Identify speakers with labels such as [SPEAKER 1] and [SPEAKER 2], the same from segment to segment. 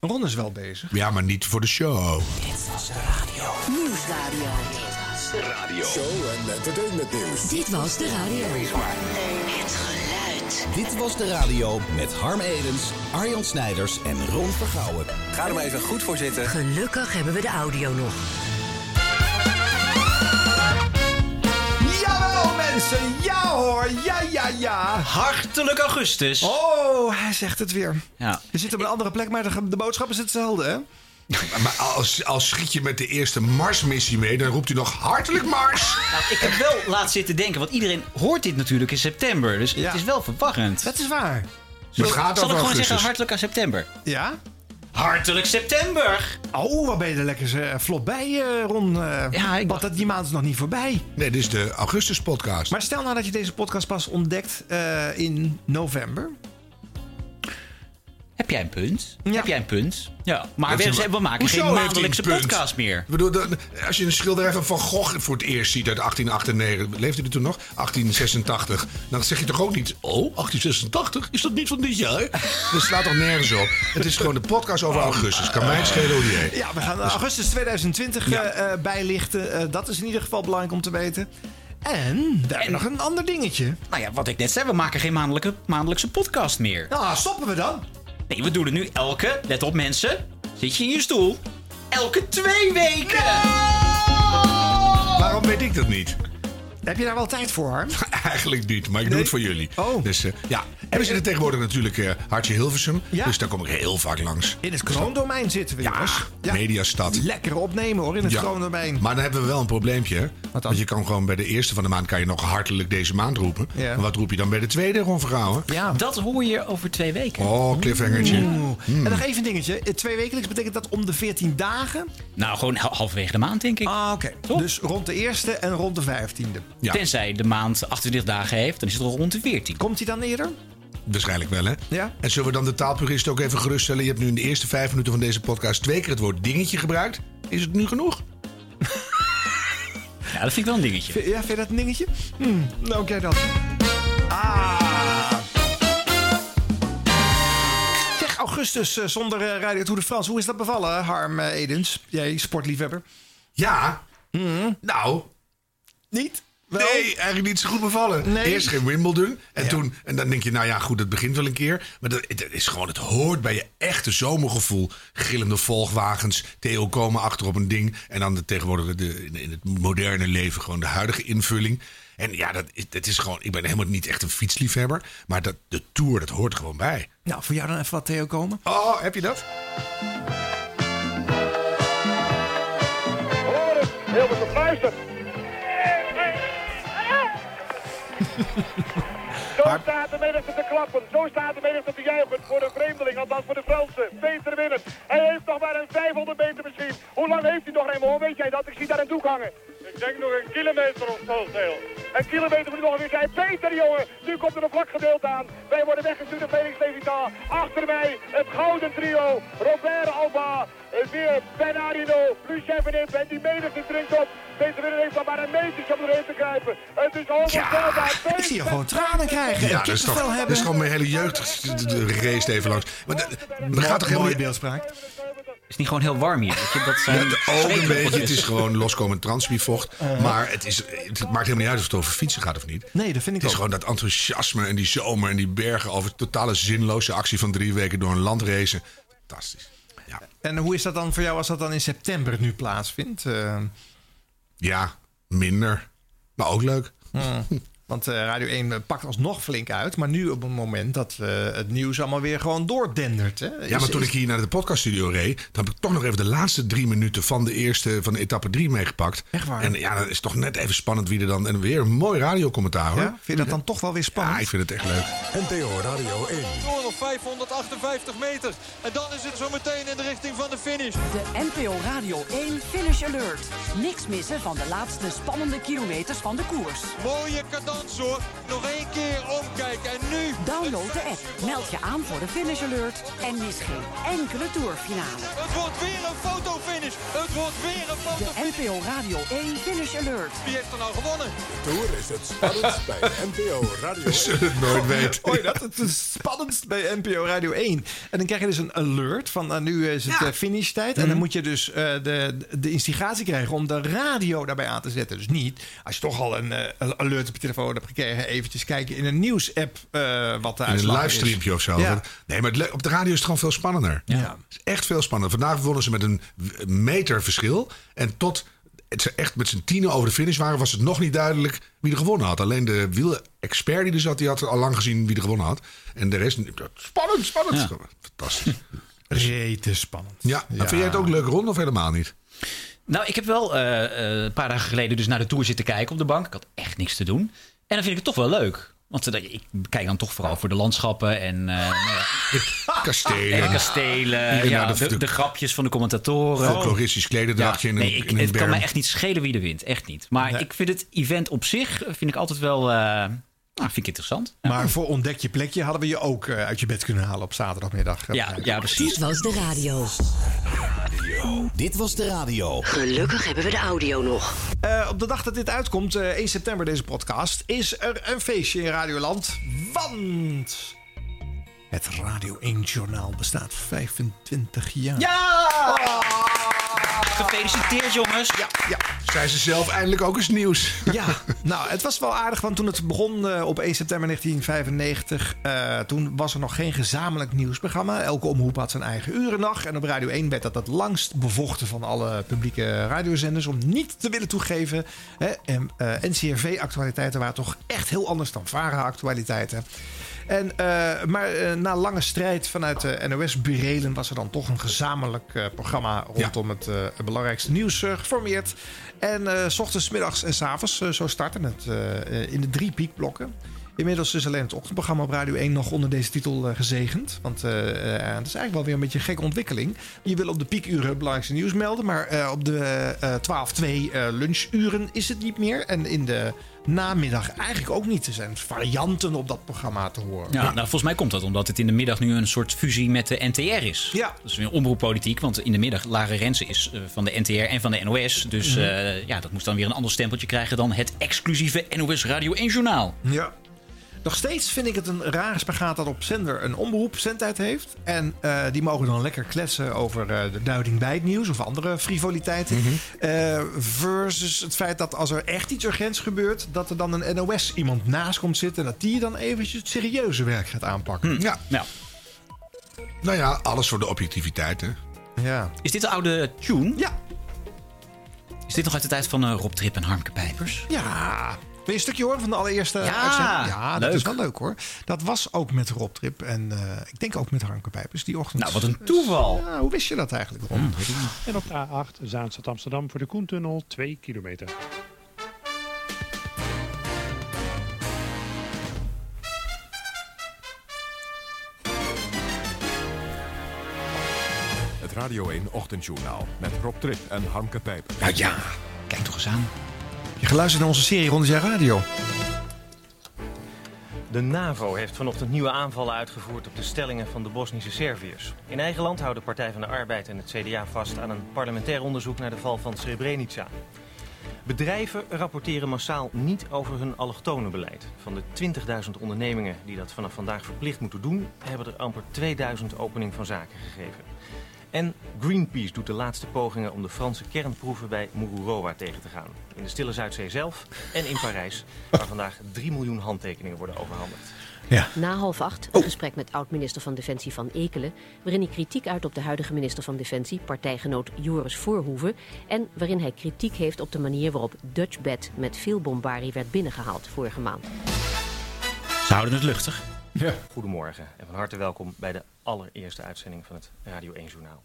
[SPEAKER 1] Ron is wel bezig.
[SPEAKER 2] Ja, maar niet voor de show.
[SPEAKER 3] Dit was de radio. Nieuwsradio. Dit was de radio.
[SPEAKER 4] Show en entertainment nieuws.
[SPEAKER 3] Dit was de radio. Het geluid.
[SPEAKER 5] Dit was de radio met Harm Edens, Arjan Snijders en Ron Vergouwen.
[SPEAKER 6] Ga er maar even goed voor zitten.
[SPEAKER 3] Gelukkig hebben we de audio nog.
[SPEAKER 1] Jawel mensen, ja hoor, ja ja ja.
[SPEAKER 7] Hartelijk augustus.
[SPEAKER 1] Oh, hij zegt het weer.
[SPEAKER 7] Ja.
[SPEAKER 1] Je zit op een andere plek, maar de, de boodschap is hetzelfde hè?
[SPEAKER 2] Maar als, als schiet je met de eerste Mars-missie mee, dan roept u nog hartelijk Mars.
[SPEAKER 7] Nou, ik heb wel laat zitten denken, want iedereen hoort dit natuurlijk in september. Dus
[SPEAKER 1] Ja.
[SPEAKER 7] het is wel verwarrend.
[SPEAKER 1] Dat is waar.
[SPEAKER 2] Maar het gaat
[SPEAKER 7] Zal ik
[SPEAKER 2] over
[SPEAKER 7] gewoon
[SPEAKER 2] augustus.
[SPEAKER 7] zeggen hartelijk aan september?
[SPEAKER 1] Ja?
[SPEAKER 7] Hartelijk september!
[SPEAKER 1] Oh, waar ben je er lekker eh, vlot bij eh, Ron. eh,
[SPEAKER 7] Ja, ik
[SPEAKER 1] Want dat, die maand is nog niet voorbij.
[SPEAKER 2] Nee, dit is de Augustus-podcast.
[SPEAKER 1] Maar stel nou dat je deze podcast pas ontdekt eh, in november.
[SPEAKER 7] Heb jij een punt?
[SPEAKER 1] Ja.
[SPEAKER 7] Heb jij een punt? Ja. Maar
[SPEAKER 2] Dat
[SPEAKER 7] we,
[SPEAKER 2] is een-
[SPEAKER 7] we maken
[SPEAKER 2] Hoezo
[SPEAKER 7] geen
[SPEAKER 2] heeft hij
[SPEAKER 7] maandelijkse
[SPEAKER 2] een punt?
[SPEAKER 7] podcast meer.
[SPEAKER 2] Ik bedoel, dan- als je een schilderij van Van Gogh voor het eerst ziet uit 1898, leefde die toen nog? 1886. Dan zeg je toch ook niet, oh, 1886? Is dat niet van dit jaar? Dat slaat toch nergens op? Het is gewoon de podcast over augustus. Kan mij het schelen hoe die heet.
[SPEAKER 1] Oh.
[SPEAKER 2] Dus-
[SPEAKER 1] Ja, we gaan augustus 2020 eh, eh, bijlichten. Eh, dat is in ieder geval belangrijk om te weten. En daar nog een ander dingetje.
[SPEAKER 7] Nou ja, wat ik net zei, we maken geen maandelijke, maandelijkse podcast meer.
[SPEAKER 1] Nou, stoppen we dan.
[SPEAKER 7] Nee, we doen het nu elke, let op mensen, zit je in je stoel, elke twee weken!
[SPEAKER 2] Waarom weet ik dat niet?
[SPEAKER 1] Heb je daar wel tijd voor, Harm?
[SPEAKER 2] Eigenlijk niet, maar ik doe
[SPEAKER 1] Nee?
[SPEAKER 2] het voor jullie.
[SPEAKER 1] Oh.
[SPEAKER 2] Dus eh, ja, en we zitten tegenwoordig natuurlijk eh, Hartje Hilversum.
[SPEAKER 1] Ja.
[SPEAKER 2] Dus daar kom ik heel vaak langs.
[SPEAKER 1] In het kroondomein zitten we, jongens.
[SPEAKER 2] Mediastad.
[SPEAKER 1] Lekker opnemen, hoor, in het
[SPEAKER 2] Ja.
[SPEAKER 1] kroondomein.
[SPEAKER 2] Maar dan hebben we wel een probleempje. hè?
[SPEAKER 1] dan?
[SPEAKER 2] Want je kan gewoon bij de eerste van de maand kan je nog hartelijk deze maand roepen.
[SPEAKER 1] Ja.
[SPEAKER 2] Maar wat roep je dan bij de tweede, Ron Vergouwen?
[SPEAKER 1] Ja.
[SPEAKER 7] Dat hoor je over twee weken. Mm.
[SPEAKER 2] Oh, cliffhangertje. Mm.
[SPEAKER 1] En nog even een dingetje. Eh, Twee wekelijks betekent dat om de 14 dagen.
[SPEAKER 7] Nou, gewoon hal- halverwege de maand, denk ik.
[SPEAKER 1] Ah, oké. Dus rond de eerste en rond de 15e.
[SPEAKER 2] Ja,
[SPEAKER 7] Tenzij de maand 28 dagen heeft, dan is het al rond de 14.
[SPEAKER 1] Komt hij dan eerder?
[SPEAKER 2] waarschijnlijk wel, hè?
[SPEAKER 1] Ja.
[SPEAKER 2] En zullen we dan de taalpuristen ook even geruststellen? Je hebt nu in de eerste vijf minuten van deze podcast twee keer het woord dingetje gebruikt. Is het nu genoeg?
[SPEAKER 7] Ja, dat vind ik wel een dingetje.
[SPEAKER 1] Ja, vind je dat een dingetje? Hmm, nou, oké dan. Ah. Zeg, augustus eh, zonder eh, Radio Tour de France. Hoe is dat bevallen, Harm eh, Edens? Jij sportliefhebber.
[SPEAKER 2] Ja. Nou,
[SPEAKER 1] Hmm. Niet? Wel?
[SPEAKER 2] Nee, eigenlijk niet zo goed bevallen.
[SPEAKER 1] Nee.
[SPEAKER 2] Eerst geen Wimbledon. En, toen, en dan denk je, nou ja, goed, het begint wel een keer. Maar dat, het is gewoon, het hoort bij je echte zomergevoel. Grillende volgwagens, Theo komen achter op een ding. En dan de, tegenwoordig de, in- in het moderne leven gewoon de huidige invulling. En ja, dat, is- dat is gewoon, ik ben helemaal niet echt een fietsliefhebber. Maar dat, de Tour, dat hoort er gewoon bij.
[SPEAKER 1] Nou, voor jou dan even wat Theo komen.
[SPEAKER 2] Oh, heb je dat?
[SPEAKER 8] Heel wat op luister. Zo staat de menigte te klappen. Zo staat de menigte te juichen voor de vreemdeling. Althans voor de Fransen. Peter winnen. Hij heeft nog maar een 500 meter misschien. Hoe lang heeft hij nog, Raymond? Hoe Weet jij dat? Ik zie daar een doek hangen. Ik denk nog een kilometer of zo, Een kilometer moet hij nog weer zijn. Peter, jongen. Nu komt er een vlak gedeelte aan. Wij worden weggestuurd door Felix Levitaan. Achter mij het gouden trio. Robert Alba. eh, Weer Ben Arino. Lucien van Impe. En die menigte drinkt op. Peter winnen heeft nog maar een meter om erin te kruipen. Het is onvoorstelbaar.
[SPEAKER 1] Ik zie je gewoon Oh, tranen krijgen.
[SPEAKER 2] Ja,
[SPEAKER 1] en
[SPEAKER 2] dat is, toch,
[SPEAKER 1] kippenvel
[SPEAKER 2] dat
[SPEAKER 1] hebben.
[SPEAKER 2] is gewoon mijn hele jeugd race even langs. Maar dat, dat gaat toch helemaal
[SPEAKER 1] Mooie
[SPEAKER 2] niet-
[SPEAKER 1] beeldspraak.
[SPEAKER 7] Is het niet gewoon heel warm hier? Weet je, dat eh, zijn
[SPEAKER 2] Ook een beetje.
[SPEAKER 7] is.
[SPEAKER 2] Het is gewoon loskomend transpiervocht. Maar het, is, het maakt helemaal niet uit of het over fietsen gaat of niet.
[SPEAKER 1] Uh-huh. Nee, dat vind ik
[SPEAKER 2] Het is
[SPEAKER 1] ook.
[SPEAKER 2] gewoon dat enthousiasme en die zomer en die bergen over totale zinloze actie van drie weken door een land racen. Fantastisch. Ja.
[SPEAKER 1] En hoe is dat dan voor jou als dat dan in september nu plaatsvindt? Eh,
[SPEAKER 2] ja, Ah, minder. Maar ook leuk.
[SPEAKER 1] want eh, Radio 1 pakt alsnog flink uit. Maar nu op het moment dat eh, het nieuws allemaal weer gewoon doordendert. Hè?
[SPEAKER 2] Ja, maar
[SPEAKER 1] Is-
[SPEAKER 2] toen
[SPEAKER 1] is-
[SPEAKER 2] ik hier naar de podcaststudio reed, dan heb ik toch nog even de laatste drie minuten van de eerste, van de etappe drie meegepakt.
[SPEAKER 1] Echt waar?
[SPEAKER 2] En ja, dat is toch net even spannend wie er dan. En weer een mooi radiocommentaar hoor.
[SPEAKER 1] Ja?
[SPEAKER 2] Ja,
[SPEAKER 1] Vind je dat dan toch wel weer spannend?
[SPEAKER 2] ik vind het echt leuk.
[SPEAKER 4] NPO Radio 1.
[SPEAKER 9] door op 558 meter. En dan is het zo meteen in de richting van de finish.
[SPEAKER 3] De NPO Radio 1 Finish Alert. Niks missen van de laatste spannende kilometers van de koers.
[SPEAKER 9] Mooie cadans kans hoor. Nog één keer omkijken. En nu...
[SPEAKER 3] Download de
[SPEAKER 9] het
[SPEAKER 3] app, meld je aan voor de Finish Alert en mis geen enkele tourfinale.
[SPEAKER 9] Het wordt weer een fotofinish. Het wordt weer een
[SPEAKER 3] De
[SPEAKER 9] fotofinish.
[SPEAKER 3] NPO Radio 1 Finish Alert.
[SPEAKER 9] Wie heeft er nou gewonnen?
[SPEAKER 4] Tour is het spannendst bij NPO Radio 1.
[SPEAKER 2] het nooit weet.
[SPEAKER 1] Hoor je dat? Het is spannendst bij NPO Radio 1. En dan krijg je dus een alert van nou, nu is het
[SPEAKER 2] Ja.
[SPEAKER 1] eh, finishtijd.
[SPEAKER 2] Hmm.
[SPEAKER 1] En dan moet je dus eh, de, de instigatie krijgen om de radio daarbij aan te zetten. Dus niet, als je toch al een eh, een alert op je telefoon hebt gekregen... eventjes kijken in een nieuws-app eh, wat de
[SPEAKER 2] In een
[SPEAKER 1] uitslag
[SPEAKER 2] livestreampje
[SPEAKER 1] is.
[SPEAKER 2] of zo.
[SPEAKER 1] Ja.
[SPEAKER 2] Nee, maar het le- op de radio is het gewoon veel spannender.
[SPEAKER 1] Ja.
[SPEAKER 2] Het is echt veel spannender. Vandaag wonnen ze met een w- meter verschil. En tot ze echt met z'n tienen over de finish waren... was het nog niet duidelijk wie er gewonnen had. Alleen de wielexpert die er zat, die had al lang gezien wie er gewonnen had. En de rest... Spannend, spannend. Fantastisch.
[SPEAKER 1] Rete spannend.
[SPEAKER 2] Ja, maar vind jij het ook leuk rond of helemaal niet?
[SPEAKER 7] Nou, ik heb wel eh, eh, een paar dagen geleden dus naar de Tour zitten kijken op de bank. Ik had echt niks te doen. En dan vind ik het toch wel leuk. Want eh, ik kijk dan toch vooral voor de landschappen en, eh, nou ja, en de
[SPEAKER 2] Kastelen,
[SPEAKER 7] kastelen. Ja,
[SPEAKER 2] nou, de-
[SPEAKER 7] de, de,
[SPEAKER 2] de-
[SPEAKER 7] grapjes van de commentatoren.
[SPEAKER 2] folkloristisch klederdrachtje in een,
[SPEAKER 7] nee, ik,
[SPEAKER 2] in een
[SPEAKER 7] het kan
[SPEAKER 2] berm.
[SPEAKER 7] mij echt niet schelen wie er wint. Echt niet. Maar ik vind het event op zich eh, vind ik altijd wel eh, nou, vind ik interessant.
[SPEAKER 1] Maar voor Ontdek je plekje hadden we je ook eh, uit je bed kunnen halen op zaterdagmiddag.
[SPEAKER 7] Ja, ja
[SPEAKER 3] Dit
[SPEAKER 7] precies.
[SPEAKER 3] was de radio.
[SPEAKER 5] Dit was de radio.
[SPEAKER 3] Gelukkig hebben we de audio nog.
[SPEAKER 1] Eh, op de dag dat dit uitkomt, eh, 1 september deze podcast, is er een feestje in Radioland. Want het Radio 1 Journaal bestaat 25 jaar.
[SPEAKER 7] Ja! Gefeliciteerd jongens.
[SPEAKER 1] ja.
[SPEAKER 2] Zijn ze zelf eindelijk ook eens nieuws?
[SPEAKER 1] Ja, nou, het was wel aardig, want toen het begon eh, op 1 september 1995, eh, toen was er nog geen gezamenlijk nieuwsprogramma. Elke omroep had zijn eigen urendag. En op Radio 1 werd dat het langst bevochten van alle publieke radiozenders om niet te willen toegeven. Hè? En eh, NCRV-actualiteiten waren toch echt heel anders dan VARA-actualiteiten. En, eh, maar eh, na lange strijd vanuit eh, de NOS-burelen was er dan toch een gezamenlijk eh, programma rondom het, eh, het belangrijkste nieuws eh, geformeerd. En eh s ochtends, 's middags en s avonds, eh, zo starten het eh, eh, in de drie piekblokken. Inmiddels is alleen het ochtendprogramma op Radio 1 nog onder deze titel eh, gezegend. Want eh eh, het is eigenlijk wel weer een beetje een gekke ontwikkeling. Je wil op de piekuren het belangrijkste nieuws melden. Maar eh, op de eh, 12-2 eh, lunchuren is het niet meer. En in de namiddag eigenlijk ook niet. Er zijn varianten op dat programma te horen.
[SPEAKER 7] Ja, nou, volgens mij komt dat omdat het in de middag nu een soort fusie met de NTR is.
[SPEAKER 1] Ja.
[SPEAKER 7] Dat is weer omroeppolitiek, want in de middag Lara Rensen is eh, van de NTR en van de NOS. Dus
[SPEAKER 1] Mhm.
[SPEAKER 7] eh, ja, dat moest dan weer een ander stempeltje krijgen dan het exclusieve NOS Radio 1 journaal.
[SPEAKER 1] Ja. Nog steeds vind ik het een rare spagaat dat op zender een omroep zendtijd heeft. En eh, die mogen dan lekker kletsen over eh, de duiding bij het nieuws of andere frivoliteiten.
[SPEAKER 7] Mhm.
[SPEAKER 1] Eh, versus het feit dat als er echt iets urgents gebeurt, dat er dan een NOS iemand naast komt zitten. En dat die dan eventjes het serieuze werk gaat aanpakken.
[SPEAKER 2] Ja,
[SPEAKER 7] Nou,
[SPEAKER 2] nou ja, alles voor de objectiviteit, hè?
[SPEAKER 1] Ja.
[SPEAKER 7] is dit de oude tune?
[SPEAKER 1] Ja.
[SPEAKER 7] Is dit nog uit de tijd van eh, Rob Trip en Harmke Pijpers?
[SPEAKER 1] Ja. Wil je een stukje horen van de allereerste
[SPEAKER 7] Ja,
[SPEAKER 1] uitzending? Ja, dat
[SPEAKER 7] leuk.
[SPEAKER 1] is wel leuk hoor. Dat was ook met Rob Trip en eh, ik denk ook met Harmke Pijpers die ochtend.
[SPEAKER 7] Nou, wat een toeval. Hmm,
[SPEAKER 1] Ja, hoe wist je dat eigenlijk, Ron?
[SPEAKER 6] En op de A8 Zaanstad-Amsterdam voor de Koentunnel 2 kilometer.
[SPEAKER 10] Het Radio 1 Ochtendjournaal met Rob Trip en Hanke Pijper.
[SPEAKER 2] Nou ja.
[SPEAKER 7] Kijk toch eens aan.
[SPEAKER 1] Je geluisterd naar onze serie Ronde Jaar Radio.
[SPEAKER 11] De NAVO heeft vanochtend nieuwe aanvallen uitgevoerd op de stellingen van de Bosnische Serviërs. In eigen land houden Partij van de Arbeid en het CDA vast aan een parlementair onderzoek naar de val van Srebrenica. Bedrijven rapporteren massaal niet over hun allochtonenbeleid. Van de 20.000 ondernemingen die dat vanaf vandaag verplicht moeten doen, hebben er amper 2000 opening van zaken gegeven. En Greenpeace doet de laatste pogingen om de Franse kernproeven bij Mururoa tegen te gaan. In de Stille Zuidzee zelf en in Parijs, waar vandaag 3 miljoen handtekeningen worden overhandigd.
[SPEAKER 12] Na half acht, een gesprek met oud-minister van Defensie Van Ekelen... waarin hij kritiek uit op de huidige minister van Defensie... partijgenoot Joris Voorhoeven... en waarin hij kritiek heeft op de manier waarop Dutch Bed... met veel bombarie werd binnengehaald vorige maand.
[SPEAKER 7] Ze houden het luchtig.
[SPEAKER 11] Goedemorgen en van harte welkom bij de allereerste uitzending van het Radio 1 Journaal.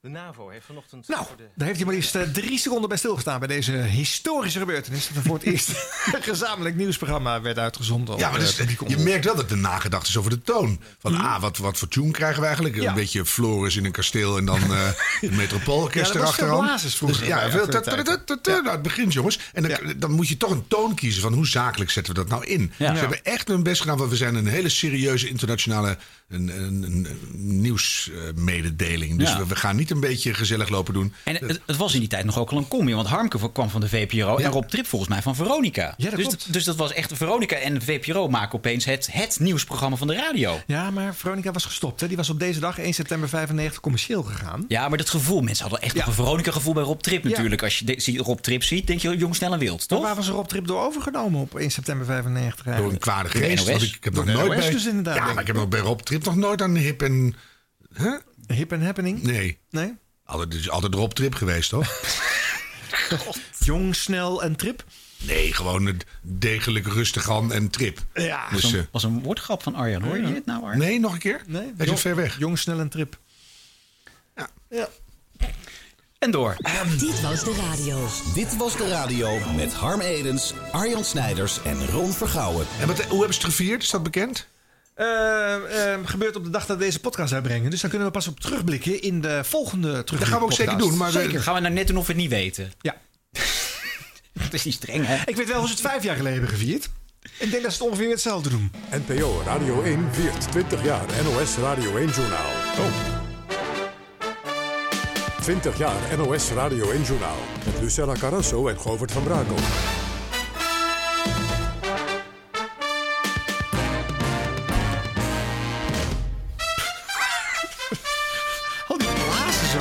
[SPEAKER 11] De NAVO heeft vanochtend...
[SPEAKER 1] Nou,
[SPEAKER 11] voor de...
[SPEAKER 1] daar heeft hij maar liefst eh, drie seconden bij stilgestaan bij deze historische gebeurtenis. Dat er voor het eerst een gezamenlijk nieuwsprogramma werd uitgezonden.
[SPEAKER 2] Ja, maar
[SPEAKER 1] op,
[SPEAKER 2] dat is-
[SPEAKER 1] eh, publieke
[SPEAKER 2] je
[SPEAKER 1] omroep.
[SPEAKER 2] merkt wel dat er nagedacht is over de toon. Van ah, wat, wat voor tune krijgen we eigenlijk?
[SPEAKER 1] Mhm. Ja.
[SPEAKER 2] Een beetje Floris in een kasteel en dan eh het metropoolorkest
[SPEAKER 1] Ja, dat was veel
[SPEAKER 2] erachteraan.
[SPEAKER 1] blazers vroeger
[SPEAKER 2] Dus, ja,
[SPEAKER 1] bij
[SPEAKER 2] veel...
[SPEAKER 1] actualiteiten.
[SPEAKER 2] Ja. Nou, het begint jongens. En dan, dan moet je toch een toon kiezen van hoe zakelijk zetten we dat nou in.
[SPEAKER 1] Ja.
[SPEAKER 2] Ze hebben echt hun best gedaan, want we zijn een hele serieuze internationale een, een, een, nieuwsmededeling. Dus
[SPEAKER 7] Ja.
[SPEAKER 2] we, we gaan niet een beetje gezellig lopen doen.
[SPEAKER 7] En het, het was in die tijd nog ook al een combi. Want Harmke voor- kwam van de VPRO en Rob Trip volgens mij van Veronica.
[SPEAKER 1] Ja, dat
[SPEAKER 7] dus,
[SPEAKER 1] klopt.
[SPEAKER 7] dus dat was echt... Veronica en de VPRO maken opeens het, het nieuwsprogramma van de radio.
[SPEAKER 1] Ja, maar Veronica was gestopt. Hè? Die was op deze dag, 1 september 95, commercieel gegaan.
[SPEAKER 7] Ja, maar dat gevoel. Mensen hadden echt nog een Veronica-gevoel bij Rob Trip natuurlijk. Als je de- zie- Rob Trip ziet, denk je jong, snel en wild,
[SPEAKER 1] Maar
[SPEAKER 7] toch?
[SPEAKER 1] waar was Rob Trip door overgenomen op 1 september 95?
[SPEAKER 2] Door een kwade
[SPEAKER 1] Door de
[SPEAKER 2] geest.
[SPEAKER 1] NOS.
[SPEAKER 2] want ik, ik heb
[SPEAKER 1] Door
[SPEAKER 2] nog
[SPEAKER 1] de
[SPEAKER 2] nooit
[SPEAKER 1] NOS
[SPEAKER 2] bij,
[SPEAKER 1] dus inderdaad,
[SPEAKER 2] ja,
[SPEAKER 1] denk
[SPEAKER 2] Ah, maar ik
[SPEAKER 1] ik.
[SPEAKER 2] heb nog bij Rob Trip nog nooit aan hip en... Hè?
[SPEAKER 1] Hip and happening?
[SPEAKER 2] Nee.
[SPEAKER 1] Nee?
[SPEAKER 2] Altijd, het is altijd Rob Trip geweest, toch?
[SPEAKER 1] Jong, snel en trip?
[SPEAKER 2] Nee, gewoon een degelijk rustig aan en trip.
[SPEAKER 1] Ja.
[SPEAKER 2] Dus,
[SPEAKER 7] was,
[SPEAKER 2] eh,
[SPEAKER 7] een, was een woordgrap van Arjan. Hoor je dit nou, Arjan?
[SPEAKER 2] nee, nog een keer?
[SPEAKER 1] Nee.
[SPEAKER 2] Hij zit
[SPEAKER 1] Jong-
[SPEAKER 2] ver weg.
[SPEAKER 1] Jong, snel en trip.
[SPEAKER 7] En door.
[SPEAKER 5] Dit was de radio. Dit was de radio met Harm Edens, Arjan Snijders en Ron Vergouwen.
[SPEAKER 2] En wat, hoe hebben ze het gevierd? Is dat bekend?
[SPEAKER 1] Eh, eh, gebeurt op de dag dat we deze podcast uitbrengen. Dus daar kunnen we pas op terugblikken in de volgende terug.
[SPEAKER 2] Dat gaan we ook zeker doen, maar we-
[SPEAKER 1] zeker.
[SPEAKER 7] Gaan we nou net doen of we het niet weten?
[SPEAKER 1] Ja.
[SPEAKER 7] dat is niet streng, hè?
[SPEAKER 1] Ik weet wel hoe ze het vijf jaar geleden hebben gevierd. Ik denk dat ze het ongeveer hetzelfde doen.
[SPEAKER 4] NPO Radio 1 viert 20 jaar NOS Radio 1 Journaal.
[SPEAKER 2] Oh.
[SPEAKER 4] 20 jaar NOS Radio 1 Journaal. Met Lucella Carrasso en Govert van Brakel.
[SPEAKER 1] Al die blazen zo.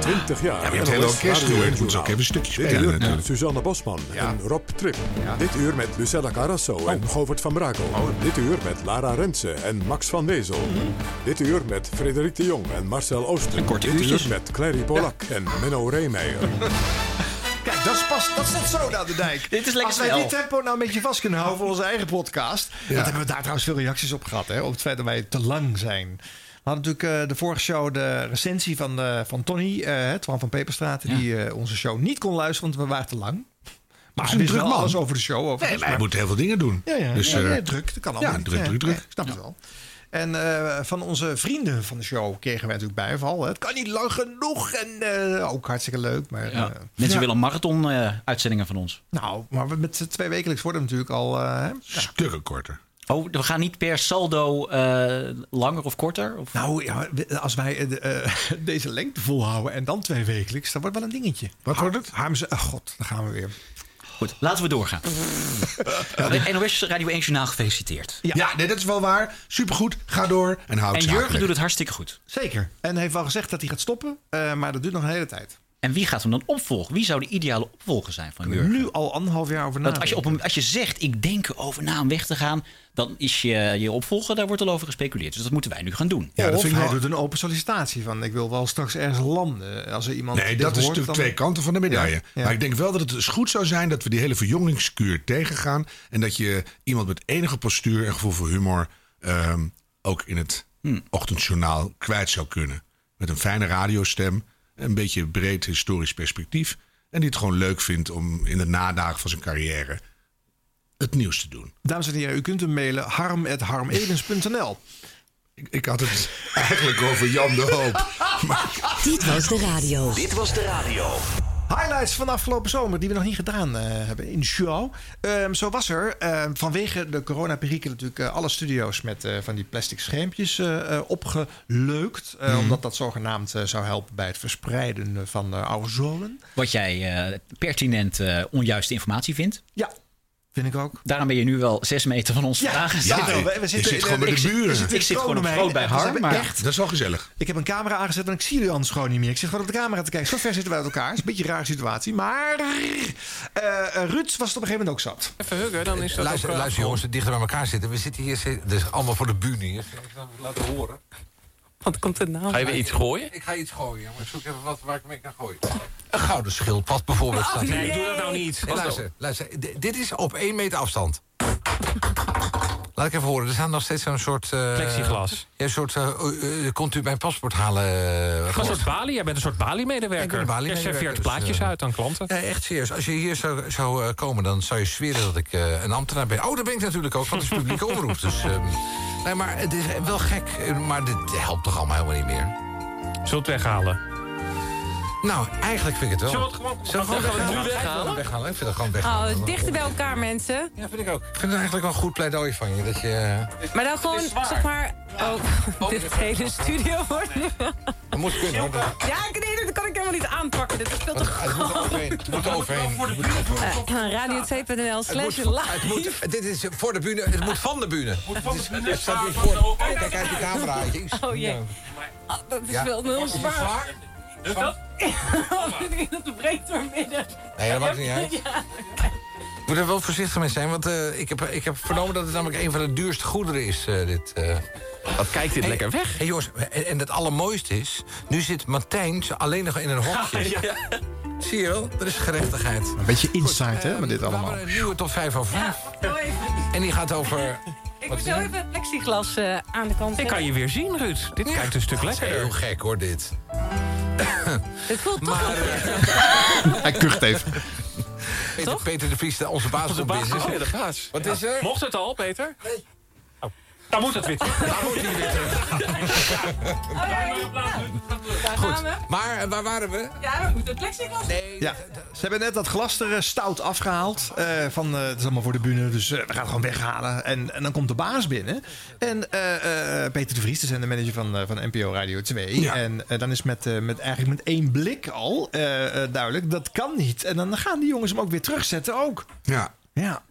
[SPEAKER 4] 20 jaar
[SPEAKER 2] Ja, maar je hebt het hele
[SPEAKER 4] NOS
[SPEAKER 2] orkest
[SPEAKER 4] Radio
[SPEAKER 2] gehoord.
[SPEAKER 4] 1
[SPEAKER 2] Moet ze ook
[SPEAKER 4] Journaal.
[SPEAKER 2] even een stukje
[SPEAKER 4] Dit
[SPEAKER 2] spelen
[SPEAKER 4] uur met
[SPEAKER 2] natuurlijk.
[SPEAKER 4] Suzanne Bosman en Rob Trip. Dit uur met Lucella Carrasso
[SPEAKER 2] Oh.
[SPEAKER 4] en Govert van Brakel. Dit uur met Lara Rensen en Max van Wezel. Dit uur met Frederik de Jong en Marcel Ooster.
[SPEAKER 7] korte
[SPEAKER 4] Dit uur
[SPEAKER 7] uurtjes.
[SPEAKER 4] met Clary Polak en Menno Reemeijer.
[SPEAKER 1] Kijk, dat is pas, dat staat zo naar de dijk.
[SPEAKER 7] Dit is lekker
[SPEAKER 1] Als wij
[SPEAKER 7] snel.
[SPEAKER 1] dit tempo nou een beetje vast kunnen houden voor onze eigen podcast. Dat hebben we daar trouwens veel reacties op gehad. Hè, op het feit dat wij te lang zijn. We hadden natuurlijk eh, de vorige show de recensie van, eh, van Tony, eh, hè, Twan van Peperstraat. Die eh, onze show niet kon luisteren, want we waren te lang. Maar
[SPEAKER 2] is
[SPEAKER 1] hij
[SPEAKER 2] een
[SPEAKER 1] wist
[SPEAKER 2] druk
[SPEAKER 1] wel
[SPEAKER 2] man.
[SPEAKER 1] alles over de show. Over
[SPEAKER 2] Nee, maar hij moet heel veel dingen doen.
[SPEAKER 1] Ja, ja.
[SPEAKER 2] Dus,
[SPEAKER 1] ja,
[SPEAKER 2] eh,
[SPEAKER 1] ja, druk. Dat kan
[SPEAKER 2] ja,
[SPEAKER 1] allemaal niet.
[SPEAKER 2] druk, druk, druk.
[SPEAKER 1] ik snap het wel. En eh, van onze vrienden van de show kregen wij natuurlijk bijval. hè. Het kan niet lang genoeg. En eh, ook hartstikke leuk. Maar,
[SPEAKER 7] Ja.
[SPEAKER 1] eh,
[SPEAKER 7] Mensen
[SPEAKER 1] ja.
[SPEAKER 7] willen marathon-uitzendingen van ons.
[SPEAKER 1] Nou, maar we- met twee wekelijks worden we natuurlijk al... eh, hè?
[SPEAKER 2] Stukken korter.
[SPEAKER 7] Oh, we gaan niet per saldo eh, langer of korter? Of?
[SPEAKER 1] nou, ja, we- als wij eh, de, eh, deze lengte volhouden en dan twee wekelijks... dan wordt wel een dingetje.
[SPEAKER 2] Wat wordt het?
[SPEAKER 1] Harmse... Oh god, daar gaan we weer.
[SPEAKER 7] Goed, laten we doorgaan. Eh, NOS Radio 1 Journaal gefeliciteerd.
[SPEAKER 2] Ja, nee, dat is wel waar. Supergoed. Ga door en hou het
[SPEAKER 7] En Jurgen doet het hartstikke goed.
[SPEAKER 1] Zeker. En heeft al gezegd dat hij gaat stoppen. eh, maar dat duurt nog een hele tijd.
[SPEAKER 7] En wie gaat hem dan opvolgen? Wie zou de ideale opvolger zijn van Jurgen?
[SPEAKER 1] Nu al anderhalf jaar over
[SPEAKER 7] Want
[SPEAKER 1] nadenken.
[SPEAKER 7] als, je op een, als je zegt, ik denk over na om weg te gaan, dan is je, je opvolger, daar wordt al over gespeculeerd. Dus dat moeten wij nu gaan doen.
[SPEAKER 2] Ja, dat
[SPEAKER 1] of
[SPEAKER 2] vind ik
[SPEAKER 1] hij
[SPEAKER 2] wel-
[SPEAKER 1] doet een open sollicitatie van ik wil wel straks ergens landen. Als er iemand
[SPEAKER 2] Nee,
[SPEAKER 1] dit
[SPEAKER 2] dat is
[SPEAKER 1] hoort,
[SPEAKER 2] natuurlijk
[SPEAKER 1] dan-
[SPEAKER 2] twee kanten van de medaille.
[SPEAKER 1] Ja, ja.
[SPEAKER 2] Maar ik denk wel dat het dus goed zou zijn dat we die hele verjongingskuur tegengaan. En dat je iemand met enige postuur en gevoel voor humor ehm, ook in het
[SPEAKER 1] Hm.
[SPEAKER 2] ochtendjournaal kwijt zou kunnen. Met een fijne radiostem, een beetje breed historisch perspectief. En die het gewoon leuk vindt om in de nadagen van zijn carrière het nieuws te doen.
[SPEAKER 1] Dames en heren, u kunt hem mailen harm.harmedens.nl.
[SPEAKER 2] Ik, ik had het eigenlijk over Jan de Hoop.
[SPEAKER 3] Dit was de radio.
[SPEAKER 5] Dit was de radio.
[SPEAKER 1] Highlights van afgelopen zomer die we nog niet gedaan eh, hebben in de show. Ehm, zo was er eh, vanwege de coronaperikelen natuurlijk eh, alle studio's met eh, van die plastic schermpjes eh, eh, opgeleukt. Eh, Omdat dat zogenaamd eh, zou helpen bij het verspreiden eh, van de aerosolen.
[SPEAKER 7] Wat jij eh, pertinent eh, onjuiste informatie vindt.
[SPEAKER 1] Ja, vind ik ook.
[SPEAKER 7] Daarom ben je nu wel zes meter van ons vandaan gezet.
[SPEAKER 2] Ja,
[SPEAKER 1] we- we
[SPEAKER 2] ik- ik
[SPEAKER 1] zitten
[SPEAKER 2] zit
[SPEAKER 1] in-
[SPEAKER 2] gewoon bij
[SPEAKER 7] ik
[SPEAKER 2] de
[SPEAKER 7] zit-
[SPEAKER 2] buren.
[SPEAKER 7] ik zit- ik zit gewoon op groot bij
[SPEAKER 1] Harm,
[SPEAKER 7] Harm. Maar
[SPEAKER 1] echt
[SPEAKER 2] Dat is wel gezellig.
[SPEAKER 1] Ik heb een camera aangezet, want ik zie jullie anders gewoon niet meer. Ik zit gewoon op de camera te kijken. Zo ver zitten we uit elkaar. Het is een beetje een rare situatie. Maar eh eh, Ruud was het op een gegeven moment ook zat.
[SPEAKER 13] Even huggen, dan is dat
[SPEAKER 14] Luister,
[SPEAKER 13] ook, eh,
[SPEAKER 14] luister jongens, dichter bij elkaar zitten. We zitten hier, zit- dus allemaal voor de buur hier. Zal ik dat laten horen?
[SPEAKER 13] Wat komt er nou?
[SPEAKER 14] Ga je weer iets gooien?
[SPEAKER 13] Ik ga iets gooien, maar ik zoek even wat waar ik mee kan gooien.
[SPEAKER 14] Een gouden schildpad bijvoorbeeld. staat hier.
[SPEAKER 13] nee, doe dat nou niet.
[SPEAKER 14] Hey, luister, luister. D- dit is op één meter afstand. Laat ik even horen. Er staan nog steeds zo'n soort... eh,
[SPEAKER 15] Plexiglas.
[SPEAKER 14] Ja, een soort... eh, eh, eh, komt u mijn paspoort halen? eh,
[SPEAKER 15] Een
[SPEAKER 14] glas.
[SPEAKER 15] soort balie. Jij bent een soort
[SPEAKER 14] Ik ben
[SPEAKER 15] balie-medewerker.
[SPEAKER 14] een
[SPEAKER 15] Je
[SPEAKER 14] baliemedewerker,
[SPEAKER 15] serveert
[SPEAKER 14] dus,
[SPEAKER 15] plaatjes
[SPEAKER 14] eh,
[SPEAKER 15] uit aan klanten.
[SPEAKER 14] Nee, echt serieus. Als je hier zou, zou eh, komen, dan zou je zweren dat ik eh, een ambtenaar ben. Oh, dat ben ik natuurlijk ook, want het is publieke omroep. Dus, ehm, nee, maar het is wel gek. eh, Maar dit helpt toch allemaal helemaal niet meer?
[SPEAKER 15] Zullen we het weghalen?
[SPEAKER 14] Nou, eigenlijk vind ik het wel.
[SPEAKER 15] Zullen we het gewoon-
[SPEAKER 14] Zullen we
[SPEAKER 15] Zullen we het nu
[SPEAKER 14] Ik wil
[SPEAKER 15] weghalen?
[SPEAKER 14] het weghalen? Ik vind het gewoon
[SPEAKER 16] Oh,
[SPEAKER 14] weghalen.
[SPEAKER 16] dichter bij elkaar, mensen.
[SPEAKER 14] Ja, vind ik ook. Ik vind het eigenlijk wel een goed pleidooi van je. eh, Dat je...
[SPEAKER 16] Maar dan gewoon, zeg maar... Oh, dit hele studio wordt nu...
[SPEAKER 14] Dat moet kunnen. hoor. Dat-
[SPEAKER 16] Ja, ik- nee, dat kan ik helemaal niet aanpakken. Dit speelt toch
[SPEAKER 14] Het moet er overheen. Het moet er overheen.
[SPEAKER 16] Eh, Radio2.nl
[SPEAKER 14] Het moet
[SPEAKER 16] slash
[SPEAKER 14] van- het
[SPEAKER 16] live.
[SPEAKER 14] moet- Dit is voor de bühne. Het moet van de bühne. Het is- het staat hier voor. Kijk uit die camera. Jezus.
[SPEAKER 16] Oh jee. Ah, dat is
[SPEAKER 14] Ja.
[SPEAKER 16] wel heel zwaar.
[SPEAKER 14] Dus dat?
[SPEAKER 16] Dat breekt door midden.
[SPEAKER 14] Nee, dat maakt niet uit. Ik moet er wel voorzichtig mee zijn, want eh, ik, heb, ik heb vernomen dat het namelijk een van de duurste goederen is. eh, dit, Wat kijkt dit lekker weg? Hey, jongens, en, en het allermooiste is, nu zit Martijn alleen nog in een hokje. Zie je wel, er is gerechtigheid.
[SPEAKER 1] Een beetje insight, hè, met dit
[SPEAKER 14] We
[SPEAKER 1] allemaal.
[SPEAKER 14] hebben een nieuwe top 5 over. En die gaat over...
[SPEAKER 16] Ik moet zo even het plexiglas eh, aan de kant
[SPEAKER 15] Ik kan je weer zien, Ruud. Dit kijkt een stuk lekkerder.
[SPEAKER 14] Heel gek hoor, dit.
[SPEAKER 16] Het voelt toch wel-
[SPEAKER 1] Hij kucht even.
[SPEAKER 14] eh, Peter, Peter de Vries, onze baas van business.
[SPEAKER 15] Oh, ja, de baas.
[SPEAKER 14] Wat is er?
[SPEAKER 15] Mocht het al, Peter? Nee. Dan moet het weer.
[SPEAKER 16] Daar gaan we.
[SPEAKER 14] Maar eh, waar waren we?
[SPEAKER 16] Ja, we moeten het plexiglas... Nee.
[SPEAKER 1] Ja, ze hebben net dat glas er eh, stout afgehaald. eh, van, eh, het is allemaal voor de bühne, dus eh, we gaan het gewoon weghalen. En, en dan komt de baas binnen. En eh, eh, Peter de Vries, de zendermanager van, eh, van NPO Radio 2. En eh, dan is met, eh, met eigenlijk met één blik al eh, eh, duidelijk, dat kan niet. En dan gaan die jongens hem ook weer terugzetten ook.
[SPEAKER 2] Ja.
[SPEAKER 1] Ja.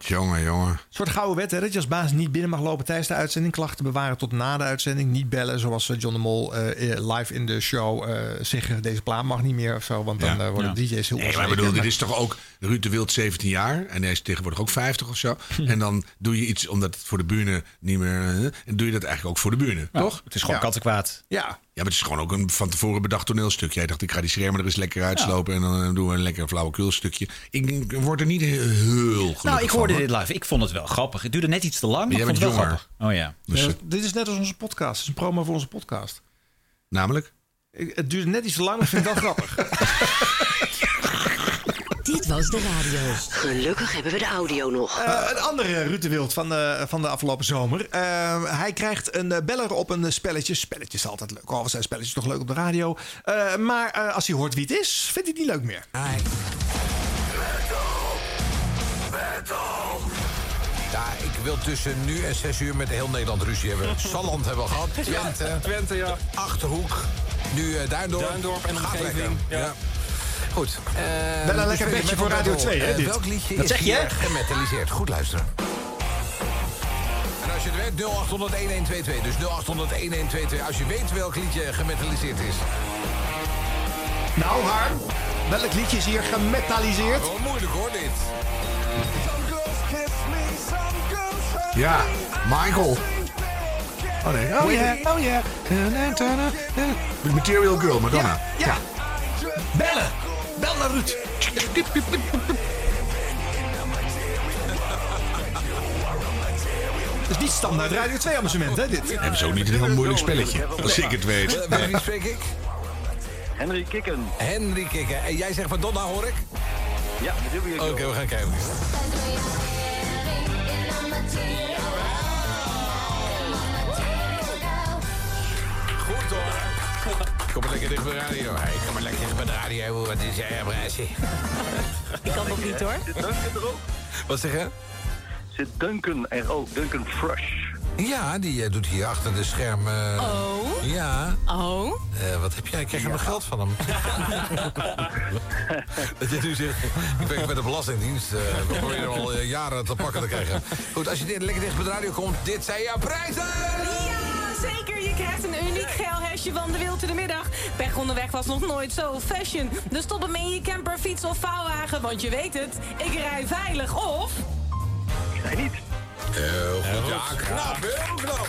[SPEAKER 2] Jongen, jongen.
[SPEAKER 1] Een soort gouden wet, hè, dat je als baas niet binnen mag lopen tijdens de uitzending. Klachten bewaren tot na de uitzending. Niet bellen, zoals eh, John de Mol eh, eh, live in de show eh zeggen... deze plaat mag niet meer of zo, want dan eh, worden de DJ's
[SPEAKER 2] Nee,
[SPEAKER 1] heel
[SPEAKER 2] maar ik
[SPEAKER 1] onzeker.
[SPEAKER 2] bedoel, dit
[SPEAKER 1] Maar-
[SPEAKER 2] is toch ook... Ruud de Wild 17 jaar en hij is tegenwoordig ook 50 of zo.
[SPEAKER 7] Hm.
[SPEAKER 2] En dan doe je iets omdat het voor de buren niet meer... eh, En doe je dat eigenlijk ook voor de buren, toch?
[SPEAKER 7] Het is gewoon
[SPEAKER 2] Ja.
[SPEAKER 7] kattenkwaad.
[SPEAKER 1] Ja. Ja,
[SPEAKER 2] maar het is gewoon ook een van tevoren bedacht toneelstuk. Jij dacht, ik ga die schermen er eens lekker uitslopen... en dan eh, doen we een lekker flauwekulstukje. Ik word er niet heel gelukkig
[SPEAKER 7] Nou, ik
[SPEAKER 2] van,
[SPEAKER 7] hoorde
[SPEAKER 2] hoor.
[SPEAKER 7] dit live. Ik vond het wel grappig. Het duurde net iets te lang, maar,
[SPEAKER 2] Maar jij
[SPEAKER 7] ik vond het wel
[SPEAKER 2] bent
[SPEAKER 7] grappig. Oh ja.
[SPEAKER 2] dus,
[SPEAKER 1] Ja,
[SPEAKER 2] eh,
[SPEAKER 1] dit is net als onze podcast. Het is een promo voor onze podcast.
[SPEAKER 2] Namelijk?
[SPEAKER 1] Ik- Het duurde net iets te lang, maar ik vind het wel grappig.
[SPEAKER 9] Dit was de radio. Gelukkig hebben we de audio nog.
[SPEAKER 1] Eh, een andere Ruud de Wild van de, van de afgelopen zomer. Eh, hij krijgt een eh, beller op een eh, spelletje. Spelletjes is altijd leuk. Oh, wat zijn spelletjes toch leuk op de radio. Eh, maar eh, als hij hoort wie het is, vindt hij het niet leuk meer.
[SPEAKER 14] Ja, ik wil tussen nu en 6 uur met heel Nederland ruzie hebben. Salland hebben we gehad. Twente. Twente, ja. Achterhoek. Nu eh Duindorp.
[SPEAKER 15] Duindorp en
[SPEAKER 14] Gaat
[SPEAKER 15] omgeving,
[SPEAKER 14] lekker.
[SPEAKER 15] ja.
[SPEAKER 14] Goed. eh,
[SPEAKER 1] Wel een lekker
[SPEAKER 14] dus we met
[SPEAKER 1] bedje voor
[SPEAKER 14] elkaar
[SPEAKER 1] Radio
[SPEAKER 14] door.
[SPEAKER 1] 2, hè,
[SPEAKER 14] Eh,
[SPEAKER 1] dit?
[SPEAKER 14] Welk liedje
[SPEAKER 1] Dat
[SPEAKER 14] is
[SPEAKER 1] zeg je,
[SPEAKER 14] hier
[SPEAKER 1] hè?
[SPEAKER 14] gemetaliseerd? Goed luisteren. En als je het weet, 0800-1122. Dus 0800-1122. Als je weet welk liedje gemetaliseerd is.
[SPEAKER 1] Nou, Harm, welk liedje is hier gemetaliseerd?
[SPEAKER 14] Wel moeilijk hoor, dit.
[SPEAKER 2] Ja, Michael. Oh nee.
[SPEAKER 1] Oh ja, oh ja.
[SPEAKER 2] Material Girl, Madonna.
[SPEAKER 1] Ja. Bellen. Bel naar Ruud. Het is niet standaard Radio 2 amusement, hè, dit?
[SPEAKER 2] Hebben ze ook niet een heel moeilijk spelletje, als ik het weet.
[SPEAKER 14] Eh, Met wie spreek ik?
[SPEAKER 10] Henry Kikken.
[SPEAKER 14] Henry Kikker. En jij zegt van Donna, hoor ik?
[SPEAKER 10] Ja, natuurlijk.
[SPEAKER 14] Oké, we gaan kijken. Goed hoor. Kom maar lekker dicht bij de radio. Hey, kom maar lekker dicht bij de radio. Wat is jij, Brasje?
[SPEAKER 16] Ik kan nog niet, hoor.
[SPEAKER 14] Wat zeg je?
[SPEAKER 10] Zit Duncan er ook? Duncan Fresh.
[SPEAKER 14] Ja, die eh, doet hier achter de scherm. eh,
[SPEAKER 16] Oh.
[SPEAKER 14] Ja.
[SPEAKER 16] Oh.
[SPEAKER 14] Eh, wat heb jij? Ik krijg je nog geld van hem. dat je nu zegt, ik werk bij de Belastingdienst. eh, we proberen al eh, jaren te pakken te krijgen. Goed, als je dit lekker dicht bij de radio komt, dit zijn jouw prijzen!
[SPEAKER 16] Ja, zeker. Je krijgt een uniek geil hesje van de Wild in de Middag. Pech onderweg was nog nooit zo fashion. Dus stop hem in je camper, fiets of vouwwagen. Want je weet het, ik rij veilig of...
[SPEAKER 14] Heel goed. Ja, knap, heel knap.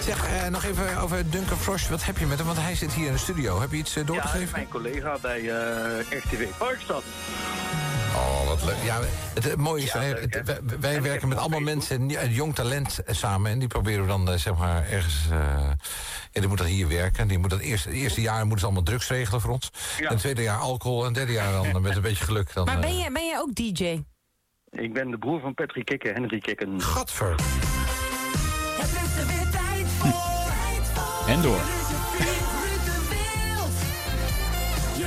[SPEAKER 14] Zeg, eh, nog even over Duncan Frosch. Wat heb je met hem? Want hij zit hier in de studio. Heb je iets eh, door te
[SPEAKER 10] Ja,
[SPEAKER 14] geven?
[SPEAKER 10] mijn collega bij eh RTV Parkstad.
[SPEAKER 14] Oh, wat leuk. Ja, het, eh, mooie is, wij- het- wij, wij werken met allemaal mensen, nie- eh, jong talent eh, samen. En die proberen we dan, eh, zeg maar, ergens... eh ja, die moet dan hier werken. Die moet dat eerste, het eerste jaar moeten ze allemaal drugs regelen voor ons. En het tweede jaar alcohol. En het derde jaar dan eh, met een beetje geluk. Dan,
[SPEAKER 15] Maar
[SPEAKER 14] eh,
[SPEAKER 15] ben jij, ben jij ook DJ?
[SPEAKER 10] Eh.
[SPEAKER 17] Ik ben de broer van Patrick Kikken, Henry Kikken.
[SPEAKER 14] Gadver.
[SPEAKER 7] En door.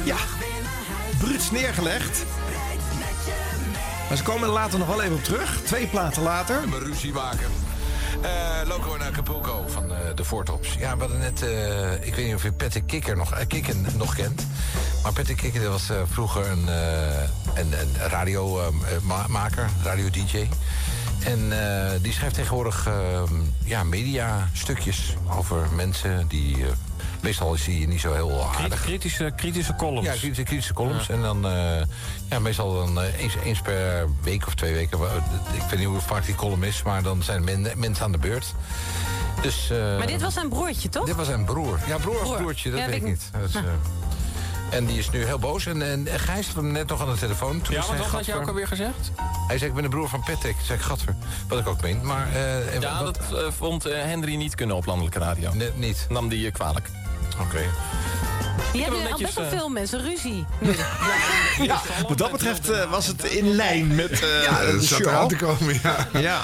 [SPEAKER 1] Ja, bruut neergelegd. Maar ze komen er later nog wel even op terug. Twee platen later.
[SPEAKER 14] Maar ruzie maken. Eh, Loco en Acapulco van eh, de Voortops. Ja, we hadden net... eh, ik weet niet of je Patrick Kikker nog, eh, Kikken nog kent. Maar Patrick Kikker dat was eh, vroeger een, eh, een, een ehm, eh, radiomaker, radio-dj. En eh, die schrijft tegenwoordig eh, ja, media-stukjes over mensen die... eh, meestal is hij niet zo heel aardig.
[SPEAKER 18] Kritische, kritische columns.
[SPEAKER 14] Ja, kritische, kritische columns. En dan, eh, ja, meestal dan eh, eens, eens per week of twee weken. wa- Ik weet niet hoe vaak die column is, maar dan zijn men- mensen aan de beurt. Dus, eh,
[SPEAKER 15] Maar dit was zijn broertje, toch?
[SPEAKER 14] dit was zijn broer. Ja, broer of broertje, dat
[SPEAKER 15] Ja,
[SPEAKER 14] weet ik niet. Dat is,
[SPEAKER 15] Nou.
[SPEAKER 14] eh, en die is nu heel boos. En, en Gijs had hem net nog aan de telefoon. Toen
[SPEAKER 18] Ja,
[SPEAKER 14] is
[SPEAKER 18] want
[SPEAKER 14] hij
[SPEAKER 18] wat had je
[SPEAKER 14] gatver.
[SPEAKER 18] ook alweer gezegd?
[SPEAKER 14] Hij zei, ik ben de broer van Patrick. Toen zei ik, gatver. Wat ik ook meen. Maar, eh, en
[SPEAKER 10] ja,
[SPEAKER 14] wat-
[SPEAKER 10] dat eh, vond eh, Henry niet kunnen op landelijke radio.
[SPEAKER 14] Net niet.
[SPEAKER 10] Nam die je kwalijk.
[SPEAKER 14] Oké.
[SPEAKER 15] Je
[SPEAKER 10] heb
[SPEAKER 15] hebt
[SPEAKER 10] hem
[SPEAKER 15] nu al
[SPEAKER 10] netjes,
[SPEAKER 15] best wel
[SPEAKER 10] eh,
[SPEAKER 15] veel mensen ruzie. Nu.
[SPEAKER 1] Ja, wat dat betreft eh, was het in lijn met eh
[SPEAKER 2] Ja,
[SPEAKER 1] de
[SPEAKER 2] dat zat
[SPEAKER 1] show.
[SPEAKER 2] eraan te komen, ja.
[SPEAKER 1] Ja.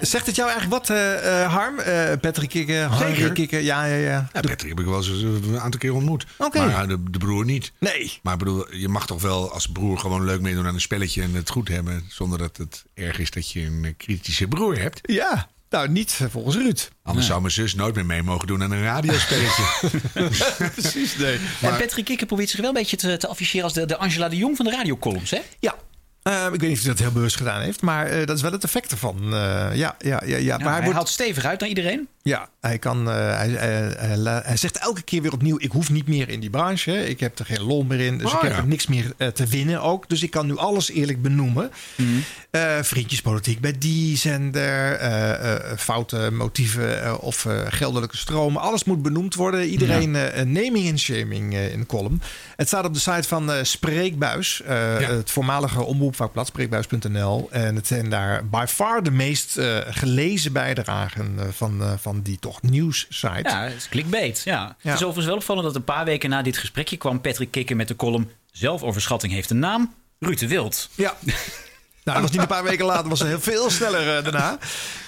[SPEAKER 1] Zegt het jou eigenlijk wat, eh, eh, Harm? Eh, Patrick Kikken, Harry
[SPEAKER 2] Zeker.
[SPEAKER 1] Kikken, ja, ja, ja.
[SPEAKER 2] Ja, Patrick heb ik wel eens eh, een aantal keer ontmoet.
[SPEAKER 1] Oké.
[SPEAKER 2] Maar eh, de, de broer niet.
[SPEAKER 1] Nee.
[SPEAKER 2] Maar ik bedoel, je mag toch wel als broer gewoon leuk meedoen aan een spelletje en het goed hebben. Zonder dat het erg is dat je een eh, kritische broer hebt.
[SPEAKER 1] Ja, nou niet eh, volgens Ruud.
[SPEAKER 2] Anders zou mijn zus nooit meer mee mogen doen aan een radiospelletje. Dus-
[SPEAKER 1] Precies, nee.
[SPEAKER 7] En Patrick Kikker probeert zich wel een beetje te, te afficheren als de, de Angela de Jong van de radiocolumns, hè?
[SPEAKER 1] Ja. Eh, ik weet niet of hij dat heel bewust gedaan heeft, maar eh, dat is wel het effect ervan. Eh, ja, ja, ja, ja.
[SPEAKER 7] Ja,
[SPEAKER 1] Maar
[SPEAKER 7] hij,
[SPEAKER 1] hij wordt-
[SPEAKER 7] haalt stevig uit naar iedereen.
[SPEAKER 1] Ja, hij, kan, eh, hij, eh, hij, la- hij zegt elke keer weer opnieuw: ik hoef niet meer in die branche. hè. Ik heb er geen lol meer in. Dus
[SPEAKER 2] Oh,
[SPEAKER 1] ik heb
[SPEAKER 2] ja.
[SPEAKER 1] er niks meer eh, te winnen ook. Dus ik kan nu alles eerlijk benoemen.
[SPEAKER 7] Mhm.
[SPEAKER 1] Eh, vriendjespolitiek bij die zender, eh, eh, foute motieven eh, of eh, geldelijke stromen. Alles moet benoemd worden. Iedereen eh, een naming en shaming eh, in de column. Het staat op de site van eh, Spreekbuis, eh, het voormalige omroepvakblad, spreekbuis.nl. En het zijn daar by far de meest eh, gelezen bijdragen eh, van, eh, van die toch nieuwssite.
[SPEAKER 7] Ja, het is clickbait. Ja. Het is overigens wel opvallend dat een paar weken na dit gesprekje kwam Patrick Kikker met de column Zelfoverschatting heeft een naam. Ruud de Wild.
[SPEAKER 1] Ja. Nou, dat was niet een paar weken later, was heel veel sneller eh, daarna.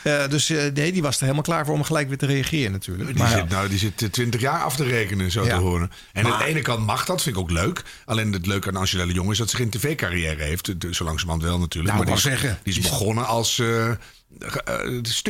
[SPEAKER 1] Eh, dus eh, nee, die was er helemaal klaar voor om gelijk weer te reageren natuurlijk.
[SPEAKER 2] Die zit, nou, die zit twintig jaar af te rekenen, zo
[SPEAKER 1] Ja.
[SPEAKER 2] te horen. En aan
[SPEAKER 1] Maar-
[SPEAKER 2] de ene kant mag dat, vind ik ook leuk. Alleen het leuke aan Angela de Jong is dat ze geen tv-carrière heeft. Dus Zo langzamerhand wel natuurlijk.
[SPEAKER 1] Nou,
[SPEAKER 2] die
[SPEAKER 1] ik wou
[SPEAKER 2] is,
[SPEAKER 1] zeggen.
[SPEAKER 2] die is
[SPEAKER 1] Die is-
[SPEAKER 2] begonnen als eh eh,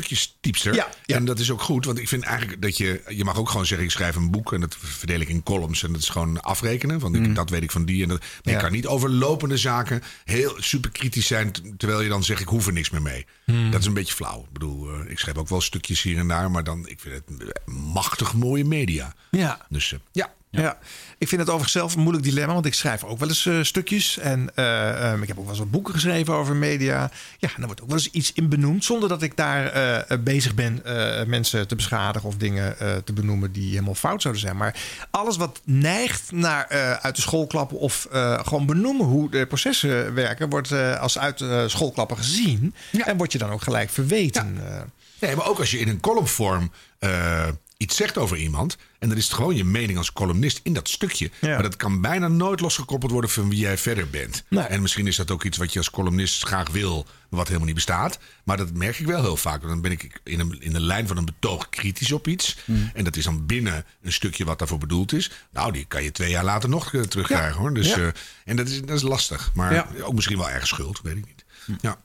[SPEAKER 2] stukjestypster.
[SPEAKER 1] Ja, ja.
[SPEAKER 2] En dat is ook goed, want ik vind eigenlijk dat je... Je mag ook gewoon zeggen, ik schrijf een boek en dat verdeel ik in columns. En dat is gewoon afrekenen, want ik- dat weet ik van die. En dat, maar
[SPEAKER 1] Mm. Ja.
[SPEAKER 2] je kan niet over lopende zaken heel super kritisch zijn... t- terwijl je dan zegt, ik hoef er niks meer mee.
[SPEAKER 1] Mm.
[SPEAKER 2] Dat is een beetje flauw. Ik bedoel, eh, ik schrijf ook wel stukjes hier en daar... maar dan, ik vind het eh, machtig mooie media.
[SPEAKER 1] Ja.
[SPEAKER 2] Dus eh,
[SPEAKER 1] Ja. Ja. ik vind het overigens zelf een moeilijk dilemma, want ik schrijf ook wel eens eh, stukjes. En eh, ehm, ik heb ook wel eens wat boeken geschreven over media. Ja, en daar wordt ook wel eens iets in benoemd, zonder dat ik daar eh, eh, bezig ben eh, mensen te beschadigen of dingen eh, te benoemen die helemaal fout zouden zijn. Maar alles wat neigt naar eh, uit de schoolklappen of eh, gewoon benoemen hoe de processen werken, wordt eh, als uit de schoolklappen gezien. En wordt je dan ook gelijk verweten. eh.
[SPEAKER 2] Nee, maar ook als je in een columnvorm eh, iets zegt over iemand. En dan is het gewoon je mening als columnist in dat stukje. Maar dat kan bijna nooit losgekoppeld worden van wie jij verder bent. En misschien is dat ook iets wat je als columnist graag wil, maar wat helemaal niet bestaat. Maar dat merk ik wel heel vaak. Dan ben ik in, een, in de lijn van een betoog kritisch op iets.
[SPEAKER 1] Mm.
[SPEAKER 2] En dat is dan binnen een stukje wat daarvoor bedoeld is. Nou, die kan je twee jaar later nog eh, terugkrijgen hoor. Dus,
[SPEAKER 1] Ja.
[SPEAKER 2] eh, en dat is, dat is lastig. Maar
[SPEAKER 1] Ja. Mm.
[SPEAKER 2] ook misschien wel erg schuld, weet ik niet. Ja.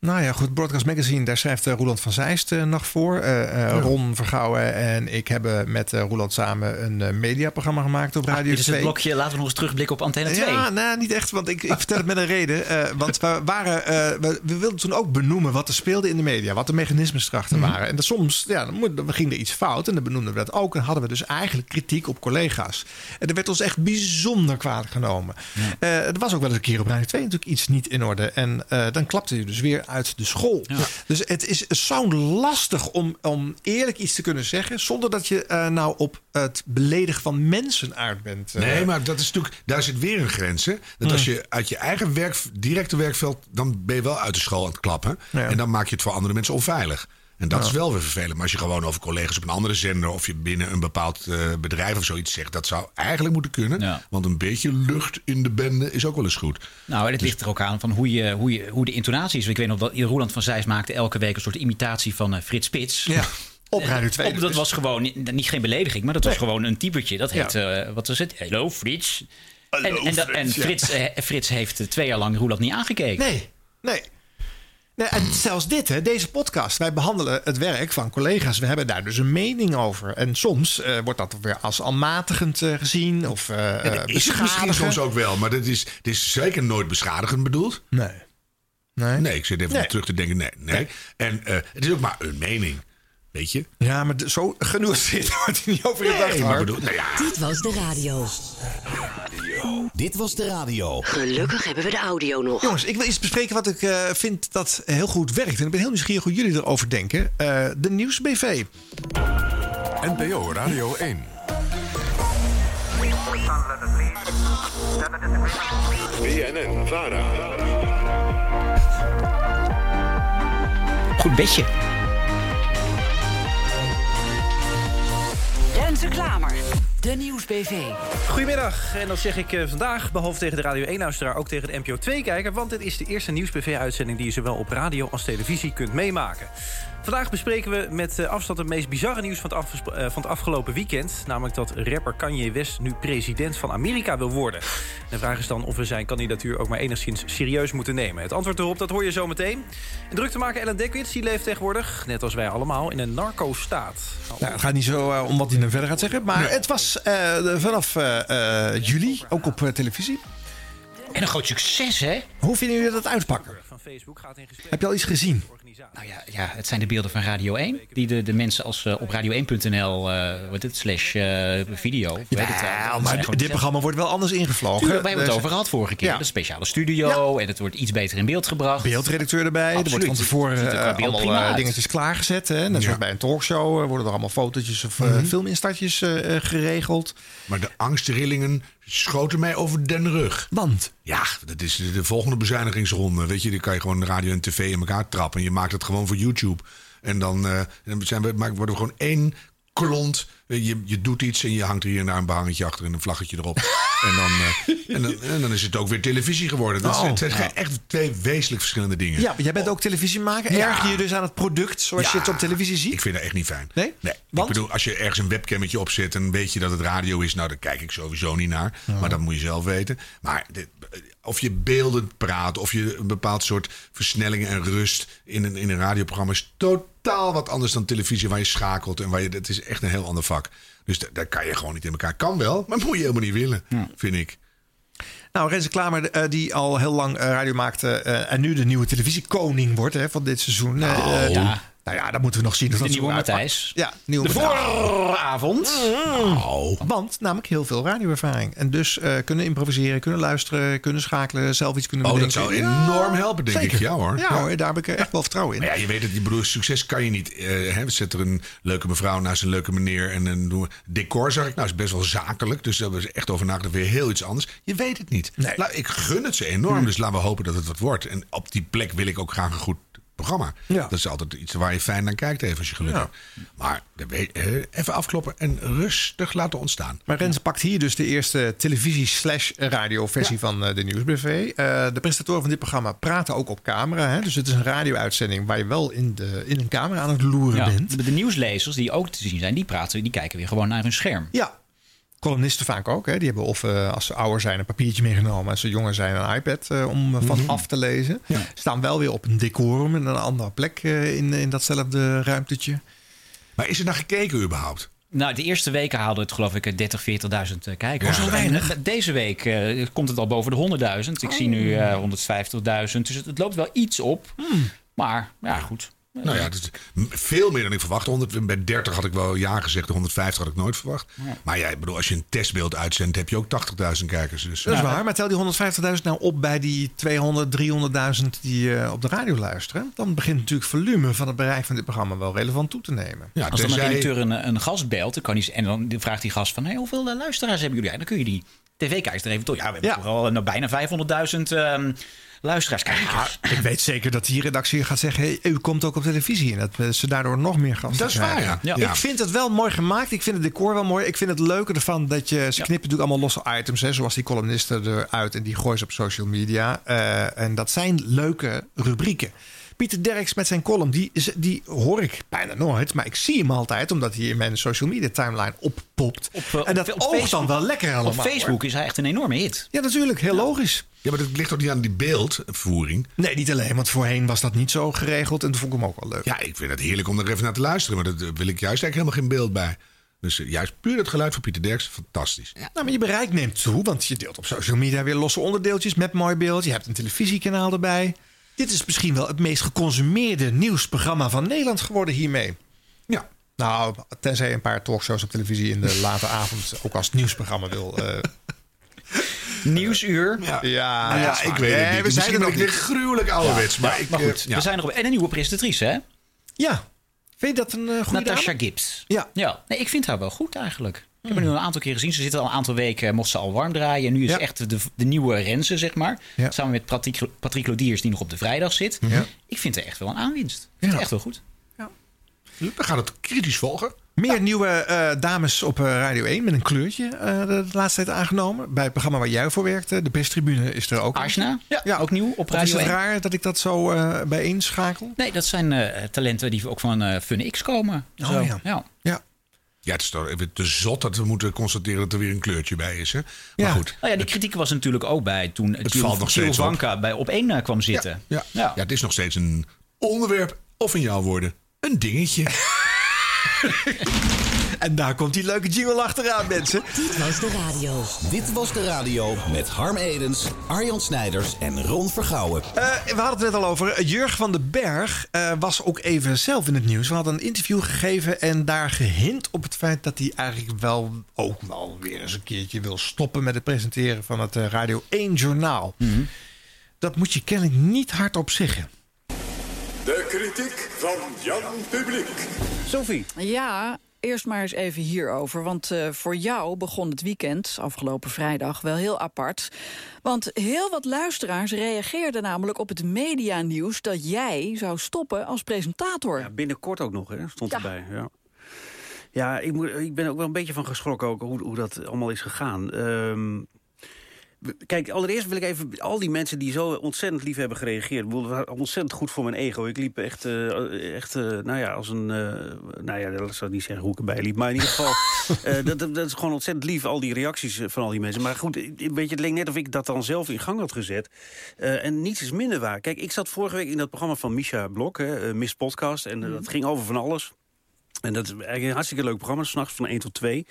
[SPEAKER 1] Nou ja, goed. Broadcast Magazine, daar schrijft eh, Roeland van Zeist eh, nog voor. Eh, eh,
[SPEAKER 7] Oh
[SPEAKER 1] Ron Vergouwen en ik hebben met eh, Roeland samen een eh, mediaprogramma gemaakt op Radio
[SPEAKER 7] Dit is
[SPEAKER 1] 2.
[SPEAKER 7] het blokje, laten we nog eens terugblikken op Antenne 2.
[SPEAKER 1] Ja, nou, niet echt, want ik, ik vertel het met een reden. Eh, want we, waren, eh, we, we wilden toen ook benoemen wat er speelde in de media. Wat de mechanismes erachter waren. En dat soms ja, dan, moet- dan ging er iets fout en dan benoemden we dat ook. En hadden we dus eigenlijk kritiek op collega's. En dat werd ons echt bijzonder kwalijk genomen. Eh, er was ook wel eens een keer op Radio 2 natuurlijk iets niet in orde. En eh, dan klapte je dus weer uit de school. Dus het is zo'n lastig om, om eerlijk iets te kunnen zeggen. zonder dat je eh, nou op het beledigen van mensen uit bent. eh. Hmm.
[SPEAKER 2] Nee, maar dat is natuurlijk, daar zit weer een grens. Hè? Dat als je uit je eigen werk, directe werkveld, dan ben je wel uit de school aan het klappen.
[SPEAKER 1] Ja.
[SPEAKER 2] En dan maak je het voor andere mensen onveilig. En dat
[SPEAKER 1] Ja.
[SPEAKER 2] is wel weer vervelend. Maar als je gewoon over collega's op een andere zender of je binnen een bepaald eh, bedrijf of zoiets zegt, dat zou eigenlijk moeten kunnen. Want een beetje lucht in de bende is ook wel eens goed.
[SPEAKER 7] Nou, en het ligt er ook aan van hoe, je, hoe, je, hoe de intonatie is. Ik weet nog dat Roland van Zijs maakte elke week een soort imitatie van eh, Frits Spits. Ja.
[SPEAKER 1] Op Radio 2
[SPEAKER 7] dat was gewoon ni- niet geen belediging, maar dat was gewoon een typetje. Dat
[SPEAKER 1] Ja.
[SPEAKER 7] heet, eh, wat was het? Hello Frits.
[SPEAKER 1] Hallo,
[SPEAKER 7] en, en, dat- en
[SPEAKER 1] Frits, ja.
[SPEAKER 7] Frits, eh, Frits heeft eh, twee jaar lang Roeland niet aangekeken.
[SPEAKER 1] Nee, nee. Nee, en zelfs dit, hè, deze podcast. Wij behandelen het werk van collega's. We hebben daar dus een mening over. En soms eh, wordt dat weer als almatigend eh, gezien. Of eh
[SPEAKER 2] Ja, dat is het misschien soms ook wel, maar dat is, dit is zeker nooit beschadigend bedoeld.
[SPEAKER 1] Nee. Nee,
[SPEAKER 2] ik zit even
[SPEAKER 1] Nee.
[SPEAKER 2] terug te denken. Nee, nee. En eh, het is ook maar een mening. Weet je?
[SPEAKER 1] Ja, maar de- zo genuanceerd wordt hij niet over
[SPEAKER 2] Nee,
[SPEAKER 1] gedacht.
[SPEAKER 2] maar
[SPEAKER 1] Harm.
[SPEAKER 2] bedoel- nou ja.
[SPEAKER 5] Dit was de radio. Dit was de radio.
[SPEAKER 12] Gelukkig hebben we de audio nog.
[SPEAKER 1] Jongens, ik wil iets bespreken wat ik eh, vind dat heel goed werkt. En ik ben heel nieuwsgierig hoe jullie erover denken. Eh, de Nieuwsbv.
[SPEAKER 4] NPO Radio 1. BNN Vara.
[SPEAKER 7] Goed bedje.
[SPEAKER 3] Renze Klamer, de Nieuwsbv.
[SPEAKER 19] Goedemiddag, en dat zeg ik eh, vandaag, behalve tegen de Radio 1-luisteraar... ook tegen de NPO 2-kijker, want dit is de eerste nieuws-PV-uitzending... die je zowel op radio als televisie kunt meemaken. Vandaag bespreken we met eh, afstand het meest bizarre nieuws van het, afgesp- eh, van het afgelopen weekend... namelijk dat rapper Kanye West nu president van Amerika wil worden. En de vraag is dan of we zijn kandidatuur ook maar enigszins serieus moeten nemen. Het antwoord erop, dat hoor je zo meteen. En druk te maken, Ellen Dekwits, die leeft tegenwoordig... net als wij allemaal, in een narco-staat.
[SPEAKER 1] Nou, het gaat niet zo eh, om wat hij dan verder gaat zeggen. Maar het was eh, de- vanaf eh, eh, juli, ook op eh, televisie.
[SPEAKER 7] En een groot succes, hè?
[SPEAKER 1] Hoe vinden jullie dat uitpakken?
[SPEAKER 19] Van Facebook gaat in gesprek...
[SPEAKER 1] Heb je al iets gezien?
[SPEAKER 7] Nou Ja, het zijn de beelden van Radio 1. Die de, de mensen als eh, op radio1.nl, eh wat het, slash eh, video. Ja,
[SPEAKER 1] Ja, maar dit programma wordt wel anders ingevlogen.
[SPEAKER 7] Tuurlijk, wij hebben het
[SPEAKER 1] Dus-
[SPEAKER 7] over gehad vorige keer.
[SPEAKER 1] Ja.
[SPEAKER 7] De speciale studio en het wordt iets beter in beeld gebracht.
[SPEAKER 1] Beeldredacteur erbij. Er wordt
[SPEAKER 7] Absoluut.
[SPEAKER 1] van
[SPEAKER 7] Het
[SPEAKER 1] tevoren
[SPEAKER 7] ziet er
[SPEAKER 1] eh,
[SPEAKER 7] qua beeld
[SPEAKER 1] allemaal
[SPEAKER 7] prima
[SPEAKER 1] eh,
[SPEAKER 7] uit.
[SPEAKER 1] dingetjes klaargezet. Hè? Net zoals bij een talkshow eh, worden er allemaal fotootjes of eh,
[SPEAKER 2] Mhm.
[SPEAKER 1] filminstartjes eh, eh, geregeld.
[SPEAKER 2] Maar de angstrillingen schoten mij over den rug.
[SPEAKER 1] Want?
[SPEAKER 2] Ja, dat is de, de volgende bezuinigingsronde. Weet je, dan kan je gewoon radio en tv in elkaar trappen. En je maakt het gewoon voor YouTube. En dan, eh, dan zijn we, maken, worden we gewoon één klont. Eh, Je, je doet iets en je hangt hier en daar een behangetje achter en een vlaggetje erop. en, dan, eh, en, dan, en dan is het ook weer televisie geworden. Dat zijn,
[SPEAKER 1] Oh.
[SPEAKER 2] het zijn ge- echt twee wezenlijk verschillende dingen.
[SPEAKER 1] Ja, maar jij bent ook televisiemaker.
[SPEAKER 2] Ja.
[SPEAKER 1] Erg je je dus aan het product zoals je het op televisie ziet?
[SPEAKER 2] Ik vind dat echt niet fijn.
[SPEAKER 1] Nee?
[SPEAKER 2] Ik bedoel, als je ergens een webcammetje opzet en weet je dat het radio is, nou, daar kijk ik sowieso niet naar. Maar dat moet je zelf weten. Maar dit- of je beeldend praat, of je een bepaald soort versnelling en rust in een, in een radioprogramma is totaal wat anders dan televisie, waar je schakelt en waar je. Dat is echt een heel ander vak. Dus da- daar kan je gewoon niet in elkaar. Kan wel, maar moet je helemaal niet willen, vind ik.
[SPEAKER 1] Nou, Renze Klamer, eh, die al heel lang eh, radio maakte eh, en nu de nieuwe televisiekoning wordt hè, van dit seizoen. eh,
[SPEAKER 7] Nou,
[SPEAKER 1] eh,
[SPEAKER 7] ja.
[SPEAKER 1] Nou ja, dat moeten we nog zien. of
[SPEAKER 7] De
[SPEAKER 1] dat zo
[SPEAKER 7] nieuwe
[SPEAKER 1] uitpakt.
[SPEAKER 7] Matthijs.
[SPEAKER 1] Ja, nieuwe
[SPEAKER 7] De
[SPEAKER 1] Matthijs.
[SPEAKER 7] vooravond.
[SPEAKER 1] Nou. Want namelijk heel veel radioervaring. En dus eh, kunnen improviseren, kunnen luisteren, kunnen schakelen, zelf iets kunnen
[SPEAKER 2] Oh, dat
[SPEAKER 1] bedenken.
[SPEAKER 2] zou
[SPEAKER 1] Ja,
[SPEAKER 2] enorm helpen, denk
[SPEAKER 1] zeker.
[SPEAKER 2] ik. Ja hoor.
[SPEAKER 1] Ja, hoor, daar heb ik eh, echt wel vertrouwen in.
[SPEAKER 2] Maar ja, je weet het, je bedoel, succes kan je niet. eh hè, zet er een leuke mevrouw naast een leuke meneer. En een doen we- decor zag ik, nou is best wel zakelijk. Dus daar hebben ze echt over nagedacht. Weer heel iets anders. Je weet het niet. La- ik gun het ze enorm,
[SPEAKER 1] Hm.
[SPEAKER 2] dus laten we hopen dat het wat wordt. En op die plek wil ik ook graag een goed programma. Dat is altijd iets waar je fijn naar kijkt, even als je geluk hebt. Maar dat weet- eh, even afkloppen en rustig laten ontstaan.
[SPEAKER 1] Maar Renze pakt hier dus de eerste televisie-slash-radioversie van eh, de Nieuwsbv. Eh, de presentatoren van dit programma praten ook op camera. Hè? Dus het is een radio-uitzending waar je wel in, de, in een camera aan het loeren
[SPEAKER 7] Ja,
[SPEAKER 1] bent.
[SPEAKER 7] de, de nieuwslezers die ook te zien zijn, die, praten, die kijken weer gewoon naar hun scherm.
[SPEAKER 1] Ja. Columnisten vaak ook. Hè? Die hebben of eh, als ze ouder zijn een papiertje meegenomen. Als ze jonger zijn een iPad eh, om eh, van
[SPEAKER 7] Mhm.
[SPEAKER 1] af te lezen. Staan wel weer op een decorum en een andere plek eh, in, in datzelfde ruimtetje.
[SPEAKER 2] Maar is er naar gekeken überhaupt?
[SPEAKER 7] Nou, de eerste weken haalden het geloof ik eh, 30, 40.000 eh, kijkers.
[SPEAKER 2] Oh, zo weinig.
[SPEAKER 7] En, eh, Deze week eh, komt het al boven de
[SPEAKER 2] Oh.
[SPEAKER 7] 100.000. Ik zie nu eh, 150.000. Dus het, het loopt wel iets op. Maar ja, goed.
[SPEAKER 2] Nou ja, dat is veel meer dan ik verwacht. 100, bij 30 had ik wel ja gezegd, 150 had ik nooit verwacht.
[SPEAKER 1] Ja.
[SPEAKER 2] Maar ja, ik bedoel, als je een testbeeld uitzendt, heb je ook 80.000 kijkers. Dus,
[SPEAKER 1] Dat is waar, maar tel die 150.000 nou op bij die 200, 300.000 die eh, op de radio luisteren. Dan begint natuurlijk volume van het bereik van dit programma wel relevant toe te nemen.
[SPEAKER 7] Als dan een redacteur een, een gast belt dan kan hij, en dan vraagt die gast van... Hey, hoeveel eh, luisteraars hebben jullie? En dan kun je die tv-kijkers er even door. Ja, we hebben toch al eh, nou, bijna 500.000 ehm, luisteraars. Kijkers.
[SPEAKER 1] Ik weet zeker dat die redactie gaat zeggen: hey, u komt ook op televisie. En dat eh, ze daardoor nog meer gasten
[SPEAKER 2] Dat is waar,
[SPEAKER 1] krijgen.
[SPEAKER 2] ja. Ja.
[SPEAKER 1] Ik vind het wel mooi gemaakt. Ik vind het decor wel mooi. Ik vind het leuke ervan dat je. Ze knippen natuurlijk allemaal losse items, hè, zoals die columnisten eruit en die gooien ze op social media. Eh, en dat zijn leuke rubrieken. Pieter Derks met zijn column, die, is- die hoor ik bijna nooit. Maar ik zie hem altijd, omdat hij in mijn social media timeline oppopt.
[SPEAKER 7] eh,
[SPEAKER 1] en dat oogt dan wel lekker allemaal.
[SPEAKER 7] Op Facebook
[SPEAKER 1] hoor.
[SPEAKER 7] is hij echt een enorme hit.
[SPEAKER 1] Ja, natuurlijk. Heel logisch.
[SPEAKER 2] Ja, maar dat ligt toch niet aan die beeldvoering?
[SPEAKER 1] Nee, niet alleen. Want voorheen was dat niet zo geregeld. En dat vond ik hem ook wel leuk.
[SPEAKER 2] Ja, ik vind het heerlijk om er even naar te luisteren. Maar daar wil ik juist eigenlijk helemaal geen beeld bij. Dus eh, juist puur het geluid van Pieter Derks, fantastisch.
[SPEAKER 1] Nou, maar je bereik neemt toe, want je deelt op social media weer losse onderdeeltjes met mooi beeld. Je hebt een televisiekanaal erbij. Dit is misschien wel het meest geconsumeerde nieuwsprogramma van Nederland geworden hiermee.
[SPEAKER 2] Ja.
[SPEAKER 1] Nou, tenzij een paar talkshows op televisie in de late avond ook als nieuwsprogramma wil. eh.
[SPEAKER 7] Nieuwsuur.
[SPEAKER 2] Ja,
[SPEAKER 1] ja,
[SPEAKER 2] Nou ja, ik weet het niet.
[SPEAKER 1] We zijn
[SPEAKER 2] Misschien
[SPEAKER 1] er
[SPEAKER 2] ben
[SPEAKER 1] nog
[SPEAKER 2] ik weer
[SPEAKER 1] niet.
[SPEAKER 2] gruwelijk ouderwets. maar ik,
[SPEAKER 7] maar
[SPEAKER 2] eh,
[SPEAKER 7] goed,
[SPEAKER 2] ja.
[SPEAKER 7] we zijn erop. En een nieuwe presentatrice, hè?
[SPEAKER 1] Ja. Vind je dat een eh, goede
[SPEAKER 7] Natasha
[SPEAKER 1] dame?
[SPEAKER 7] Gibbs.
[SPEAKER 1] Ja. Hmm.
[SPEAKER 7] ja. Nee, ik vind haar wel goed eigenlijk. Ik heb haar nu een aantal keer gezien. Ze zit al een aantal weken, eh, mocht ze al warm draaien. En nu is echt de, de nieuwe Renze, zeg maar.
[SPEAKER 1] Ja.
[SPEAKER 7] Samen met Patrick, Patrick Lodiers, die nog op de vrijdag zit.
[SPEAKER 1] Ja.
[SPEAKER 7] Ik vind haar echt wel een aanwinst. Ik vind haar echt wel goed.
[SPEAKER 1] eh,
[SPEAKER 2] We gaan het kritisch volgen.
[SPEAKER 1] Meer nieuwe eh, dames op eh, Radio 1 met een kleurtje eh, de, de laatste tijd aangenomen. Bij het programma waar jij voor werkte, de Pestribune, is er ook.
[SPEAKER 7] Arsena,
[SPEAKER 1] Ja.
[SPEAKER 7] ook nieuw op
[SPEAKER 1] Of is
[SPEAKER 7] Radio
[SPEAKER 1] het
[SPEAKER 7] 1.
[SPEAKER 1] raar dat ik dat zo eh bijeenschakel?
[SPEAKER 7] Nee, dat zijn eh, talenten die ook van eh Fun X komen.
[SPEAKER 1] Oh,
[SPEAKER 7] Zo.
[SPEAKER 1] ja.
[SPEAKER 7] ja.
[SPEAKER 1] Ja.
[SPEAKER 2] Ja, het is toch even te zot dat we moeten constateren dat er weer een kleurtje bij is. Hè? Maar goed.
[SPEAKER 7] Nou ja, die kritiek was natuurlijk ook bij toen
[SPEAKER 2] Het
[SPEAKER 7] Jill,
[SPEAKER 2] valt nog
[SPEAKER 7] Jill
[SPEAKER 2] steeds op.
[SPEAKER 7] Wanka bij op één eh, kwam zitten.
[SPEAKER 2] Ja, ja. ja, het is nog steeds een onderwerp, of in jouw woorden, een dingetje.
[SPEAKER 1] En daar komt die leuke jingle achteraan, mensen.
[SPEAKER 5] Dit was de radio. Dit was de radio met Harm Edens, Arjan Snijders en Ron Vergouwen.
[SPEAKER 1] Eh, we hadden het net al over. Jurg van den Berg eh, was ook even zelf in het nieuws. We hadden een interview gegeven en daar gehint op het feit dat hij eigenlijk wel ook wel weer eens een keertje wil stoppen met het presenteren van het eh, Radio 1 journaal.
[SPEAKER 2] Mhm.
[SPEAKER 1] Dat moet je kennelijk niet hardop zeggen.
[SPEAKER 4] De kritiek van Jan Publiek.
[SPEAKER 1] Sophie.
[SPEAKER 20] Ja, eerst maar eens even hierover. Want eh, voor jou begon het weekend, afgelopen vrijdag, wel heel apart. Want heel wat luisteraars reageerden namelijk op het medianieuws... dat jij zou stoppen als presentator.
[SPEAKER 21] binnenkort ook nog, hè? stond
[SPEAKER 20] Ja.
[SPEAKER 21] erbij. Ja, ja ik, moet, ik ben ook wel een beetje van geschrokken ook hoe, hoe dat allemaal is gegaan. Ehm, we- Kijk, allereerst wil ik even al die mensen die zo ontzettend lief hebben gereageerd. Ik bedoel, het was ontzettend goed voor mijn ego. Ik liep echt, eh, echt eh, nou ja, als een. eh, nou ja, dat zou ik niet zeggen hoe ik erbij liep. Maar in ieder geval, eh, dat, dat, dat is gewoon ontzettend lief, al die reacties eh, van al die mensen. Maar goed, eh, weet je, het leek net of ik dat dan zelf in gang had gezet. Eh, en niets is minder waar. Kijk, ik zat vorige week in dat programma van Misha Blok, hè, eh, Miss Podcast. En eh, dat ging over van alles. En dat is eigenlijk een hartstikke leuk programma, s'nachts van 1 tot 2.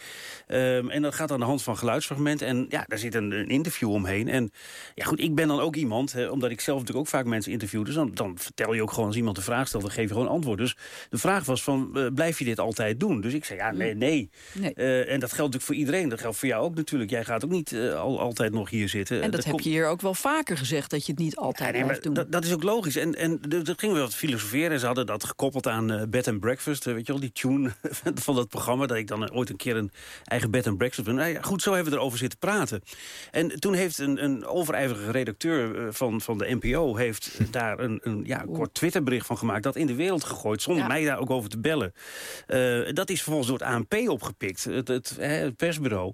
[SPEAKER 21] Ehm, en dat gaat aan de hand van geluidsfragmenten. En ja, daar zit een, een interview omheen. En ja, goed, ik ben dan ook iemand, hè, omdat ik zelf natuurlijk ook vaak mensen interview. Dus dan, dan vertel je ook gewoon als iemand een vraag stelt, dan geef je gewoon antwoord. Dus de vraag was van, eh, blijf je dit altijd doen? Dus ik zei, ja, nee, nee.
[SPEAKER 20] Nee.
[SPEAKER 21] Eh, en dat geldt natuurlijk voor iedereen. Dat geldt voor jou ook natuurlijk. Jij gaat ook niet eh, al, altijd nog hier zitten. Eh,
[SPEAKER 20] En dat, heb
[SPEAKER 21] komt-
[SPEAKER 20] je hier ook wel vaker gezegd, dat je het niet altijd
[SPEAKER 21] ja, nee, maar
[SPEAKER 20] blijft doen.
[SPEAKER 21] Dat, dat is ook logisch. En, en d- dat gingen we wat filosoferen. En ze hadden dat gekoppeld aan eh, bed and breakfast. eh, Weet je wel, die tune van- van dat programma. Dat ik dan eh, ooit een keer een eigen bed and breakfast ben. Nou ja, goed, zo hebben we erover zitten praten. En toen heeft een, een overijverige redacteur eh, van, van de NPO... heeft daar een, een ja, een kort Twitterbericht van gemaakt. Dat in de wereld gegooid, zonder mij daar ook over te bellen. Eh, dat is vervolgens door het ANP opgepikt. Het, het, hè, het persbureau.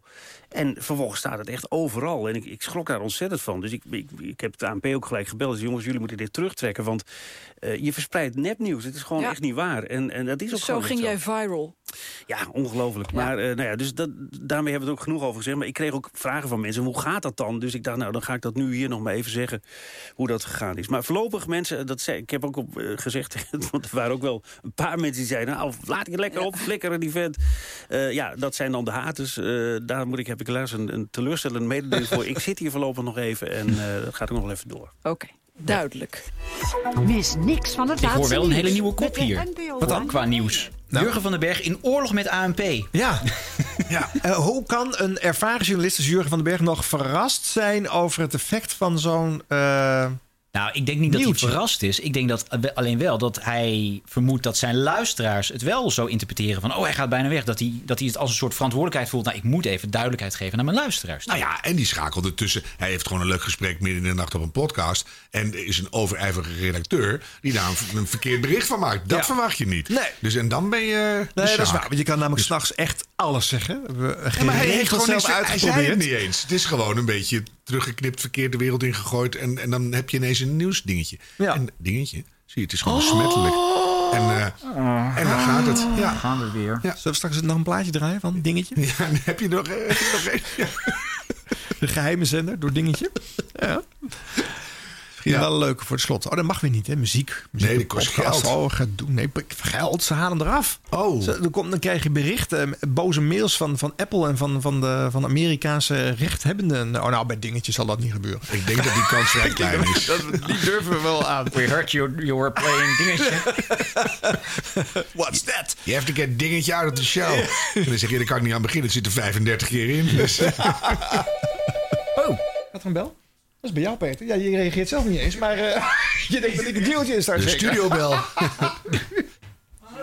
[SPEAKER 21] En vervolgens staat het echt overal. En ik, ik schrok daar ontzettend van. Dus ik, ik, ik heb het ANP ook gelijk gebeld. Dus jongens, jullie moeten dit terugtrekken. Want eh, je verspreidt nepnieuws. Het is gewoon
[SPEAKER 20] Ja.
[SPEAKER 21] echt niet waar. En, en dat is ook
[SPEAKER 20] Dus zo
[SPEAKER 21] gewoon echt
[SPEAKER 20] ging jij viral.
[SPEAKER 21] ja, ongelooflijk. Maar eh, nou ja, dus dat, daarmee hebben we het ook genoeg over gezegd. Maar ik kreeg ook vragen van mensen, hoe gaat dat dan? Dus ik dacht, nou, dan ga ik dat nu hier nog maar even zeggen hoe dat gegaan is. Maar voorlopig mensen, dat zei, ik heb ook op, eh, gezegd... want er waren ook wel een paar mensen die zeiden... nou, laat ik het lekker op, flikkeren die vent. Eh, ja, dat zijn dan de haters. Eh, daar moet ik, heb ik helaas een, een teleurstellende mededeling voor. Ik zit hier voorlopig nog even en eh, dat gaat ook nog wel even door.
[SPEAKER 20] Oké. duidelijk.
[SPEAKER 3] Mis niks van het
[SPEAKER 7] Ik
[SPEAKER 3] laatste
[SPEAKER 7] hoor wel een
[SPEAKER 3] nieuws
[SPEAKER 7] hele nieuwe kop
[SPEAKER 3] met de
[SPEAKER 7] hier.
[SPEAKER 3] NPO
[SPEAKER 7] Qua nieuws.
[SPEAKER 2] Nou.
[SPEAKER 7] Jurgen van den Berg in oorlog met ANP.
[SPEAKER 1] Ja. ja. Eh, hoe kan een ervaren journalist als Jurgen van den Berg nog verrast zijn over het effect van zo'n. eh,
[SPEAKER 7] Nou, ik denk niet dat
[SPEAKER 1] Nieuwtje.
[SPEAKER 7] hij verrast is. Ik denk dat we- alleen wel dat hij vermoedt dat zijn luisteraars het wel zo interpreteren van... oh, hij gaat bijna weg. Dat hij, dat hij het als een soort verantwoordelijkheid voelt. Nou, ik moet even duidelijkheid geven aan mijn luisteraars.
[SPEAKER 2] Nou ja, en die schakelde tussen. Hij heeft gewoon een leuk gesprek midden in de nacht op een podcast. En er is een overijverige redacteur die daar een, een verkeerd bericht van maakt. Dat
[SPEAKER 1] Ja.
[SPEAKER 2] verwacht je niet. Dus en dan ben je. de
[SPEAKER 1] Nee, dat is
[SPEAKER 2] sjaak.
[SPEAKER 1] waar. Want je kan namelijk s'nachts echt alles zeggen. We,
[SPEAKER 2] Dus- Ja, maar hij heeft gewoon niks,
[SPEAKER 1] zelf
[SPEAKER 2] hij zei
[SPEAKER 1] uitgeprobeerd.
[SPEAKER 2] het niet eens. Het is gewoon een beetje teruggeknipt, verkeerd de wereld ingegooid. En, en dan heb je ineens een nieuwsdingetje. En dingetje, zie je, het is gewoon besmettelijk.
[SPEAKER 1] Oh.
[SPEAKER 2] En, eh, en dan gaat het. Ja.
[SPEAKER 7] gaan we weer.
[SPEAKER 1] Zullen Ah. we straks nog een plaatje draaien van Dingetje?
[SPEAKER 2] Ja, dan heb je nog, eh, heb je nog
[SPEAKER 1] De geheime zender door Dingetje. Ja. Misschien wel een leuke voor het slot. Oh, dat mag weer niet, hè? Muziek. muziek
[SPEAKER 2] Nee, dat kost
[SPEAKER 1] podcast.
[SPEAKER 2] geld.
[SPEAKER 1] Oh, gaat doen. Nee, geld. Ze halen hem eraf. Oh. dan, komt, dan krijg je berichten, eh, boze mails van, van Apple en van, van, de, van Amerikaanse rechthebbenden. Oh, nou, bij Dingetje zal dat niet gebeuren.
[SPEAKER 2] Ik denk dat die kans vrij klein is.
[SPEAKER 1] die durven we wel aan.
[SPEAKER 7] We heard you, you were playing dingetje.
[SPEAKER 1] What's that?
[SPEAKER 2] Je hebt een keer dingetje out of the show. En dan zeg je, daar kan ik niet aan beginnen. Het zit er 35 keer in. Dus.
[SPEAKER 1] Oh, gaat er een bel? Dat is bij jou, Peter. Ja, je reageert zelf niet eens, maar eh, je denkt dat ik een deeltje in sta
[SPEAKER 2] De
[SPEAKER 1] zeker?
[SPEAKER 2] studiobel.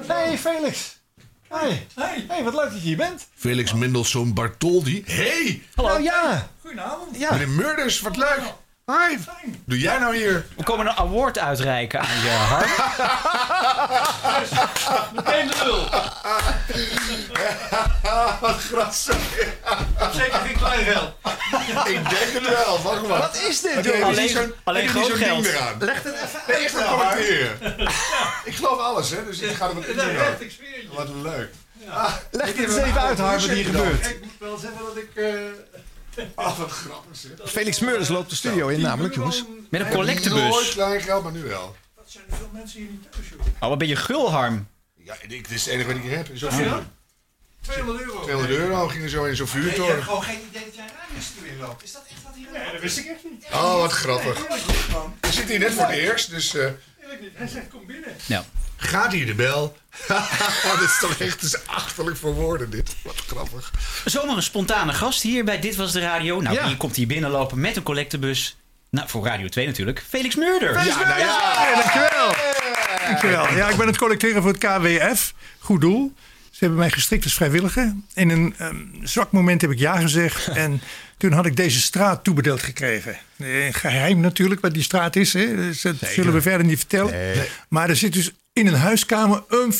[SPEAKER 1] Hey, Felix. Hey. hey. Hey, wat leuk dat je hier bent.
[SPEAKER 2] Felix Mendelssohn Bartoldi. Hey!
[SPEAKER 1] Hallo. Nou, ja.
[SPEAKER 2] Goedenavond.
[SPEAKER 1] Ja.
[SPEAKER 2] Meneer Murders, wat leuk. Hi. Doe jij nou hier?
[SPEAKER 7] We komen een award uitreiken aan je hart.
[SPEAKER 18] Meteen de lul.
[SPEAKER 2] Wat grassig.
[SPEAKER 18] Zeker geen klein geld.
[SPEAKER 2] Ik denk het wel. Wacht maar.
[SPEAKER 1] Wat is dit,
[SPEAKER 2] Heb je
[SPEAKER 1] joh?
[SPEAKER 2] hier
[SPEAKER 1] Alleen-
[SPEAKER 2] zo'n-
[SPEAKER 1] alleen
[SPEAKER 2] heb je hier
[SPEAKER 1] groot
[SPEAKER 2] zo'n ding
[SPEAKER 1] geld.
[SPEAKER 2] weer aan?
[SPEAKER 1] Leg het even
[SPEAKER 2] Nee,
[SPEAKER 1] uit,
[SPEAKER 2] echt een
[SPEAKER 1] nou, maar.
[SPEAKER 2] commentaar. Ik geloof alles, hè. Dus ik ga er wat in doen. Wat leuk. Ah,
[SPEAKER 1] Leg
[SPEAKER 2] ik
[SPEAKER 1] dit
[SPEAKER 2] heb een
[SPEAKER 1] eens even uit,
[SPEAKER 2] oude
[SPEAKER 1] Harm, wat
[SPEAKER 2] hoesje
[SPEAKER 1] hier
[SPEAKER 2] dan.
[SPEAKER 1] gebeurt.
[SPEAKER 2] Ik moet wel zeggen dat ik... eh, Ah, wat grappig, zeg.
[SPEAKER 1] Felix Meurders loopt de studio in, namelijk, jongens.
[SPEAKER 7] Met een
[SPEAKER 2] Nooit
[SPEAKER 7] collectebus.
[SPEAKER 2] klein geld, maar nu wel.
[SPEAKER 13] dus
[SPEAKER 7] Oh, wat ben je gul, Harm.
[SPEAKER 2] Ja, ik- dit is het enige wat ik hier heb. Zo'n
[SPEAKER 7] Ah.
[SPEAKER 2] vuur.
[SPEAKER 13] 200 euro.
[SPEAKER 2] 200 euro gingen zo in zo'n vuurtoren.
[SPEAKER 1] geen idee dat jij een radiostudio loopt. Is dat echt wat hier Nee,
[SPEAKER 13] dat wist ik echt niet.
[SPEAKER 2] Oh, wat grappig. We zitten hier net voor het eerst, dus... eh,
[SPEAKER 13] Hij zegt, kom binnen.
[SPEAKER 2] Gaat hier de bel? dat is toch echt is achterlijk voor woorden, dit. Wat grappig.
[SPEAKER 7] Zomaar een spontane gast hier bij Dit Was De Radio. Nou,
[SPEAKER 2] Ja.
[SPEAKER 7] die komt hier binnenlopen met een collectebus. Nou, voor Radio 2 natuurlijk. Felix Murder.
[SPEAKER 2] Felix Ja, nou ja.
[SPEAKER 22] Ja, dankjewel. Dankjewel. Ja, ik ben het collecteren voor het KWF. Goed doel. Ze hebben mij gestrikt als vrijwilliger. In een ehm, zwak moment heb ik ja gezegd. En toen had ik deze straat toebedeeld gekregen. Eh, Geheim natuurlijk wat die straat is. Hè. Dus dat zullen we verder niet vertellen. Maar er zit dus in een huiskamer een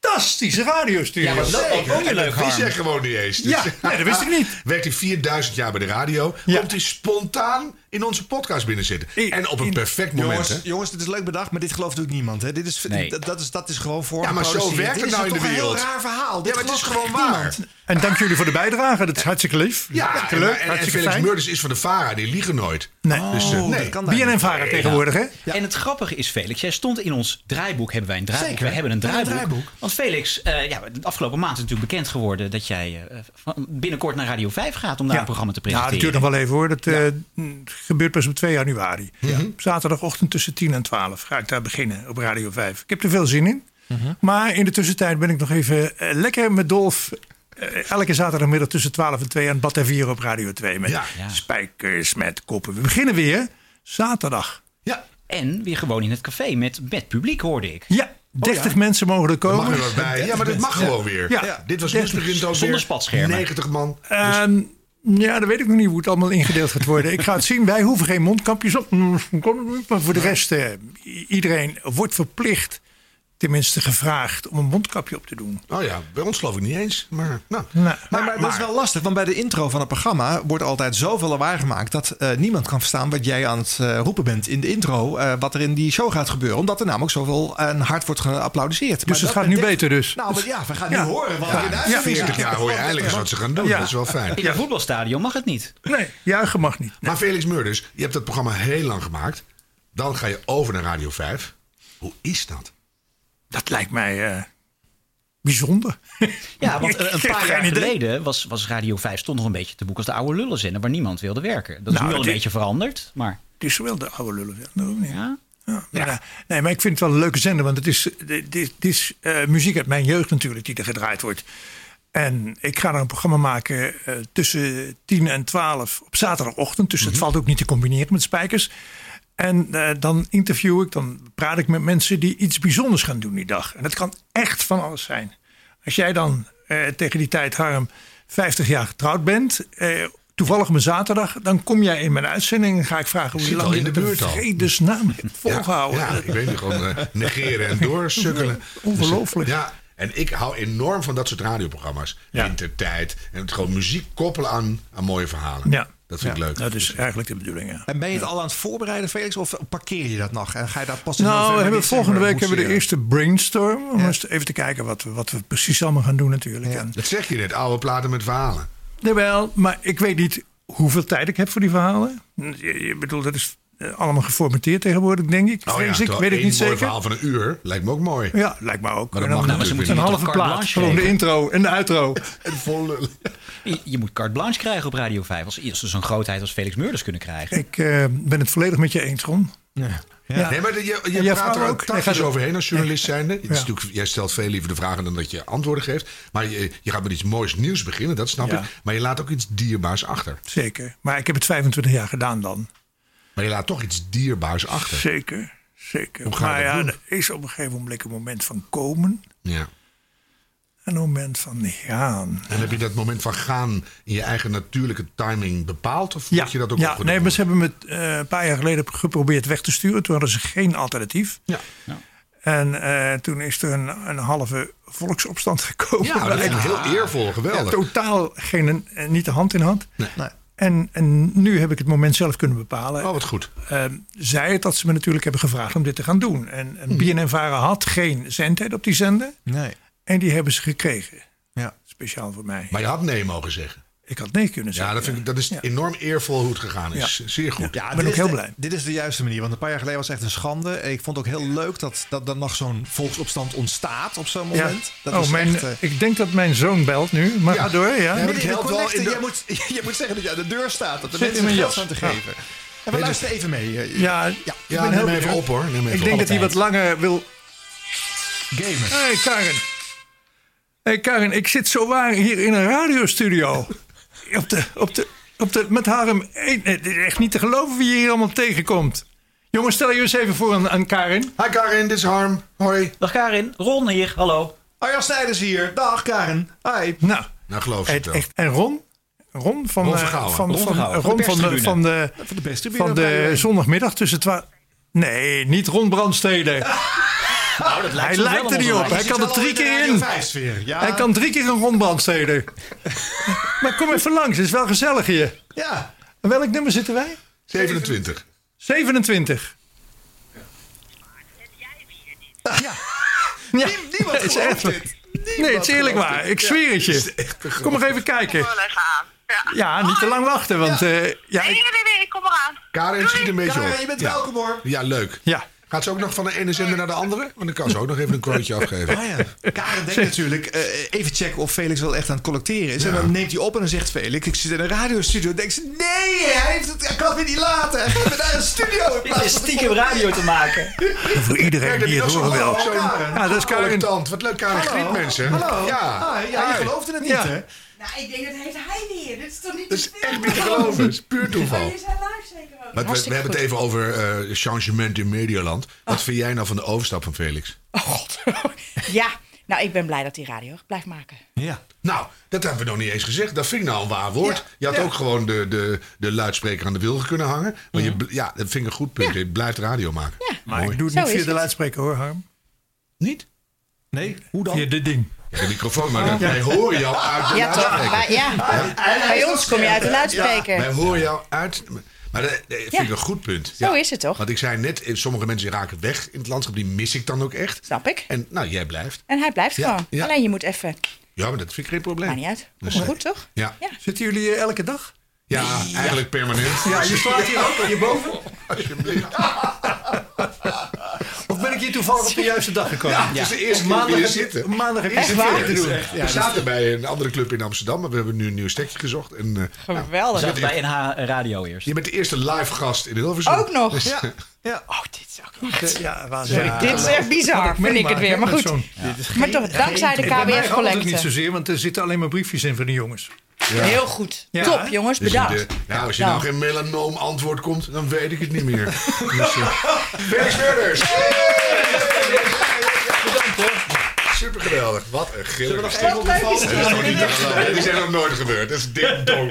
[SPEAKER 22] fantastische radiostudio.
[SPEAKER 2] Ja, maar dat ook weer leuk, Dat wist jij gewoon niet eens.
[SPEAKER 22] Ja, nee, dat wist ik niet.
[SPEAKER 2] Werkt hij 4000 jaar bij de radio. Komt hij spontaan in onze podcast binnenzitten. En op een perfect moment, hè?
[SPEAKER 1] Jongens, jongens, dit is leuk bedacht, maar dit gelooft ook niemand. Hè? Dit is,
[SPEAKER 2] Nee.
[SPEAKER 1] dat, dat is, dat is gewoon voor.
[SPEAKER 2] Ja, maar zo werkt het nou in de wereld.
[SPEAKER 1] Een heel raar verhaal. Dit
[SPEAKER 2] Ja, maar het is
[SPEAKER 1] gelooft
[SPEAKER 2] gewoon
[SPEAKER 1] echt
[SPEAKER 2] waar.
[SPEAKER 1] niemand.
[SPEAKER 22] En dank jullie voor de bijdrage. Dat is hartstikke lief.
[SPEAKER 2] Ja,
[SPEAKER 22] hartstikke
[SPEAKER 2] en,
[SPEAKER 22] leuk.
[SPEAKER 2] en- en
[SPEAKER 22] hartstikke
[SPEAKER 2] Felix
[SPEAKER 22] fijn.
[SPEAKER 2] Murders Dus is van de VARA. Die liegen nooit.
[SPEAKER 22] Nee. Oh,
[SPEAKER 2] Dus, eh, nee.
[SPEAKER 22] BNN-varen tegenwoordig, hè?
[SPEAKER 7] En het grappige is, Felix, jij stond in ons draaiboek. Hebben wij een draaiboek?
[SPEAKER 22] Zeker.
[SPEAKER 7] We hebben een
[SPEAKER 22] We hebben
[SPEAKER 7] draaiboek.
[SPEAKER 22] een
[SPEAKER 7] Want Felix, eh, ja, de afgelopen maand is natuurlijk bekend geworden dat jij eh, van- binnenkort naar Radio 5 gaat om daar
[SPEAKER 22] Ja.
[SPEAKER 7] een programma te
[SPEAKER 22] Ja,
[SPEAKER 7] presenteren.
[SPEAKER 22] dat duurt nog wel even hoor. Dat eh, mm, gebeurt pas op 2 januari. Op Zaterdagochtend tussen 10 en 12 ga ik daar beginnen op Radio 5. Ik heb er veel zin in.
[SPEAKER 2] Mhm.
[SPEAKER 22] Maar in de tussentijd ben ik nog even eh, lekker met Dolf. eh, elke zaterdagmiddag tussen 12 en 2 aan het Bad en 4 op Radio 2. Met
[SPEAKER 2] Ja.
[SPEAKER 7] Ja.
[SPEAKER 22] spijkers, met koppen. We beginnen weer zaterdag.
[SPEAKER 7] En weer gewoon in het café met, met publiek, hoorde ik. Oh,
[SPEAKER 22] Ja, 30 mensen mogen er komen.
[SPEAKER 2] Mag er wat bij. Oh, Ja, maar dit mag gewoon weer.
[SPEAKER 22] Ja.
[SPEAKER 2] Dit was
[SPEAKER 22] 30.
[SPEAKER 2] nieuwsbegin ook
[SPEAKER 7] Zonder
[SPEAKER 2] weer.
[SPEAKER 7] spatschermen.
[SPEAKER 2] 90 man.
[SPEAKER 22] Ehm, ja, dan weet ik nog niet hoe het allemaal ingedeeld gaat worden. ik ga het zien. Wij hoeven geen mondkapjes op. Mm, Maar voor de rest, eh, i- iedereen wordt verplicht, tenminste gevraagd, om een mondkapje op te doen.
[SPEAKER 2] Oh ja, bij ons geloof ik niet eens. Maar, nou.
[SPEAKER 1] Maar, maar dat is wel lastig, want bij de intro van het programma wordt altijd zoveel lawaai gemaakt dat eh, niemand kan verstaan wat jij aan het eh, roepen bent in de intro. eh, wat er in die show gaat gebeuren, omdat er namelijk zoveel en hard wordt geapplaudiseerd.
[SPEAKER 22] Dus het
[SPEAKER 1] dat
[SPEAKER 22] gaat nu
[SPEAKER 1] betekent-
[SPEAKER 22] beter dus.
[SPEAKER 1] Nou, maar ja, we gaan
[SPEAKER 22] Ja.
[SPEAKER 1] nu horen wat
[SPEAKER 22] Ja.
[SPEAKER 1] er in de
[SPEAKER 22] Ja.
[SPEAKER 1] uitzending
[SPEAKER 2] 40
[SPEAKER 1] staat.
[SPEAKER 2] jaar hoor je eigenlijk eens wat ze gaan doen.
[SPEAKER 22] Ja.
[SPEAKER 2] Dat is wel fijn.
[SPEAKER 7] In een voetbalstadion mag het niet.
[SPEAKER 22] Nee, juichen mag niet.
[SPEAKER 2] Maar Felix Murders, je hebt dat programma heel lang gemaakt. Dan ga je over naar Radio 5. Hoe is dat?
[SPEAKER 22] Dat lijkt mij eh, bijzonder.
[SPEAKER 7] Ja, want eh,
[SPEAKER 22] Ik
[SPEAKER 7] een
[SPEAKER 22] heb
[SPEAKER 7] paar
[SPEAKER 22] geen
[SPEAKER 7] jaar
[SPEAKER 22] idee.
[SPEAKER 7] geleden was, was Radio 5 stond nog een beetje te boek als de oude lullenzender waar niemand wilde werken. Dat is
[SPEAKER 22] Nou,
[SPEAKER 7] nu al een
[SPEAKER 22] dit-
[SPEAKER 7] beetje veranderd, maar...
[SPEAKER 22] Het is wel de oude lullen. Ja, daarom niet. Ja, maar, eh, nee, maar ik vind het wel een leuke zender. Want het is, dit, dit is eh, muziek uit mijn jeugd natuurlijk die er gedraaid wordt. En ik ga er een programma maken eh, tussen 10 en 12 op zaterdagochtend. Dus
[SPEAKER 2] Mhm.
[SPEAKER 22] het valt ook niet te combineren met spijkers. En eh, dan interview ik, dan praat ik met mensen die iets bijzonders gaan doen die dag. En dat kan echt van alles zijn. Als jij dan eh, tegen die tijd, Harm, 50 jaar getrouwd bent. eh, toevallig op een zaterdag. Dan kom jij in mijn uitzending en ga ik vragen hoe
[SPEAKER 2] Zit
[SPEAKER 22] je
[SPEAKER 2] al
[SPEAKER 22] lang
[SPEAKER 2] in de buurt al.
[SPEAKER 22] vredesnaam hebt volgehouden.
[SPEAKER 2] Ja, ik weet het gewoon. eh, negeren en doorsukkelen.
[SPEAKER 22] Ongelooflijk.
[SPEAKER 2] Dus, ja, en ik hou enorm van dat soort radioprogramma's. Wintertijd. En het gewoon muziek koppelen aan, aan mooie verhalen.
[SPEAKER 22] Ja.
[SPEAKER 2] Dat vind
[SPEAKER 22] Ja,
[SPEAKER 2] ik leuk.
[SPEAKER 22] Dat is eigenlijk de bedoeling, ja.
[SPEAKER 1] En ben je het al aan het voorbereiden, Felix? Of parkeer je dat nog? En ga je dat
[SPEAKER 2] Dus, eh,
[SPEAKER 1] pas in
[SPEAKER 22] Nou, we
[SPEAKER 1] november,
[SPEAKER 22] hebben
[SPEAKER 1] december
[SPEAKER 22] volgende week hebben we de
[SPEAKER 1] boetseren?
[SPEAKER 22] eerste brainstorm. Om eens even te kijken wat we, wat we precies allemaal gaan doen natuurlijk. En,
[SPEAKER 2] Dat zeg je net. Oude platen met verhalen.
[SPEAKER 22] jawel, maar ik weet niet hoeveel tijd ik heb voor die verhalen. Je, je bedoelt, dat is eh, allemaal geformateerd tegenwoordig, denk ik.
[SPEAKER 2] Nou ja,
[SPEAKER 22] Vrees ik,
[SPEAKER 2] terwijl
[SPEAKER 22] weet ik
[SPEAKER 2] één
[SPEAKER 22] niet
[SPEAKER 2] mooi
[SPEAKER 22] zeker.
[SPEAKER 2] verhaal van een uur lijkt me ook mooi.
[SPEAKER 22] Ja, lijkt me ook.
[SPEAKER 2] Maar
[SPEAKER 22] En
[SPEAKER 2] dat mag
[SPEAKER 22] dan- nou,
[SPEAKER 7] maar ze
[SPEAKER 2] natuurlijk
[SPEAKER 7] moeten
[SPEAKER 22] een
[SPEAKER 2] weer
[SPEAKER 7] niet. toch
[SPEAKER 2] niet.
[SPEAKER 22] halve
[SPEAKER 7] carte
[SPEAKER 22] plaat,
[SPEAKER 7] blanche
[SPEAKER 22] gewoon de
[SPEAKER 7] geven?
[SPEAKER 22] intro en de outro.
[SPEAKER 2] En vol lullen.
[SPEAKER 7] Je, je moet carte blanche krijgen op Radio 5. Als, als ze zo'n grootheid als Felix Meurders kunnen krijgen.
[SPEAKER 22] Ik eh, ben het volledig met je eens, Ron. Ja.
[SPEAKER 2] Nou, Nee, maar de- je, je
[SPEAKER 22] En jij
[SPEAKER 2] praat
[SPEAKER 22] vrouw
[SPEAKER 2] er
[SPEAKER 22] ook?
[SPEAKER 2] ook
[SPEAKER 22] Nee,
[SPEAKER 2] tactisch
[SPEAKER 22] ga door.
[SPEAKER 2] overheen als journalist zijnde. Het is
[SPEAKER 22] Ja.
[SPEAKER 2] natuurlijk, jij stelt veel liever de vragen dan dat je antwoorden geeft. Maar je, je gaat met iets moois nieuws beginnen, dat snap
[SPEAKER 22] Ja.
[SPEAKER 2] ik. Maar je laat ook iets dierbaars achter.
[SPEAKER 22] Zeker. Maar ik heb het 25 jaar gedaan dan.
[SPEAKER 2] Maar je laat toch iets dierbaars achter.
[SPEAKER 22] Zeker, zeker.
[SPEAKER 2] Hoe ga je
[SPEAKER 22] maar
[SPEAKER 2] dat
[SPEAKER 22] ja,
[SPEAKER 2] doen?
[SPEAKER 22] er is op een gegeven moment een moment van komen.
[SPEAKER 2] Ja.
[SPEAKER 22] En een moment van gaan.
[SPEAKER 2] En heb je dat moment van gaan in je eigen natuurlijke timing bepaald? Of moet je dat ook
[SPEAKER 22] ja,
[SPEAKER 2] opgedrongen
[SPEAKER 22] nee, maar
[SPEAKER 2] worden?
[SPEAKER 22] ze hebben me eh, een paar jaar geleden geprobeerd weg te sturen. Toen hadden ze geen alternatief.
[SPEAKER 2] Ja.
[SPEAKER 22] En eh, toen is er een, een halve volksopstand gekomen.
[SPEAKER 2] Ja, dat is heel eervol, geweldig.
[SPEAKER 22] Ja, totaal geen, eh, niet de hand in hand.
[SPEAKER 2] Nee.
[SPEAKER 22] En, en nu heb ik het moment zelf kunnen bepalen.
[SPEAKER 2] Oh, wat goed.
[SPEAKER 22] Ehm, zij het dat ze me natuurlijk hebben gevraagd om dit te gaan doen. En,
[SPEAKER 2] Hmm.
[SPEAKER 22] en BNNVARA had geen zendtijd op die zender.
[SPEAKER 1] Nee.
[SPEAKER 22] En die hebben ze gekregen.
[SPEAKER 1] Ja.
[SPEAKER 22] Speciaal voor mij.
[SPEAKER 2] Maar je had nee mogen zeggen.
[SPEAKER 22] Ik had nee kunnen zeggen.
[SPEAKER 2] Ja, dat, vind ik, dat is enorm eervol hoe het gegaan is.
[SPEAKER 22] Ja.
[SPEAKER 2] Zeer goed.
[SPEAKER 1] Ja,
[SPEAKER 22] ben
[SPEAKER 1] Ah, dit
[SPEAKER 22] ook
[SPEAKER 1] is
[SPEAKER 22] heel
[SPEAKER 1] de-
[SPEAKER 22] blij.
[SPEAKER 1] Dit is de juiste manier, want een paar jaar geleden was het echt een schande. En ik vond het ook heel leuk dat, dat er nog zo'n volksopstand ontstaat op zo'n
[SPEAKER 22] Ja.
[SPEAKER 1] moment. Dat
[SPEAKER 22] oh,
[SPEAKER 1] is
[SPEAKER 22] mijn,
[SPEAKER 1] echt, eh,
[SPEAKER 22] ik denk dat mijn zoon belt nu. Maar ga door, ja.
[SPEAKER 1] Nee, maar dit
[SPEAKER 22] Ja,
[SPEAKER 1] helpt wel in de... jij, moet, je moet zeggen dat je aan de deur staat. Dat de mensen mensen geld aan te
[SPEAKER 22] Ja.
[SPEAKER 1] geven. En we
[SPEAKER 22] dus-
[SPEAKER 1] luisteren even mee. eh,
[SPEAKER 22] Ja,
[SPEAKER 2] Ja, neem even
[SPEAKER 22] benieuwd.
[SPEAKER 2] op, hoor. Neem even
[SPEAKER 22] ik denk
[SPEAKER 2] op.
[SPEAKER 22] dat hij wat langer wil...
[SPEAKER 1] Gamer.
[SPEAKER 22] Hé, hey, Karin. Hé, hey, Karin, ik zit zo waar hier in een radiostudio. op de, op de, op de, met Harem. één- eh, dit is echt niet te geloven wie je hier allemaal tegenkomt. Jongens, stel je eens even voor aan, aan Karin.
[SPEAKER 2] Hi Karin, dit is Harm. Hoi.
[SPEAKER 7] Dag Karin, Ron hier, hallo.
[SPEAKER 1] Arjan Snijders hier. Dag Karin. Hi.
[SPEAKER 22] Nou,
[SPEAKER 2] Nou, geloof je het
[SPEAKER 22] echt,
[SPEAKER 2] wel.
[SPEAKER 22] echt. En Ron? Ron van,
[SPEAKER 2] Ron
[SPEAKER 22] eh,
[SPEAKER 2] Vergouwen.
[SPEAKER 22] van,
[SPEAKER 2] Ron
[SPEAKER 22] van,
[SPEAKER 2] Vergouwen.
[SPEAKER 22] Ron
[SPEAKER 2] Van
[SPEAKER 22] van,
[SPEAKER 2] de
[SPEAKER 22] de, van de,
[SPEAKER 1] Van de beste
[SPEAKER 22] van de zondagmiddag tussen twaalf... Nee, niet Ron Brandstede.
[SPEAKER 7] Nou, dat
[SPEAKER 22] Hij
[SPEAKER 7] zo
[SPEAKER 22] lijkt
[SPEAKER 7] wel
[SPEAKER 22] er niet
[SPEAKER 7] onze
[SPEAKER 22] op. Hij
[SPEAKER 7] lijst.
[SPEAKER 22] kan er drie keer in.
[SPEAKER 1] Ja.
[SPEAKER 22] Hij kan drie keer een rondbrandsteden. maar kom even langs, het is wel gezellig hier.
[SPEAKER 1] Ja.
[SPEAKER 22] En welk nummer zitten wij?
[SPEAKER 2] 27.
[SPEAKER 22] 27. Ja. ja.
[SPEAKER 1] Niemand
[SPEAKER 22] het is echt.
[SPEAKER 1] gelooft dit.
[SPEAKER 22] Nee, het is eerlijk waar. Ik zweer het je. Kom nog even kijken.
[SPEAKER 8] Ah.
[SPEAKER 22] Ja, niet te lang wachten, want eh, ja,
[SPEAKER 8] Nee,
[SPEAKER 22] ik-
[SPEAKER 8] nee, nee, ik kom eraan.
[SPEAKER 2] Karin, schiet een beetje op.
[SPEAKER 1] Karin, je bent
[SPEAKER 2] Ja.
[SPEAKER 1] welkom hoor.
[SPEAKER 2] Ja, leuk.
[SPEAKER 22] Ja.
[SPEAKER 2] Gaat ze ook nog van de ene zender naar de andere? Want dan kan ze ook nog even een quoteje afgeven.
[SPEAKER 1] Ah ja. Karen denkt natuurlijk, eh, even checken of Felix wel echt aan het collecteren is. En dan neemt hij op en dan zegt Felix, ik zit in een radiostudio. Dan denkt ze, nee, hij, heeft het, hij kan het weer niet laten. Hij gaat weer naar een studio. in
[SPEAKER 7] Dit
[SPEAKER 1] plaats
[SPEAKER 7] is
[SPEAKER 1] van-
[SPEAKER 7] stiekem radio te maken.
[SPEAKER 22] voor iedereen die het horen wil. Ja, dat is Karin.
[SPEAKER 2] Tant, wat leuk, Karin
[SPEAKER 1] Hallo.
[SPEAKER 2] griet mensen.
[SPEAKER 1] Hallo.
[SPEAKER 2] Ja.
[SPEAKER 23] Ah,
[SPEAKER 1] Hi. Ja, je
[SPEAKER 2] Hi.
[SPEAKER 1] geloofde het niet,
[SPEAKER 22] Ja.
[SPEAKER 1] hè?
[SPEAKER 23] Nou, ik denk dat heeft hij weer. Dit is toch niet
[SPEAKER 2] Dat is echt niet te geloven. Het is puur toeval.
[SPEAKER 23] Jullie zijn live zeker ook.
[SPEAKER 2] Maar we, we hebben het even over eh, changement in Medialand.
[SPEAKER 1] Ah.
[SPEAKER 2] Wat vind jij nou van de overstap van Felix?
[SPEAKER 1] Oh,
[SPEAKER 23] Ja, nou ik ben blij dat hij radio blijft maken.
[SPEAKER 1] Ja.
[SPEAKER 2] Nou, dat hebben we nog niet eens gezegd. Dat vind ik nou een waar woord.
[SPEAKER 23] Ja.
[SPEAKER 2] Je had
[SPEAKER 23] Ja.
[SPEAKER 2] ook gewoon de, de, de luidspreker aan de wilgen kunnen hangen. Maar je, bl- ja, dat vind ik een goed punt. Je blijft radio maken.
[SPEAKER 22] Maar ik doe het
[SPEAKER 23] Zo
[SPEAKER 22] niet
[SPEAKER 23] is
[SPEAKER 22] via de
[SPEAKER 23] het.
[SPEAKER 22] luidspreker hoor, Harm.
[SPEAKER 2] Niet?
[SPEAKER 1] Nee, hoe dan?
[SPEAKER 22] Via dit ding.
[SPEAKER 2] Ja, de microfoon, maar dat- wij horen jou uit de
[SPEAKER 23] Ja, toch?
[SPEAKER 2] luidspreker.
[SPEAKER 23] Bij, ja. Bij ons kom je uit de luidspreker.
[SPEAKER 2] Wij horen jou uit. Maar dat, dat vind
[SPEAKER 23] Ja.
[SPEAKER 2] ik een goed punt.
[SPEAKER 23] Zo is het toch?
[SPEAKER 2] Want ik zei net, eh, sommige mensen raken weg in het landschap. Die mis ik dan ook echt.
[SPEAKER 23] Snap ik.
[SPEAKER 2] En nou, jij blijft.
[SPEAKER 23] En hij blijft
[SPEAKER 2] Ja,
[SPEAKER 23] gewoon.
[SPEAKER 2] ja.
[SPEAKER 23] Alleen je moet even.
[SPEAKER 2] Ja, maar dat vind ik geen probleem.
[SPEAKER 23] Maakt niet uit. Komt
[SPEAKER 2] Nee.
[SPEAKER 23] goed toch?
[SPEAKER 2] Ja, ja.
[SPEAKER 22] Zitten jullie hier elke dag?
[SPEAKER 2] eigenlijk permanent.
[SPEAKER 22] Ja, je slaat hier ook hierboven.
[SPEAKER 2] Alsjeblieft.
[SPEAKER 22] Of ben ik
[SPEAKER 1] ik hier toevallig op de juiste dag gekomen.
[SPEAKER 2] Ja, het is de eerste
[SPEAKER 1] Op
[SPEAKER 2] keer dat we hier
[SPEAKER 1] maandag-
[SPEAKER 2] zitten.
[SPEAKER 1] Maandag heb ik
[SPEAKER 2] Is
[SPEAKER 1] iets
[SPEAKER 2] het
[SPEAKER 1] te
[SPEAKER 2] weer?
[SPEAKER 1] doen.
[SPEAKER 2] Echt,
[SPEAKER 1] Ja, dus-
[SPEAKER 2] we
[SPEAKER 1] dat-
[SPEAKER 2] zaten bij een andere club in Amsterdam, maar we hebben nu een nieuw stekje gezocht. En, eh, nou,
[SPEAKER 7] Zat
[SPEAKER 2] je bent
[SPEAKER 7] bij
[SPEAKER 2] echt-
[SPEAKER 7] NH Radio eerst.
[SPEAKER 2] Je bent de eerste live gast in Hilversum.
[SPEAKER 7] Ook nog?
[SPEAKER 2] Dus-
[SPEAKER 7] Ja.
[SPEAKER 1] Oh, dit is ook
[SPEAKER 22] eh,
[SPEAKER 1] echt... Ja,
[SPEAKER 2] Sorry,
[SPEAKER 1] waanzinnig.
[SPEAKER 2] dit is echt
[SPEAKER 23] bizar,
[SPEAKER 1] Wat ik
[SPEAKER 23] vind ik
[SPEAKER 1] meemaak,
[SPEAKER 23] het weer,
[SPEAKER 1] hè,
[SPEAKER 23] maar
[SPEAKER 1] met
[SPEAKER 23] goed.
[SPEAKER 1] zo'n-
[SPEAKER 23] Ja. Maar toch, dankzij de
[SPEAKER 22] Ik- bij mij
[SPEAKER 23] KWF
[SPEAKER 22] gaat het
[SPEAKER 23] collecte.
[SPEAKER 22] niet zozeer, want er zitten alleen maar briefjes in van de jongens.
[SPEAKER 23] Heel goed.
[SPEAKER 22] Ja.
[SPEAKER 23] Top, jongens.
[SPEAKER 2] Dus
[SPEAKER 23] Bedankt.
[SPEAKER 2] je de- nou, als je
[SPEAKER 23] Ja.
[SPEAKER 2] nou, geen melanoom antwoord komt, dan weet ik het niet meer. dus, eh, Felix Murders! Bedankt hoor. Super geweldig. Wat een gillige
[SPEAKER 1] Zullen we nog
[SPEAKER 2] stem.
[SPEAKER 1] even op de
[SPEAKER 2] Dat
[SPEAKER 1] valse
[SPEAKER 2] is nog niet te
[SPEAKER 1] stem?
[SPEAKER 2] geloven. Dit is echt nog nooit gebeurd. Dat is dit dom.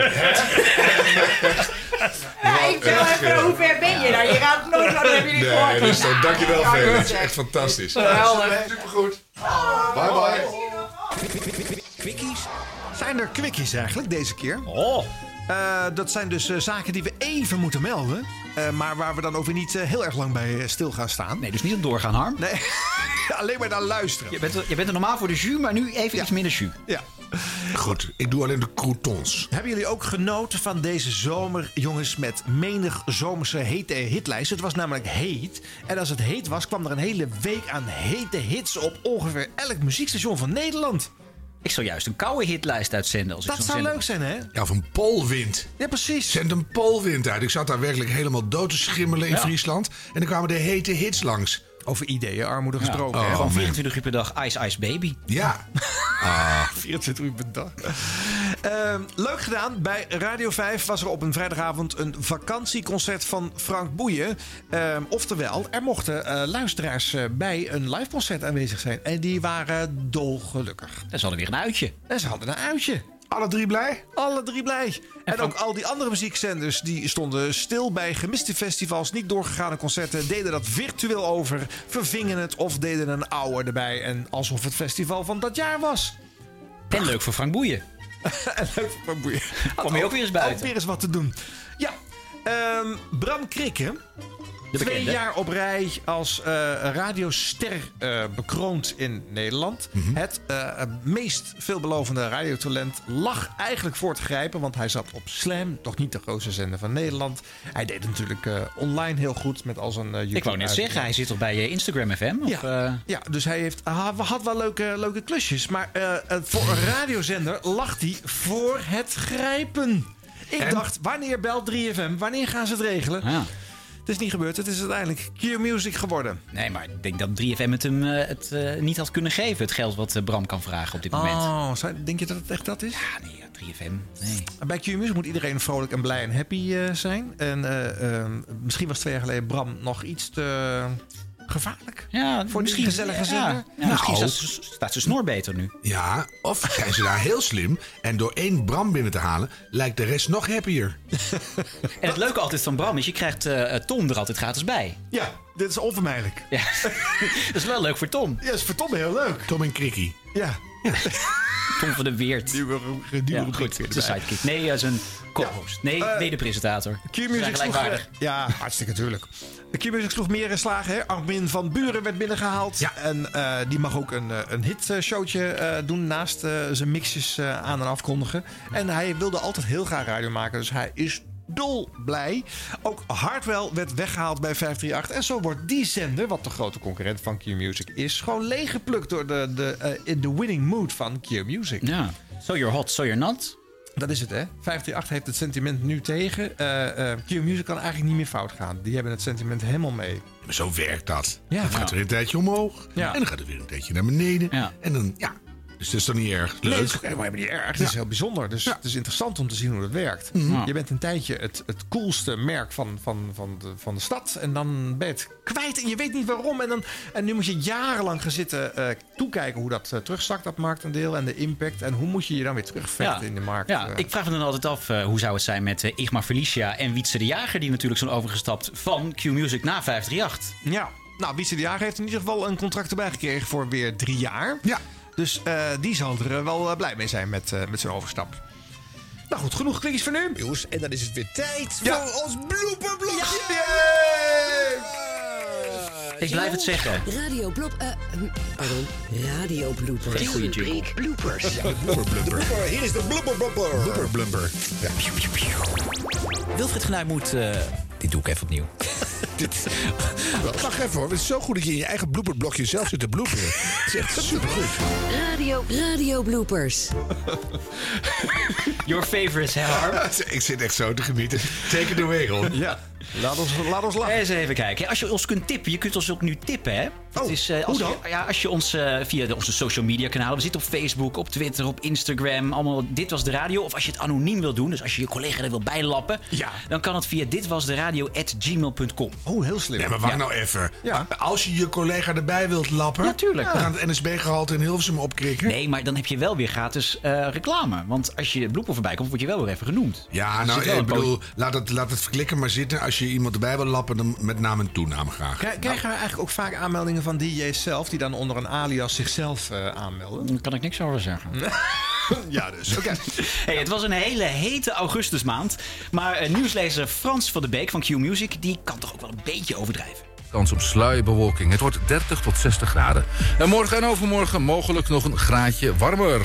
[SPEAKER 23] Ja, ik wil
[SPEAKER 2] echt,
[SPEAKER 23] even,
[SPEAKER 2] eh,
[SPEAKER 23] hoe ver ben je nou? Je gaat het nooit zo, dat hebben jullie gehoord.
[SPEAKER 2] Nee, dat is toch, dankjewel
[SPEAKER 23] Ja,
[SPEAKER 2] Felix.
[SPEAKER 23] goed,
[SPEAKER 2] Dat is echt fantastisch.
[SPEAKER 23] Geweldig.
[SPEAKER 2] Supergoed. Bye bye.
[SPEAKER 1] Quickies? Zijn er quickies eigenlijk deze keer? Oh. dat zijn dus eh, zaken die we even moeten melden. eh, maar waar we dan ook weer niet eh, heel erg lang bij eh, stil gaan staan. Nee,
[SPEAKER 7] dus niet op doorgaan, Harm.
[SPEAKER 1] Nee, alleen maar naar luisteren.
[SPEAKER 7] Je bent, je bent er normaal voor de jus, maar nu even iets minder jus.
[SPEAKER 1] Ja.
[SPEAKER 2] Goed, ik doe alleen de croutons.
[SPEAKER 1] Hebben jullie ook genoten van deze zomer, jongens, met menig zomerse hete hitlijst? Het was namelijk heet. En als het heet was, kwam er een hele week aan hete hits op ongeveer elk muziekstation van Nederland.
[SPEAKER 7] Ik zou juist een koude hitlijst uitzenden. Als ik
[SPEAKER 1] Dat
[SPEAKER 7] zo'n
[SPEAKER 1] zou
[SPEAKER 7] zender
[SPEAKER 1] leuk zijn, hè?
[SPEAKER 2] Ja, of een polwind.
[SPEAKER 1] Ja, precies.
[SPEAKER 2] Zend een polwind uit. Ik zat daar werkelijk helemaal dood te schimmelen in
[SPEAKER 7] Ja.
[SPEAKER 2] Friesland. En dan kwamen de hete hits langs. Oh,
[SPEAKER 1] Over ideeën, armoede
[SPEAKER 7] Ja.
[SPEAKER 1] gesproken. hè? Oh,
[SPEAKER 7] gewoon
[SPEAKER 2] man.
[SPEAKER 7] 24 uur per dag Ice Ice Baby.
[SPEAKER 2] Ja.
[SPEAKER 1] Ah. 24 uur per dag. Ehm, leuk gedaan. Bij Radio 5 was er op een vrijdagavond een vakantieconcert van Frank Boeien. Ehm, oftewel, er mochten eh, luisteraars eh, bij een liveconcert aanwezig zijn. En die waren dolgelukkig.
[SPEAKER 7] En ze hadden weer een uitje.
[SPEAKER 1] En ze hadden een uitje.
[SPEAKER 2] Alle drie blij?
[SPEAKER 1] Alle drie blij. En, ook al die andere muziekzenders die stonden stil bij gemiste festivals, niet doorgegaane concerten, deden dat virtueel over, vervingen het of deden een ouwe erbij. En alsof het festival van dat jaar was.
[SPEAKER 7] En leuk voor Frank Boeien.
[SPEAKER 1] en leuk voor Frank Boeien.
[SPEAKER 7] Kom je ook weer eens buiten.
[SPEAKER 1] Ook weer eens wat te doen. Ja, ehm, Bram Krikke. Twee
[SPEAKER 7] bekende.
[SPEAKER 1] jaar op rij als eh, radioster eh, bekroond in Nederland.
[SPEAKER 7] Mhm.
[SPEAKER 1] Het eh, meest veelbelovende radiotalent lag eigenlijk voor te grijpen. Want hij zat op Slam, toch niet de grootste zender van Nederland. Hij deed natuurlijk eh, online heel goed met al zijn eh, YouTube.
[SPEAKER 7] Ik wou net zeggen, hij zit toch bij eh, Instagram FM? Of, eh,
[SPEAKER 1] Ja, dus hij heeft, ah, we had wel leuke, leuke klusjes. Maar eh, eh, voor een radiozender lag hij voor het grijpen. Ik
[SPEAKER 7] En?
[SPEAKER 1] dacht, wanneer belt 3FM? Wanneer gaan ze het regelen? Het is niet gebeurd. Het is uiteindelijk Q-Music geworden.
[SPEAKER 7] Nee, maar ik denk dat 3FM het hem eh, het, eh, niet had kunnen geven. Het geld wat eh, Bram kan vragen op dit moment.
[SPEAKER 1] Oh, zou- denk je dat het echt dat is?
[SPEAKER 7] Ja, nee, ja, 3FM. Nee.
[SPEAKER 1] Bij Q-Music moet iedereen vrolijk en blij en happy eh, zijn. En eh, eh, misschien was twee jaar geleden Bram nog iets te gevaarlijk.
[SPEAKER 7] Ja,
[SPEAKER 1] Voor die
[SPEAKER 7] misschien
[SPEAKER 1] gezellige
[SPEAKER 7] ja,
[SPEAKER 1] zinnen.
[SPEAKER 7] ja, Misschien staat ze- staat ze snor beter nu.
[SPEAKER 2] Nou. Ja, of zijn ze daar heel slim en door één Bram binnen te halen lijkt de rest nog happier.
[SPEAKER 7] En het leuke altijd van Bram is, je krijgt eh, Tom er altijd gratis bij.
[SPEAKER 1] Ja, dit is onvermijdelijk.
[SPEAKER 7] Ja. dat is wel leuk voor Tom.
[SPEAKER 1] Ja, is voor Tom heel leuk.
[SPEAKER 2] Tom en Krikkie.
[SPEAKER 1] Ja.
[SPEAKER 7] Tom van de Weert.
[SPEAKER 1] Nieuwe,
[SPEAKER 7] ja, goed, zijn sidekick. Nee, eh, zijn co-host. Nee, mede-presentator. Ze zijn
[SPEAKER 1] Eh, Q-Music sloeg...
[SPEAKER 7] gelijkwaardig.
[SPEAKER 1] Ja, hartstikke natuurlijk. Q-Music sloeg meer in slagen. Hè? Armin van Buren werd binnengehaald. En eh, die mag ook een, eh, een hitshowtje eh doen naast eh, zijn mixjes eh, aan en afkondigen. En hij wilde altijd heel graag radio maken, dus hij is dolblij. Ook Hardwell werd weggehaald bij 538. En zo wordt die zender, wat de grote concurrent van Q-Music is... gewoon leeggeplukt door de, de, eh, in de winning mood van Q-Music.
[SPEAKER 7] Ja. So you're hot, so you're not.
[SPEAKER 1] Dat is het, hè? 538 heeft het sentiment nu tegen. Eh eh Q-Music kan eigenlijk niet meer fout gaan. Die hebben het sentiment helemaal mee.
[SPEAKER 2] Maar zo werkt dat.
[SPEAKER 1] Ja.
[SPEAKER 2] dan gaat er een tijdje omhoog
[SPEAKER 1] Ja.
[SPEAKER 2] en dan gaat er weer een tijdje naar beneden. En dan, ja, dus dat is dan niet erg.
[SPEAKER 1] Nee,
[SPEAKER 2] Leuk.
[SPEAKER 1] het is ook helemaal niet erg. Het is heel bijzonder. Dus het is interessant om te zien hoe dat werkt.
[SPEAKER 2] Mhm.
[SPEAKER 1] Je bent een tijdje het, het coolste merk van, van, van, de, van de stad. En dan ben je het kwijt en je weet niet waarom. En, dan, en nu moet je jarenlang gaan zitten eh, toekijken hoe dat eh, terugzakt, dat marktendeel. En de impact. En hoe moet je je dan weer terugvechten in de markt.
[SPEAKER 7] Ja,
[SPEAKER 1] eh.
[SPEAKER 7] ik vraag me dan altijd af, eh, hoe zou het zijn met eh, Igmar Felicia en Wietse de Jager... die natuurlijk zijn overgestapt van Q-Music naar 538.
[SPEAKER 1] Ja, nou, Wietse de Jager heeft in ieder geval een contract erbij gekregen voor weer drie jaar. Ja. Dus eh, die zal er eh, wel eh, blij mee zijn met, eh, met zijn overstap. Nou goed, genoeg klikjes voor nu. Nieuws. En dan is het weer tijd voor ons blooperblokje.
[SPEAKER 7] Ik blijf het zeggen.
[SPEAKER 8] Radio Blop... eh, hm, pardon, Radio Blooper.
[SPEAKER 7] Geen goede jingle.
[SPEAKER 8] Bloopers.
[SPEAKER 5] Hier is de blubber blubber.
[SPEAKER 2] Blubber blubber. Ja.
[SPEAKER 7] Wilfried Genuij moet... eh, dit doe ik even opnieuw.
[SPEAKER 2] Dit... Wacht even hoor, het is zo goed dat je in je eigen blooperblokje zelf zit te bloeperen. Het is echt supergoed.
[SPEAKER 9] Radio, radio bloopers.
[SPEAKER 7] Your favorites, hè,
[SPEAKER 2] Ik zit echt zo te genieten. Take it away, Ron.
[SPEAKER 1] Ja, laat ons, laat ons lachen.
[SPEAKER 7] Eens even kijken. Als je ons kunt tippen, je kunt ons ook nu tippen, hè?
[SPEAKER 1] Oh,
[SPEAKER 7] Het is, eh, als, Je, ja, als je ons eh, via de, onze social media kanalen, we zitten op Facebook, op Twitter, op Instagram, allemaal Dit Was De Radio. Of als je het anoniem wil doen, dus als je je collega er wil bijlappen, dan kan het via ditwasderadio.gmail.com.
[SPEAKER 1] Oh, heel slim.
[SPEAKER 2] Ja, maar wacht nou even. Als je je collega erbij wilt lappen...
[SPEAKER 7] Natuurlijk.
[SPEAKER 2] We gaan het NSB-gehalte in Hilversum opkrikken.
[SPEAKER 7] Nee, maar dan heb je wel weer gratis eh, reclame. Want als je bloepen voorbij komt, word je wel weer even genoemd. Dus
[SPEAKER 2] Ja,
[SPEAKER 7] Er
[SPEAKER 2] nou,
[SPEAKER 7] zit wel
[SPEAKER 2] ik
[SPEAKER 7] een
[SPEAKER 2] bedoel, laat het, laat het verklikken maar zitten. Als je iemand erbij wil lappen, dan met naam en toename graag.
[SPEAKER 1] Krij- Krijgen we eigenlijk ook vaak aanmeldingen van DJ's zelf... die dan onder een alias zichzelf eh, aanmelden?
[SPEAKER 7] Daar kan ik niks over zeggen.
[SPEAKER 1] ja, dus. Oké.
[SPEAKER 7] Hey, het was een hele hete augustusmaand. Maar eh, nieuwslezer Frans van de Beek van Q Music... die kan toch ook wel een beetje overdrijven.
[SPEAKER 14] Kans op sluierbewolking. Het wordt 30 tot 60 graden. En morgen en overmorgen mogelijk nog een graadje warmer.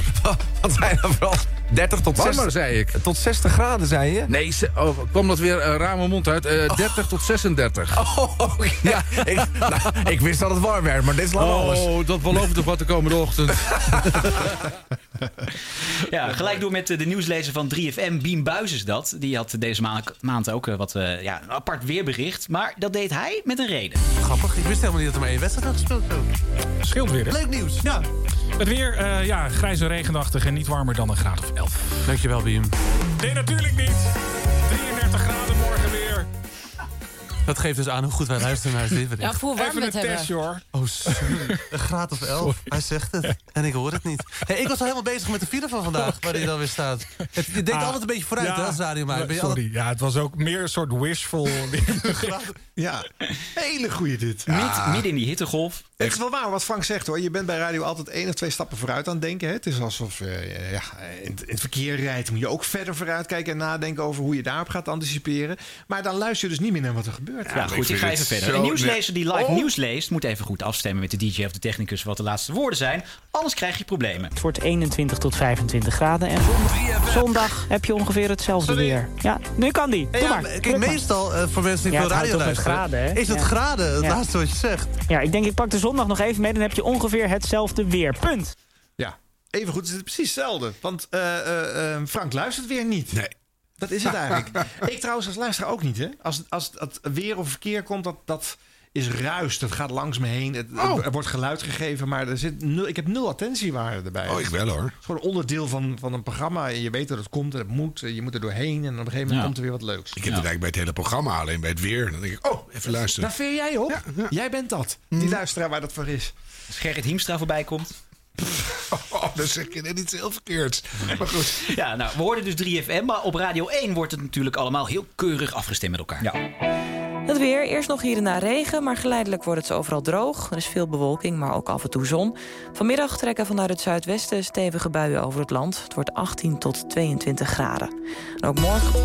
[SPEAKER 14] Wat zijn er vooral? 30 tot warmer,
[SPEAKER 15] 60
[SPEAKER 14] zei ik.
[SPEAKER 15] Tot 60 graden, zei je?
[SPEAKER 14] Nee, ze- oh, kwam dat weer eh, raar mijn mond uit. Eh, 30 tot 36.
[SPEAKER 15] Oh, ja. ik, nou, ik wist dat het warm werd, maar dit is lang
[SPEAKER 14] oh,
[SPEAKER 15] alles.
[SPEAKER 14] dat belooft toch wat de komende ochtend.
[SPEAKER 7] Ja, gelijk door met eh, de nieuwslezer van 3FM, Biem Buijs is dat. Die had deze ma- maand ook eh, wat, eh, ja, een apart weerbericht. Maar dat deed hij met een reden.
[SPEAKER 15] Grappig, ik wist helemaal niet dat er maar één wedstrijd had gespeeld.
[SPEAKER 8] Scheelt weer. hè?
[SPEAKER 15] Leuk nieuws.
[SPEAKER 8] Ja. Het weer, eh, ja, grijs en regenachtig en niet warmer dan een graad of 11.
[SPEAKER 15] Dankjewel, Biem.
[SPEAKER 8] Nee, natuurlijk niet. 33 graden morgen weer.
[SPEAKER 15] Dat geeft dus aan hoe goed wij luisteren naar dit bericht.
[SPEAKER 24] Ja, voor warm
[SPEAKER 8] Even
[SPEAKER 24] we het
[SPEAKER 8] een
[SPEAKER 24] hebben.
[SPEAKER 8] testje hoor.
[SPEAKER 15] Oh, sorry. Een graad of elf. Hij zegt het. En ik hoor het niet. Hey, ik was al helemaal bezig met de file van vandaag, waar hij dan weer staat. Het, je denkt
[SPEAKER 8] Ah,
[SPEAKER 15] altijd een beetje vooruit,
[SPEAKER 8] ja,
[SPEAKER 15] hè, als radiomaker.
[SPEAKER 8] maar
[SPEAKER 15] Ben je
[SPEAKER 8] Sorry, ja, het was ook meer een soort wishful.
[SPEAKER 1] Ja, hele goede dit.
[SPEAKER 7] Mid- midden in die hittegolf.
[SPEAKER 1] Het is wel waar wat Frank zegt hoor. Je bent bij radio altijd één of twee stappen vooruit aan het denken. Hè? Het is alsof eh, ja, in, het- in het verkeer rijdt. Moet je ook verder vooruit kijken en nadenken over hoe je daarop gaat anticiperen. Maar dan luister je dus niet meer naar wat er gebeurt.
[SPEAKER 7] Ja, goed, ik ga even verder. Een nieuwslezer die live nieuws leest... moet even goed afstemmen met de DJ of de technicus... wat de laatste woorden zijn. Anders krijg je problemen.
[SPEAKER 25] Het wordt 21 tot 25 graden en zondag heb je ongeveer hetzelfde weer. Ja, nu kan die. Doe
[SPEAKER 15] Ja,
[SPEAKER 25] maar.
[SPEAKER 15] kijk,
[SPEAKER 25] Druk maar.
[SPEAKER 15] meestal eh, voor mensen die
[SPEAKER 25] Ja,
[SPEAKER 15] veel
[SPEAKER 25] het houdt
[SPEAKER 15] radio
[SPEAKER 25] op met
[SPEAKER 15] luisteren...
[SPEAKER 25] graden, hè?
[SPEAKER 15] is het
[SPEAKER 25] Ja.
[SPEAKER 15] graden, het
[SPEAKER 25] Ja.
[SPEAKER 15] laatste wat je zegt.
[SPEAKER 25] Ja, ik denk ik pak de zondag nog even mee, dan heb je ongeveer hetzelfde weer. Punt.
[SPEAKER 1] Ja, even goed is het precies hetzelfde. Want eh, eh, eh, Frank luistert weer niet.
[SPEAKER 2] Nee.
[SPEAKER 1] Dat is het eigenlijk. ik trouwens als luisteraar ook niet. Hè? Als, als het weer of verkeer komt, dat, dat is ruis. Dat gaat langs me heen. Het,
[SPEAKER 2] Oh.
[SPEAKER 1] Er wordt geluid gegeven, maar er zit nul, ik heb nul attentiewaarde erbij.
[SPEAKER 2] Oh, ik wel hoor.
[SPEAKER 1] Het is gewoon onderdeel van, van een programma. En Je weet dat het komt en het moet. En Je moet er doorheen. En op een gegeven moment
[SPEAKER 2] Ja.
[SPEAKER 1] komt er weer wat leuks.
[SPEAKER 2] Ik heb het eigenlijk bij het hele programma, alleen bij het weer. Dan denk ik, oh, even luisteren. Hm.
[SPEAKER 1] Daar veer jij op. Jij bent dat. Die luisteraar waar dat voor is.
[SPEAKER 7] Als Gerrit Hiemstra voorbij komt...
[SPEAKER 2] Oh, dan zeg je net iets heel verkeerds. Maar goed.
[SPEAKER 7] Ja, nou, we hoorden dus 3FM, maar op Radio 1 wordt het natuurlijk allemaal heel keurig afgestemd met elkaar. Ja.
[SPEAKER 26] Het weer, eerst nog hier en daar regen, maar geleidelijk wordt het overal droog. Er is veel bewolking, maar ook af en toe zon. Vanmiddag trekken vanuit het zuidwesten stevige buien over het land. Het wordt 18 tot 22 graden. En ook morgen...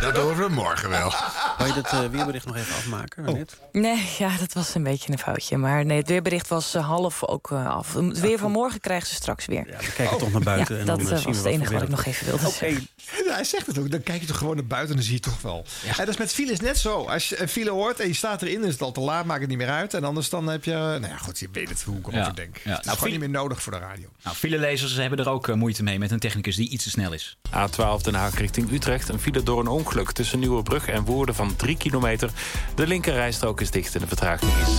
[SPEAKER 2] Dat horen we morgen wel.
[SPEAKER 16] Wil je dat eh, weerbericht nog even afmaken?
[SPEAKER 1] Oh.
[SPEAKER 16] Annette?
[SPEAKER 26] Nee, ja, dat was een beetje een foutje. Maar nee, het weerbericht was eh, half ook eh, af. Het weer van morgen krijgen ze straks weer. Ja,
[SPEAKER 16] We kijken toch naar buiten.
[SPEAKER 26] Ja,
[SPEAKER 16] en
[SPEAKER 26] dat
[SPEAKER 16] dan, eh,
[SPEAKER 26] eh,
[SPEAKER 16] zien
[SPEAKER 26] was
[SPEAKER 16] we
[SPEAKER 26] het enige
[SPEAKER 16] voor
[SPEAKER 26] wat ik nog
[SPEAKER 16] weer.
[SPEAKER 26] even wilde zeggen.
[SPEAKER 1] Ja, hij zegt het ook. Dan kijk je toch gewoon naar buiten en dan zie je het toch wel. En dat is met files net zo. Als je een file hoort en je staat erin, is het al te laat. Maakt het niet meer uit. En anders dan heb je... Nou ja, goed, je weet het hoe ik
[SPEAKER 7] Ja.
[SPEAKER 1] over denk.
[SPEAKER 7] Ja.
[SPEAKER 1] Het
[SPEAKER 7] Nou,
[SPEAKER 1] is gewoon
[SPEAKER 7] file-
[SPEAKER 1] niet meer nodig voor de radio.
[SPEAKER 7] Nou, vele lezers hebben er ook eh, moeite mee met een technicus die iets te snel is.
[SPEAKER 27] A12 Den Haag richting Utrecht. Een file door een ongeluk tussen Nieuwebrug en Woerden van 3 kilometer. De linkerrijstrook is dicht en de vertraging is...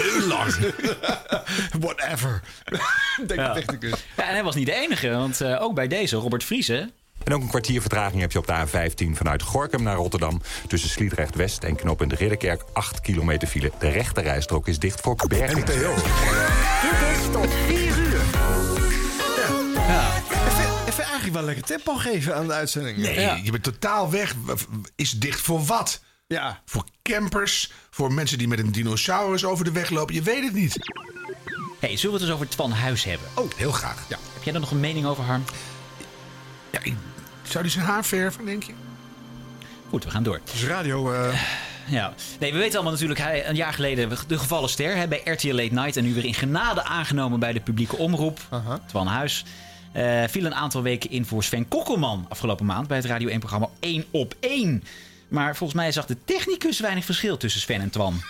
[SPEAKER 2] Heel lang. Whatever.
[SPEAKER 1] Denk
[SPEAKER 7] ja.
[SPEAKER 1] technicus.
[SPEAKER 7] Ja, en hij was niet de enige, want eh, ook bij deze, Robert Vriezen...
[SPEAKER 10] En ook een kwartier vertraging heb je op de A15 vanuit Gorkum naar Rotterdam. Tussen Sliedrecht West en knooppunt de Ridderkerk 8 kilometer file. De rechte rijstrook is dicht voor berging.
[SPEAKER 1] Dit is tot 4 uur. Ja. Even, even eigenlijk wel lekker tempo geven aan de uitzending.
[SPEAKER 2] Nee,
[SPEAKER 1] Ja.
[SPEAKER 2] je bent totaal weg. Is dicht voor wat?
[SPEAKER 1] Ja.
[SPEAKER 2] Voor campers, voor mensen die met een dinosaurus over de weg lopen. Je weet het niet.
[SPEAKER 7] hey, zullen we het eens over Twan Huis hebben?
[SPEAKER 2] Oh, heel graag. Ja.
[SPEAKER 7] Heb jij daar nog een mening over, Harm?
[SPEAKER 2] Ja, ik- zou die zijn haar verven, denk je?
[SPEAKER 7] Goed, we gaan door.
[SPEAKER 1] Dus radio...
[SPEAKER 28] eh.
[SPEAKER 7] Ja. Nee, we weten allemaal natuurlijk, hij, een jaar geleden de gevallen ster hè, bij RTL Late Night... en nu weer in genade aangenomen bij de publieke omroep, Twan Huis... eh, viel een aantal weken in voor Sven Kokkelman afgelopen maand... bij het Radio 1-programma 1 op 1. Maar volgens mij zag de technicus weinig verschil tussen Sven en Twan.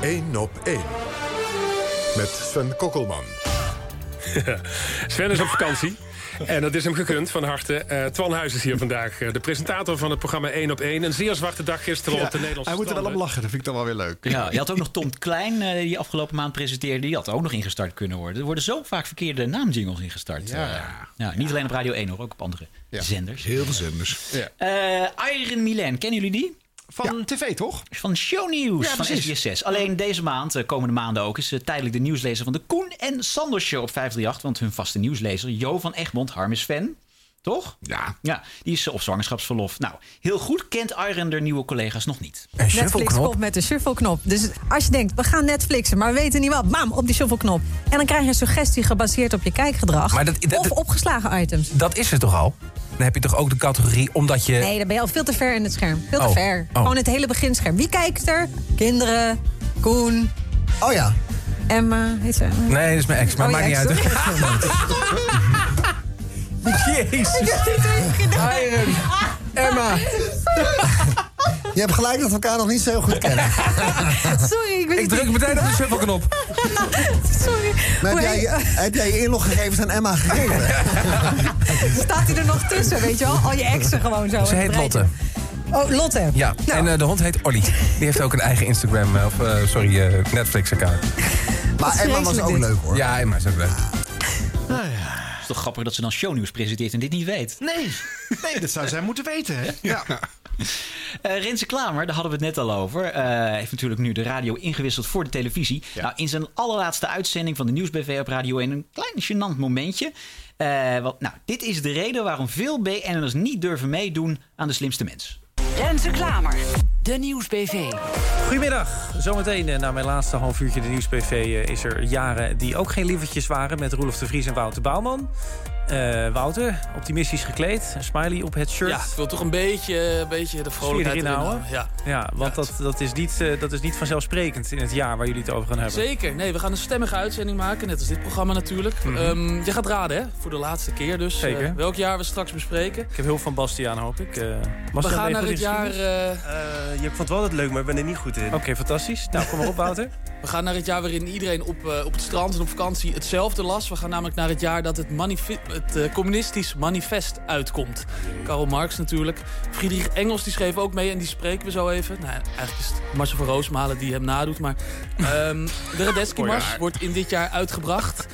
[SPEAKER 29] Eén op één. Met Sven Kokkelman.
[SPEAKER 28] Sven is op vakantie. En dat is hem gegund van harte. Eh Twan Huis is hier vandaag, eh, de presentator van het programma 1 op 1. Een zeer zwarte dag gisteren op de Nederlandse
[SPEAKER 1] hij moet er wel om
[SPEAKER 28] stranden.
[SPEAKER 1] lachen, dat vind ik dan wel weer leuk.
[SPEAKER 7] Ja, je had ook nog Tom Klein, eh, die afgelopen maand presenteerde. Die had ook nog ingestart kunnen worden. Er worden zo vaak verkeerde naamjingles ingestart.
[SPEAKER 1] Ja.
[SPEAKER 7] Eh, ja, niet alleen op Radio 1 hoor, ook op andere zenders.
[SPEAKER 2] Heel veel zenders. Ja.
[SPEAKER 7] Eh Iron Milan, kennen jullie die?
[SPEAKER 1] Van tv, toch?
[SPEAKER 7] Van Show News,
[SPEAKER 1] Ja,
[SPEAKER 7] van
[SPEAKER 1] precies.
[SPEAKER 7] SBS6. Alleen deze maand, eh, komende maanden ook, is eh, tijdelijk de nieuwslezer van de Koen en Sander Show op 538. Want hun vaste nieuwslezer, Jo van Egmond, Harm is fan. Toch?
[SPEAKER 2] Ja.
[SPEAKER 7] ja. Die is eh, op zwangerschapsverlof. Nou, heel goed kent Iron de nieuwe collega's nog niet.
[SPEAKER 30] Netflix komt met de shuffleknop. Dus als je denkt, we gaan Netflixen, maar we weten niet wat. Bam, op die shuffleknop. En dan krijg je een suggestie gebaseerd op je kijkgedrag.
[SPEAKER 14] Maar dat- dat-
[SPEAKER 30] of opgeslagen items.
[SPEAKER 14] Dat is het toch al? Dan heb je toch ook de categorie omdat je...
[SPEAKER 30] Nee, dan ben je al veel te ver in het scherm. Veel te
[SPEAKER 14] Oh,
[SPEAKER 30] ver.
[SPEAKER 14] oh.
[SPEAKER 30] Gewoon het hele beginscherm. Wie kijkt er? Kinderen, Koen. Oh ja. Emma, heet ze Emma?
[SPEAKER 14] Nee, dat is mijn ex, maar
[SPEAKER 30] Oh, je
[SPEAKER 14] maakt niet
[SPEAKER 30] ex,
[SPEAKER 14] uit.
[SPEAKER 30] sorry.
[SPEAKER 14] Jezus.
[SPEAKER 30] Ik heb het even gedaan.
[SPEAKER 10] Emma. Je hebt gelijk dat we elkaar nog niet zo heel goed kennen.
[SPEAKER 30] Sorry, ik weet
[SPEAKER 14] Ik druk meteen op de shuffleknop.
[SPEAKER 30] Sorry.
[SPEAKER 10] Maar heb,
[SPEAKER 30] Hoe
[SPEAKER 10] jij,
[SPEAKER 30] heet-
[SPEAKER 10] heb jij je inloggegevens aan Emma gegeven?
[SPEAKER 30] Staat hij er nog tussen, weet je wel? Al je exen gewoon zo.
[SPEAKER 14] Ze heet Lotte.
[SPEAKER 30] Oh, Lotte.
[SPEAKER 14] Ja,
[SPEAKER 8] Nou.
[SPEAKER 14] en eh, de hond heet Olly. Die heeft dus ook een eigen Instagram, eh, of eh, sorry, eh, Netflix-account.
[SPEAKER 7] Maar Emma was ook leuk,
[SPEAKER 14] hoor. Ja, Emma is ook leuk.
[SPEAKER 1] Nou
[SPEAKER 7] Het is toch grappig dat ze dan shownieuws presenteert en dit niet weet.
[SPEAKER 1] Nee, nee dat zou zij moeten weten. Hè? Ja.
[SPEAKER 7] Eh Renze Klamer, daar hadden we het net al over. eh, heeft natuurlijk nu de radio ingewisseld voor de televisie. Nou, in zijn allerlaatste uitzending van de Nieuwsbv op Radio 1... een klein gênant momentje. Eh, want, nou, dit is de reden waarom veel BN'ers niet durven meedoen aan de slimste mens.
[SPEAKER 3] Renze Klamer, de nieuwsbv.
[SPEAKER 15] Goedemiddag. Zometeen eh, na mijn laatste half uurtje de Nieuwsbv eh, is er jaren die ook geen lievertjes waren met Roelof de Vries en Wouter Bouwman. Eh, Wouter, optimistisch gekleed, een smiley op het shirt.
[SPEAKER 18] Ja, ik wil toch een beetje, een beetje de
[SPEAKER 15] Sfeer
[SPEAKER 18] vrolijkheid eh,
[SPEAKER 15] erin houden.
[SPEAKER 18] Ja.
[SPEAKER 15] ja want dat, dat, is niet, eh, dat is niet vanzelfsprekend in het jaar waar jullie het over gaan hebben.
[SPEAKER 18] Zeker. Nee, we gaan een stemmige uitzending maken, net als dit programma natuurlijk.
[SPEAKER 15] Mhm.
[SPEAKER 18] Ehm, je gaat raden, hè? Voor de laatste keer dus.
[SPEAKER 15] Zeker.
[SPEAKER 18] eh, welk jaar we straks bespreken.
[SPEAKER 15] Ik heb heel van Bastiaan, hoop ik. Eh,
[SPEAKER 18] we
[SPEAKER 15] Bastiaan, ben
[SPEAKER 18] gaan
[SPEAKER 15] je
[SPEAKER 18] naar
[SPEAKER 15] goed
[SPEAKER 18] het
[SPEAKER 15] in
[SPEAKER 18] jaar...
[SPEAKER 15] geschiedenis?
[SPEAKER 18] eh,
[SPEAKER 15] Ik vond wel dat leuk, maar ik ben er niet goed in. Oké, fantastisch. Nou, kom maar op, Wouter.
[SPEAKER 18] We gaan naar het jaar waarin iedereen op, eh, op het strand en op vakantie hetzelfde las. We gaan namelijk naar het jaar dat het, manife- het eh, communistisch manifest uitkomt. Karl Marx natuurlijk. Friedrich Engels die schreef ook mee en die spreken we zo even. Nou, eigenlijk is het Marcel van Roosmalen die hem nadoet. Maar ehm, de Radetzky-mars wordt in dit jaar uitgebracht.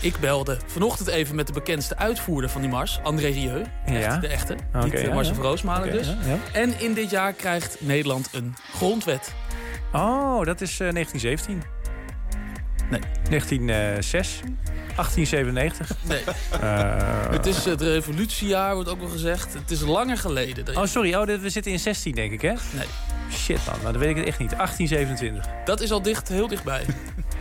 [SPEAKER 18] Ik belde vanochtend even met de bekendste uitvoerder van die mars, André Rieu. Echt,
[SPEAKER 15] Ja.
[SPEAKER 18] De echte,
[SPEAKER 15] Oké,
[SPEAKER 18] niet eh,
[SPEAKER 15] ja,
[SPEAKER 18] Marcel
[SPEAKER 15] ja.
[SPEAKER 18] van Roosmalen
[SPEAKER 15] Oké,
[SPEAKER 18] dus.
[SPEAKER 15] ja, ja.
[SPEAKER 18] En in dit jaar krijgt Nederland een grondwet.
[SPEAKER 15] Oh, dat is eh, 1917. Nee. eh, 1906. 1897.
[SPEAKER 18] Nee.
[SPEAKER 15] Eh,
[SPEAKER 18] Het is het revolutiejaar, wordt ook wel gezegd. Het is langer geleden. dat je-
[SPEAKER 15] Oh, sorry. Oh, dit- we zitten in 16, denk ik, hè? Nee. Shit, man. Nou, dan weet ik het echt niet. 1827.
[SPEAKER 18] Dat is al dicht, heel dichtbij.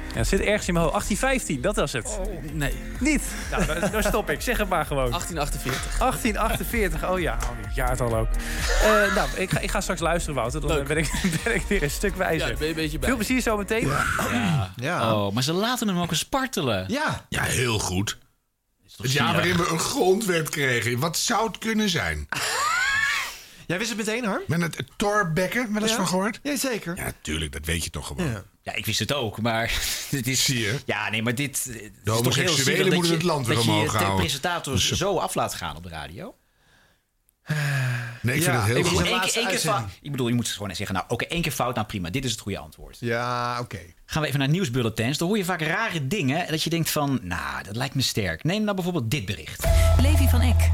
[SPEAKER 18] Oh.
[SPEAKER 15] Ja, het zit ergens in mijn hoofd. 1815, dat was het.
[SPEAKER 18] Nee.
[SPEAKER 15] Niet? Nou, dan, dan stop ik. Zeg het maar gewoon.
[SPEAKER 18] 1848.
[SPEAKER 15] 1848, oh ja. Oh, het jaartal ook. Eh, nou, ik ga, ik ga straks luisteren, Wouter. Dan ben ik, ben ik weer een stuk wijzer.
[SPEAKER 18] Ja, daar ben je een beetje bij.
[SPEAKER 15] Veel plezier zo meteen.
[SPEAKER 7] Ja. Oh, maar ze laten hem ook eens spartelen.
[SPEAKER 1] Ja.
[SPEAKER 2] Ja, heel goed. Het jaar
[SPEAKER 7] zielig.
[SPEAKER 2] waarin we een grondwet kregen. Wat zou het kunnen zijn?
[SPEAKER 1] Jij wist het meteen, Harm?
[SPEAKER 2] Met het het Torbekken, wel eens
[SPEAKER 1] Ja.
[SPEAKER 2] van gehoord?
[SPEAKER 1] Jazeker.
[SPEAKER 2] Ja, tuurlijk, dat weet je toch gewoon.
[SPEAKER 1] Ja.
[SPEAKER 7] Ja, ik wist het ook, maar dit is...
[SPEAKER 2] Zie je?
[SPEAKER 7] Ja, nee, maar dit... het is toch heel
[SPEAKER 2] homoseksuelen
[SPEAKER 7] zielig dat
[SPEAKER 2] moeten
[SPEAKER 7] je-
[SPEAKER 2] het land weer
[SPEAKER 7] dat
[SPEAKER 2] omhoog
[SPEAKER 7] je de
[SPEAKER 2] houden. Dus, eh,
[SPEAKER 7] presentators zo af laat gaan op de radio.
[SPEAKER 2] Nee, ik
[SPEAKER 1] Ja,
[SPEAKER 2] vind het heel
[SPEAKER 1] ik-
[SPEAKER 2] goed.
[SPEAKER 1] Zijn
[SPEAKER 7] Eén keer,
[SPEAKER 1] laatste
[SPEAKER 7] één keer
[SPEAKER 1] uitzending.
[SPEAKER 7] fout. Ik bedoel, je moet gewoon zeggen, nou, oké, één keer fout, nou prima. Dit is het goede antwoord.
[SPEAKER 1] Ja, oké.
[SPEAKER 7] Gaan we even naar nieuwsbulletins. Dan hoor je vaak rare dingen dat je denkt van, nou, dat lijkt me sterk. Neem nou bijvoorbeeld dit bericht.
[SPEAKER 11] Levi van Eck.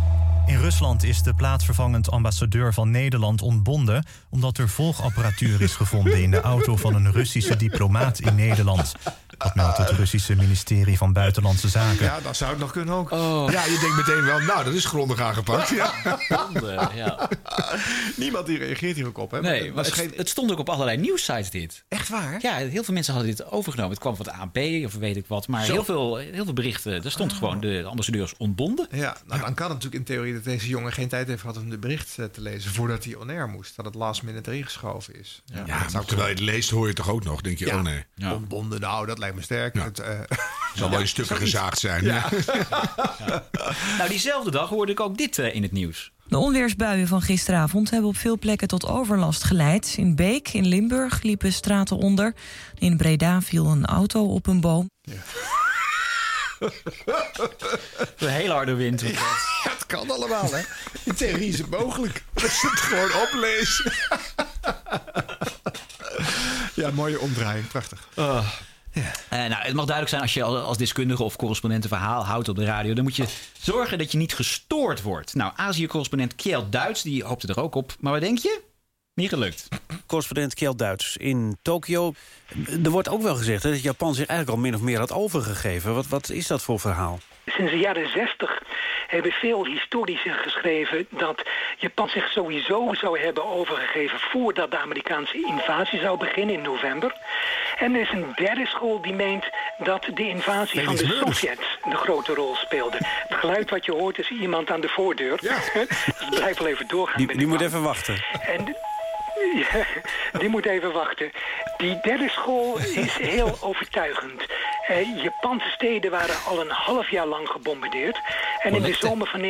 [SPEAKER 11] In Rusland is de plaatsvervangend ambassadeur van Nederland ontbonden omdat er volgapparatuur is gevonden in de auto van een Russische diplomaat in Nederland. Dat meldt het Russische ministerie van Buitenlandse Zaken.
[SPEAKER 1] Ja, dat zou het nog kunnen ook.
[SPEAKER 7] Oh.
[SPEAKER 2] Ja, je denkt meteen wel, nou, dat is grondig aangepakt. Ja.
[SPEAKER 1] Niemand die reageert hier ook op, hè?
[SPEAKER 7] Eh, Nee, maar het, het stond ook op allerlei nieuwssites dit.
[SPEAKER 1] Echt waar?
[SPEAKER 7] Ja, heel veel mensen hadden dit overgenomen. Het kwam van het AP of weet ik wat. Maar
[SPEAKER 1] Zo. Oh.
[SPEAKER 7] heel veel, heel veel berichten, er stond gewoon de ambassadeurs ontbonden.
[SPEAKER 1] Ja, nou, dan kan het natuurlijk in theorie dat deze jongen geen tijd heeft gehad om de bericht eh, te lezen voordat hij on-air moest. Dat het last minute erin geschoven is.
[SPEAKER 7] Nou,
[SPEAKER 2] Ja, maar terwijl je het leest, hoor je het toch ook nog? Denk je,
[SPEAKER 1] Ja.
[SPEAKER 2] oh nee.
[SPEAKER 1] Ontbonden, nou, dat lijkt me sterk. Het, eh,
[SPEAKER 2] Zal wel in stukken
[SPEAKER 7] zoiets.
[SPEAKER 2] gezaagd zijn.
[SPEAKER 7] Ja.
[SPEAKER 2] hè?
[SPEAKER 7] Nou, diezelfde dag hoorde ik ook dit eh, in het nieuws.
[SPEAKER 26] De onweersbuien van gisteravond hebben op veel plekken tot overlast geleid. In Beek, in Limburg, liepen straten onder. In Breda viel een auto op een boom.
[SPEAKER 7] Een hele harde wind. wat dat.
[SPEAKER 1] Ja, het kan allemaal, hè? In theorie is het mogelijk. Als je het gewoon oplezen. ja, mooie omdraaiing. Prachtig.
[SPEAKER 7] Eh, nou, het mag duidelijk zijn, als je al- als deskundige of correspondent een verhaal houdt op de radio... dan moet je zorgen dat je niet gestoord wordt. Nou, Azië-correspondent Kjell Duits, die hoopte er ook op. Maar wat denk je? Niet gelukt.
[SPEAKER 21] Correspondent Kjeld Duits in Tokio. Er wordt ook wel gezegd hè, dat Japan zich eigenlijk al min of meer had overgegeven. Wat, wat is dat voor verhaal?
[SPEAKER 5] Sinds de jaren zestig hebben veel historici geschreven dat Japan zich sowieso zou hebben overgegeven voordat de Amerikaanse invasie zou beginnen in november. En er is een derde school die meent dat de invasie
[SPEAKER 8] Nee,
[SPEAKER 5] van
[SPEAKER 8] die
[SPEAKER 5] de
[SPEAKER 8] is Murders.
[SPEAKER 5] Sovjets een grote rol speelde. Het geluid wat je hoort is iemand aan de voordeur. dus blijf wel even doorgaan.
[SPEAKER 21] Die,
[SPEAKER 5] met
[SPEAKER 21] die
[SPEAKER 5] de
[SPEAKER 21] moet
[SPEAKER 5] man.
[SPEAKER 21] even wachten.
[SPEAKER 5] En ja, die moet even wachten. Die derde school is heel overtuigend. Eh, Japanse steden waren al een half jaar lang gebombardeerd. En in de zomer van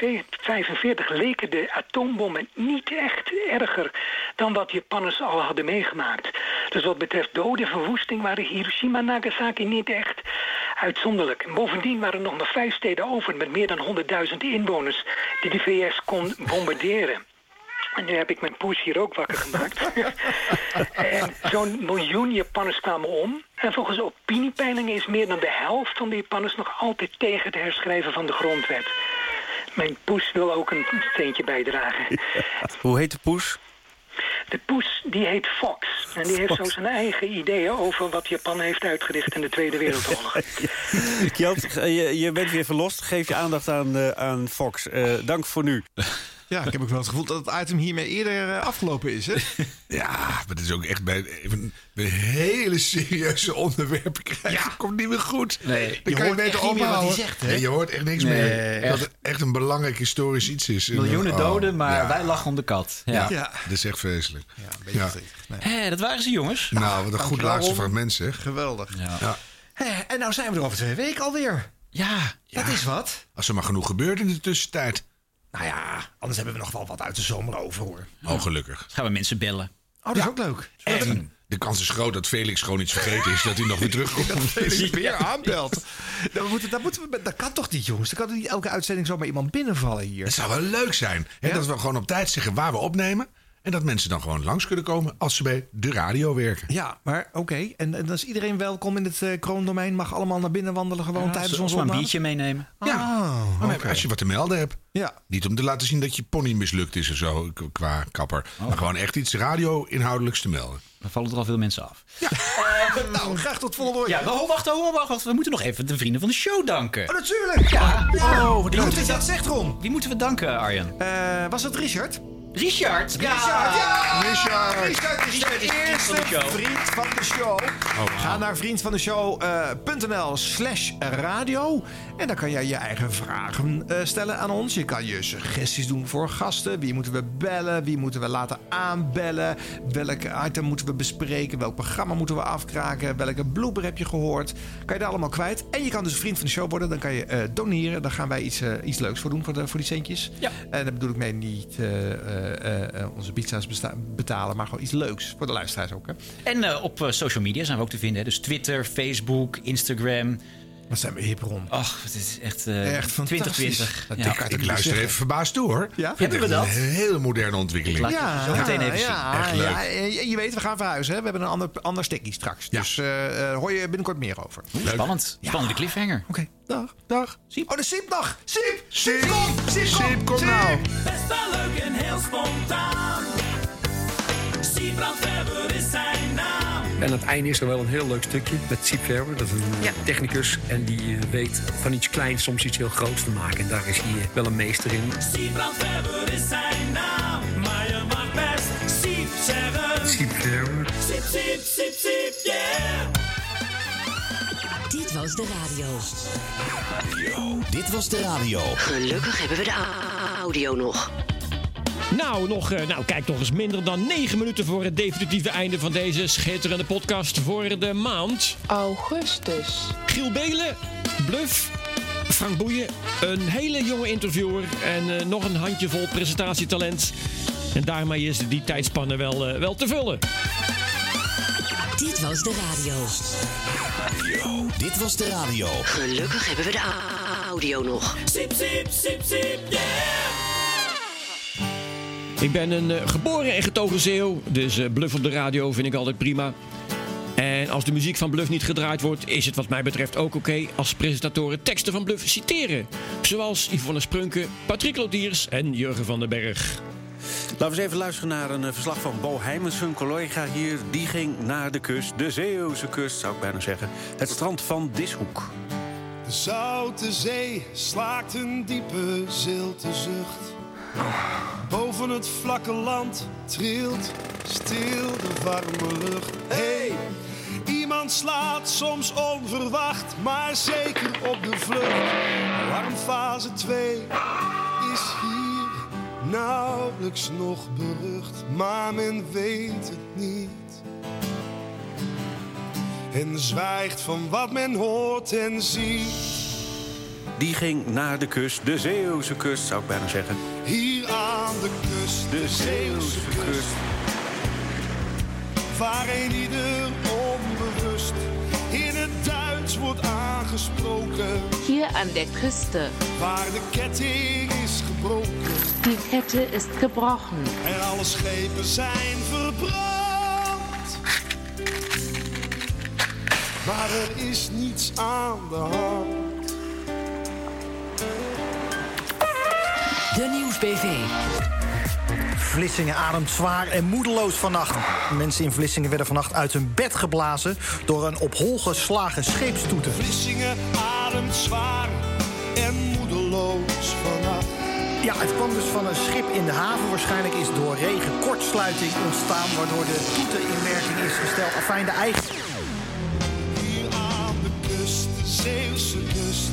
[SPEAKER 5] 1945 leken de atoombommen niet echt erger dan wat Japanners al hadden meegemaakt. Dus wat betreft doden en verwoesting waren Hiroshima en Nagasaki niet echt uitzonderlijk. En bovendien waren er nog maar vijf steden over met meer dan 100.000 inwoners die de VS kon bombarderen. En nu heb ik mijn poes hier ook wakker gemaakt. en zo'n miljoen Japanners kwamen om. En volgens opiniepeilingen is meer dan de helft van de Japanners nog altijd tegen het herschrijven van de grondwet. Mijn poes wil ook een steentje bijdragen.
[SPEAKER 21] Hoe heet de poes?
[SPEAKER 5] De poes die heet Fox. En die heeft zo zijn eigen ideeën over wat Japan heeft uitgericht in de Tweede Wereldoorlog.
[SPEAKER 21] Kjeld, eh, je, je bent weer verlost. Geef je aandacht aan, eh, aan Fox. Eh, dank voor nu.
[SPEAKER 1] Ja, ik heb ook wel het gevoel dat het item hiermee eerder eh, afgelopen is. Hè?
[SPEAKER 2] Ja, maar dat is ook echt bij even, bij hele serieuze onderwerpen krijgen. Komt niet meer goed.
[SPEAKER 7] Nee,
[SPEAKER 2] Dan
[SPEAKER 1] je
[SPEAKER 2] kan je
[SPEAKER 1] hoort
[SPEAKER 2] beter
[SPEAKER 1] echt niet meer wat hij
[SPEAKER 2] ophouden.
[SPEAKER 1] zegt, hè?
[SPEAKER 2] Nee, je hoort echt niks
[SPEAKER 7] Nee,
[SPEAKER 2] meer. Dat
[SPEAKER 7] echt.
[SPEAKER 2] het echt een belangrijk historisch iets is.
[SPEAKER 7] Miljoenen
[SPEAKER 2] Oh,
[SPEAKER 7] doden, maar
[SPEAKER 2] ja.
[SPEAKER 7] wij lachen om de kat. Ja.
[SPEAKER 2] Ja, dat is echt vreselijk. Ja,
[SPEAKER 7] Hé, dat waren ze, jongens.
[SPEAKER 2] Nou, wat een goed
[SPEAKER 1] dankjewel,
[SPEAKER 2] laatste
[SPEAKER 1] Ron.
[SPEAKER 2] fragment zeg.
[SPEAKER 1] Geweldig.
[SPEAKER 7] Ja.
[SPEAKER 1] Hè, en nou zijn we er over twee weken alweer.
[SPEAKER 7] Ja,
[SPEAKER 1] dat is wat.
[SPEAKER 2] Als er maar genoeg gebeurt in de tussentijd.
[SPEAKER 1] Nou ja, anders hebben we nog wel wat uit de zomer over hoor.
[SPEAKER 2] Oh, gelukkig.
[SPEAKER 7] Gaan we mensen bellen.
[SPEAKER 1] Oh, dat is ook leuk.
[SPEAKER 2] En de kans is groot dat Felix gewoon iets vergeten is. Dat hij nog weer terugkomt.
[SPEAKER 1] Felix weer aanbelt. Dat, moeten, dat, moeten we, dat kan toch niet, jongens? Dan kan er niet elke uitzending zomaar iemand binnenvallen hier.
[SPEAKER 2] Het zou wel leuk zijn hè, dat we gewoon op tijd zeggen waar we opnemen. En dat mensen dan gewoon langs kunnen komen als ze bij de radio werken.
[SPEAKER 1] Ja, maar oké. En, en dan is iedereen welkom in het eh, kroondomein. Mag allemaal naar binnen wandelen gewoon
[SPEAKER 7] Ja,
[SPEAKER 1] tijdens
[SPEAKER 7] zullen we
[SPEAKER 1] onze
[SPEAKER 7] maar een
[SPEAKER 1] opname.
[SPEAKER 7] biertje Ah. meenemen.
[SPEAKER 1] Ja.
[SPEAKER 2] Maar Oh, nee, Als je wat te melden hebt.
[SPEAKER 1] Ja.
[SPEAKER 2] Niet om te laten zien dat je pony mislukt is of zo k- qua kapper. Maar gewoon echt iets radio-inhoudelijks te melden.
[SPEAKER 7] Oh. Dan vallen er al veel mensen af.
[SPEAKER 1] nou, graag tot volgende week.
[SPEAKER 7] Oh, Ja, wacht, wacht, wacht, wacht, wacht. We moeten nog even de vrienden van de show danken.
[SPEAKER 1] Oh, natuurlijk. Ja. ja.
[SPEAKER 7] Oh, die moeten
[SPEAKER 1] Goed dat
[SPEAKER 7] we
[SPEAKER 1] je dat
[SPEAKER 7] dan-
[SPEAKER 1] zegt, Ron.
[SPEAKER 7] Wie moeten we danken, Arjan?
[SPEAKER 1] Eh, was dat Richard?
[SPEAKER 7] Richard! Ja!
[SPEAKER 1] Richard, ja!
[SPEAKER 2] Richard!
[SPEAKER 1] Richard is
[SPEAKER 7] Richard
[SPEAKER 1] de
[SPEAKER 7] is vriend van
[SPEAKER 1] eerste
[SPEAKER 7] de show.
[SPEAKER 1] vriend van de show.
[SPEAKER 2] wauw.
[SPEAKER 1] Ga naar eh, vriendvandeshow.nl slash radio. En dan kan jij je eigen vragen eh, stellen aan ons. Je kan je suggesties doen voor gasten. Wie moeten we bellen? Wie moeten we laten aanbellen? Welk item moeten we bespreken? Welk programma moeten we afkraken? Welke blooper heb je gehoord? Kan je daar allemaal kwijt. En je kan dus vriend van de show worden. Dan kan je eh, doneren. Daar gaan wij iets, eh, iets leuks voor doen voor, de, voor die centjes. En daar bedoel ik mee niet eh, eh, eh, onze pizza's besta- betalen, maar gewoon iets leuks voor de luisteraars ook. Hè?
[SPEAKER 7] En eh, op eh, social media zijn we ook te vinden. hè. Dus Twitter, Facebook, Instagram.
[SPEAKER 1] Wat zijn we hip, Ron.
[SPEAKER 7] Ach, het is echt, eh
[SPEAKER 1] Echt fantastisch.
[SPEAKER 7] 2020.
[SPEAKER 1] Dat
[SPEAKER 7] Ja.
[SPEAKER 1] kan je
[SPEAKER 2] Ik
[SPEAKER 1] niet
[SPEAKER 2] luister
[SPEAKER 1] zeggen.
[SPEAKER 2] even verbaasd toe hoor.
[SPEAKER 1] Ja?
[SPEAKER 2] Vind
[SPEAKER 1] Hebben
[SPEAKER 2] ik
[SPEAKER 1] we
[SPEAKER 2] echt
[SPEAKER 1] dat?
[SPEAKER 2] Een hele moderne ontwikkeling.
[SPEAKER 7] Ik laat je zo meteen even
[SPEAKER 1] ja,
[SPEAKER 7] zien.
[SPEAKER 2] Echt leuk.
[SPEAKER 1] ja, en je- je weet, we gaan verhuizen. Hè? We hebben een ander, ander stickie straks. Dus eh, eh, hoor je binnenkort meer over.
[SPEAKER 7] Spannend. Spannende cliffhanger.
[SPEAKER 1] Oké, dag. Dag. Oh, de Siep dag. Siep. Siep,
[SPEAKER 2] Siep.
[SPEAKER 1] kom. Siep, kom.
[SPEAKER 2] Siep, kom nou.
[SPEAKER 8] Best wel leuk en heel spontaan. Siebrand Verber is zijn naam.
[SPEAKER 13] En aan het einde is er wel een heel leuk stukje met Siep Verber. Dat is een eh, technicus en die eh, weet van iets kleins soms iets heel groots te maken. En daar is hij eh, wel een meester in.
[SPEAKER 8] Siebrand Verber is zijn naam. Maar je mag best Siep zeggen.
[SPEAKER 13] Siep Verber.
[SPEAKER 8] Siep, siep, siep, siep, yeah.
[SPEAKER 19] Dit was de radio.
[SPEAKER 20] Dit was de radio.
[SPEAKER 19] Gelukkig hebben we de au- audio nog.
[SPEAKER 6] Nou, nog, eh, nou, kijk nog eens minder dan 9 minuten voor het definitieve einde van deze schitterende podcast voor de maand. Augustus. Giel Belen, Bluff, Frank Boeien, een hele jonge interviewer en eh, nog een handjevol presentatietalent. En daarmee is die tijdspanne wel, eh, wel te vullen. Dit was de radio.
[SPEAKER 1] Dit was de radio.
[SPEAKER 6] Gelukkig hebben we de audio nog.
[SPEAKER 9] Sip, sip, sip, sip, yeah!
[SPEAKER 6] Ik ben een eh, geboren en getogen Zeeuw, dus eh, Bluff op de radio vind ik altijd prima. En als de muziek van Bluff niet gedraaid wordt, is het wat mij betreft ook oké als presentatoren teksten van Bluff citeren. Zoals Yvonne Sprunke, Patrick Lodiers en Jurgen van den Berg.
[SPEAKER 21] Laten we eens even luisteren naar een eh, verslag van Bo Heijmens, een collega hier. Die ging naar de kust, de Zeeuwse kust zou ik bijna zeggen. Het strand van Dishoek.
[SPEAKER 19] De zoute zee slaakt een diepe zilte zucht. Boven het vlakke land trilt stil de warme lucht. Hey, iemand slaat soms onverwacht, maar zeker op de vlucht. Alarmfase 2 is hier nauwelijks nog berucht, maar men weet het niet. En zwijgt van wat men hoort en ziet.
[SPEAKER 21] Die ging naar de kust, de Zeeuwse kust zou ik bijna zeggen.
[SPEAKER 19] Hier aan de kust, de Zeeuwse kust. Waarin ieder onbewust in het Duits wordt aangesproken.
[SPEAKER 12] Hier an der Küste.
[SPEAKER 19] Waar de ketting is gebroken
[SPEAKER 12] Die Kette ist gebrochen.
[SPEAKER 19] en alle schepen zijn verbrand. Maar er is niets aan de hand.
[SPEAKER 31] De Nieuwsbv.
[SPEAKER 1] Vlissingen ademt zwaar en moedeloos vannacht. Mensen in Vlissingen werden vannacht uit hun bed geblazen door een op hol geslagen scheepstoeter.
[SPEAKER 19] Vlissingen ademt zwaar en moedeloos vannacht.
[SPEAKER 1] Ja, het kwam dus van een schip in de haven. Waarschijnlijk is door regen kortsluiting ontstaan, waardoor de toeter in werking is gesteld. Afijn, de eigen.
[SPEAKER 19] Hier aan de kust, de Zeeuwse kust.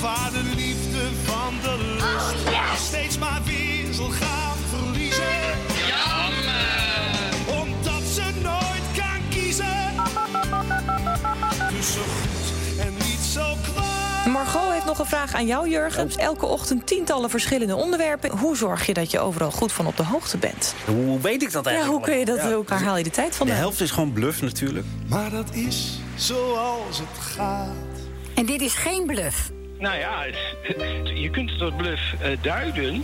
[SPEAKER 19] Waar de liefde van de lust steeds maar weer zal gaan verliezen. Jammer! Omdat ze nooit kan kiezen. Tussen goed en niet zo kwaad.
[SPEAKER 26] Margot heeft nog een vraag aan jou, Jurgen. Elke ochtend tientallen verschillende onderwerpen. Hoe zorg je dat je overal goed van op de hoogte bent?
[SPEAKER 21] Hoe weet ik dat eigenlijk?
[SPEAKER 26] Ja, hoe kun je dat,
[SPEAKER 21] Ja.
[SPEAKER 26] waar haal je de tijd
[SPEAKER 21] De
[SPEAKER 26] vandaan?
[SPEAKER 21] helft is gewoon bluff natuurlijk.
[SPEAKER 19] Maar dat is zoals het gaat.
[SPEAKER 32] En dit is geen bluff.
[SPEAKER 33] Nou ja, je kunt het als bluff eh, duiden.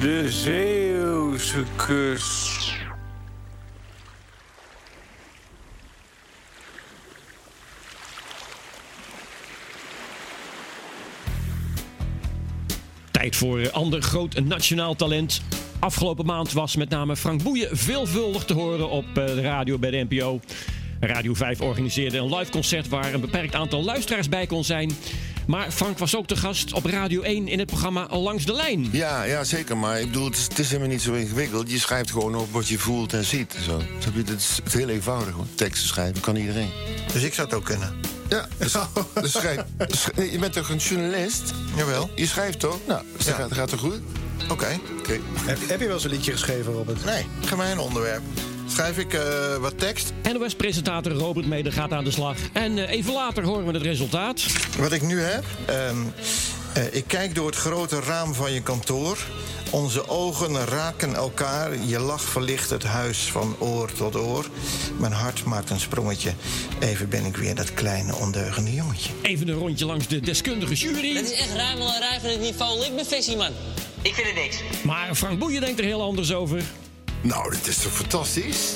[SPEAKER 21] De Zeeuwse kust.
[SPEAKER 6] Tijd voor eh, ander groot nationaal talent. Afgelopen maand was met name Frank Boeien veelvuldig te horen op eh, de radio bij de NPO. Radio 5 organiseerde een live concert waar een beperkt aantal luisteraars bij kon zijn. Maar Frank was ook te gast op Radio 1 in het programma Langs de Lijn.
[SPEAKER 10] Ja, ja, zeker. Maar ik bedoel, het is, het is helemaal niet zo ingewikkeld. Je schrijft gewoon op wat je voelt en ziet. en Zo. Snap je? Het is het is heel eenvoudig hoor. Teksten schrijven kan iedereen. Dus ik zou het ook kunnen. Ja, dus, dus schrijf, sch- nee, je bent toch een journalist? Jawel. Je schrijft toch? Nou, dus dat gaat, dat gaat toch goed? Oké.
[SPEAKER 1] Heb, je wel eens een liedje geschreven, Robert? Nee, geef mij een onderwerp. Schrijf ik
[SPEAKER 10] eh,
[SPEAKER 1] wat tekst.
[SPEAKER 6] NOS-presentator Robert Meder gaat aan de slag. En eh, even later horen we het resultaat.
[SPEAKER 1] Wat ik nu heb, ehm, eh, ik kijk door het grote raam van je kantoor. Onze ogen raken elkaar. Je lach verlicht het huis van oor tot oor. Mijn hart maakt een sprongetje. Even ben ik weer dat kleine ondeugende jongetje.
[SPEAKER 6] Even een rondje langs de deskundige jury.
[SPEAKER 16] Het is echt ruim al ruim van het niveau. Ik ben visie, man. Ik vind het niks.
[SPEAKER 6] Maar Frank Boeien denkt er heel anders over.
[SPEAKER 10] Nou, dit is toch fantastisch?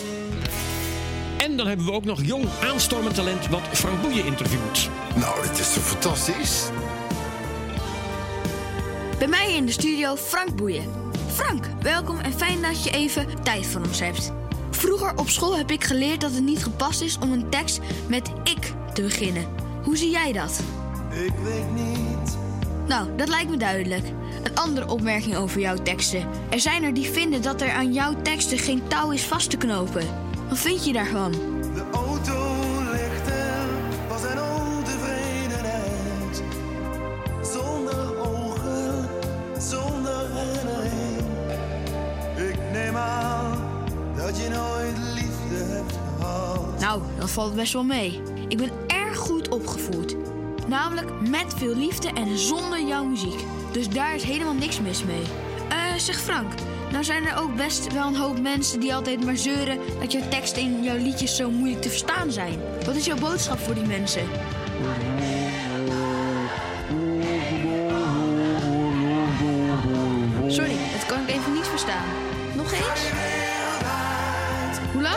[SPEAKER 6] En dan hebben we ook nog jong aanstormend talent wat Frank Boeien interviewt.
[SPEAKER 10] Nou, dit is toch fantastisch?
[SPEAKER 34] Bij mij in de studio Frank Boeien. Frank, welkom en fijn dat je even tijd voor ons hebt. Vroeger op school heb ik geleerd dat het niet gepast is om een tekst met ik te beginnen. Hoe zie jij dat?
[SPEAKER 19] Ik weet niet.
[SPEAKER 34] Nou, dat lijkt me duidelijk. Een andere opmerking over jouw teksten. Er zijn er die vinden dat er aan jouw teksten geen touw is vast te knopen. Wat vind je daarvan?
[SPEAKER 19] De auto ligt er, was een ontevredenheid. Zonder oor.
[SPEAKER 34] Nou, dat valt best wel mee. Ik ben erg goed opgevoed. Namelijk met veel liefde en zonder jouw muziek. Dus daar is helemaal niks mis mee. Eh, zeg Frank, nou zijn er ook best wel een hoop mensen die altijd maar zeuren dat jouw teksten in jouw liedjes zo moeilijk te verstaan zijn. Wat is jouw boodschap voor die mensen? Sorry, dat kan ik even niet verstaan. Nog eens? Hoe lang?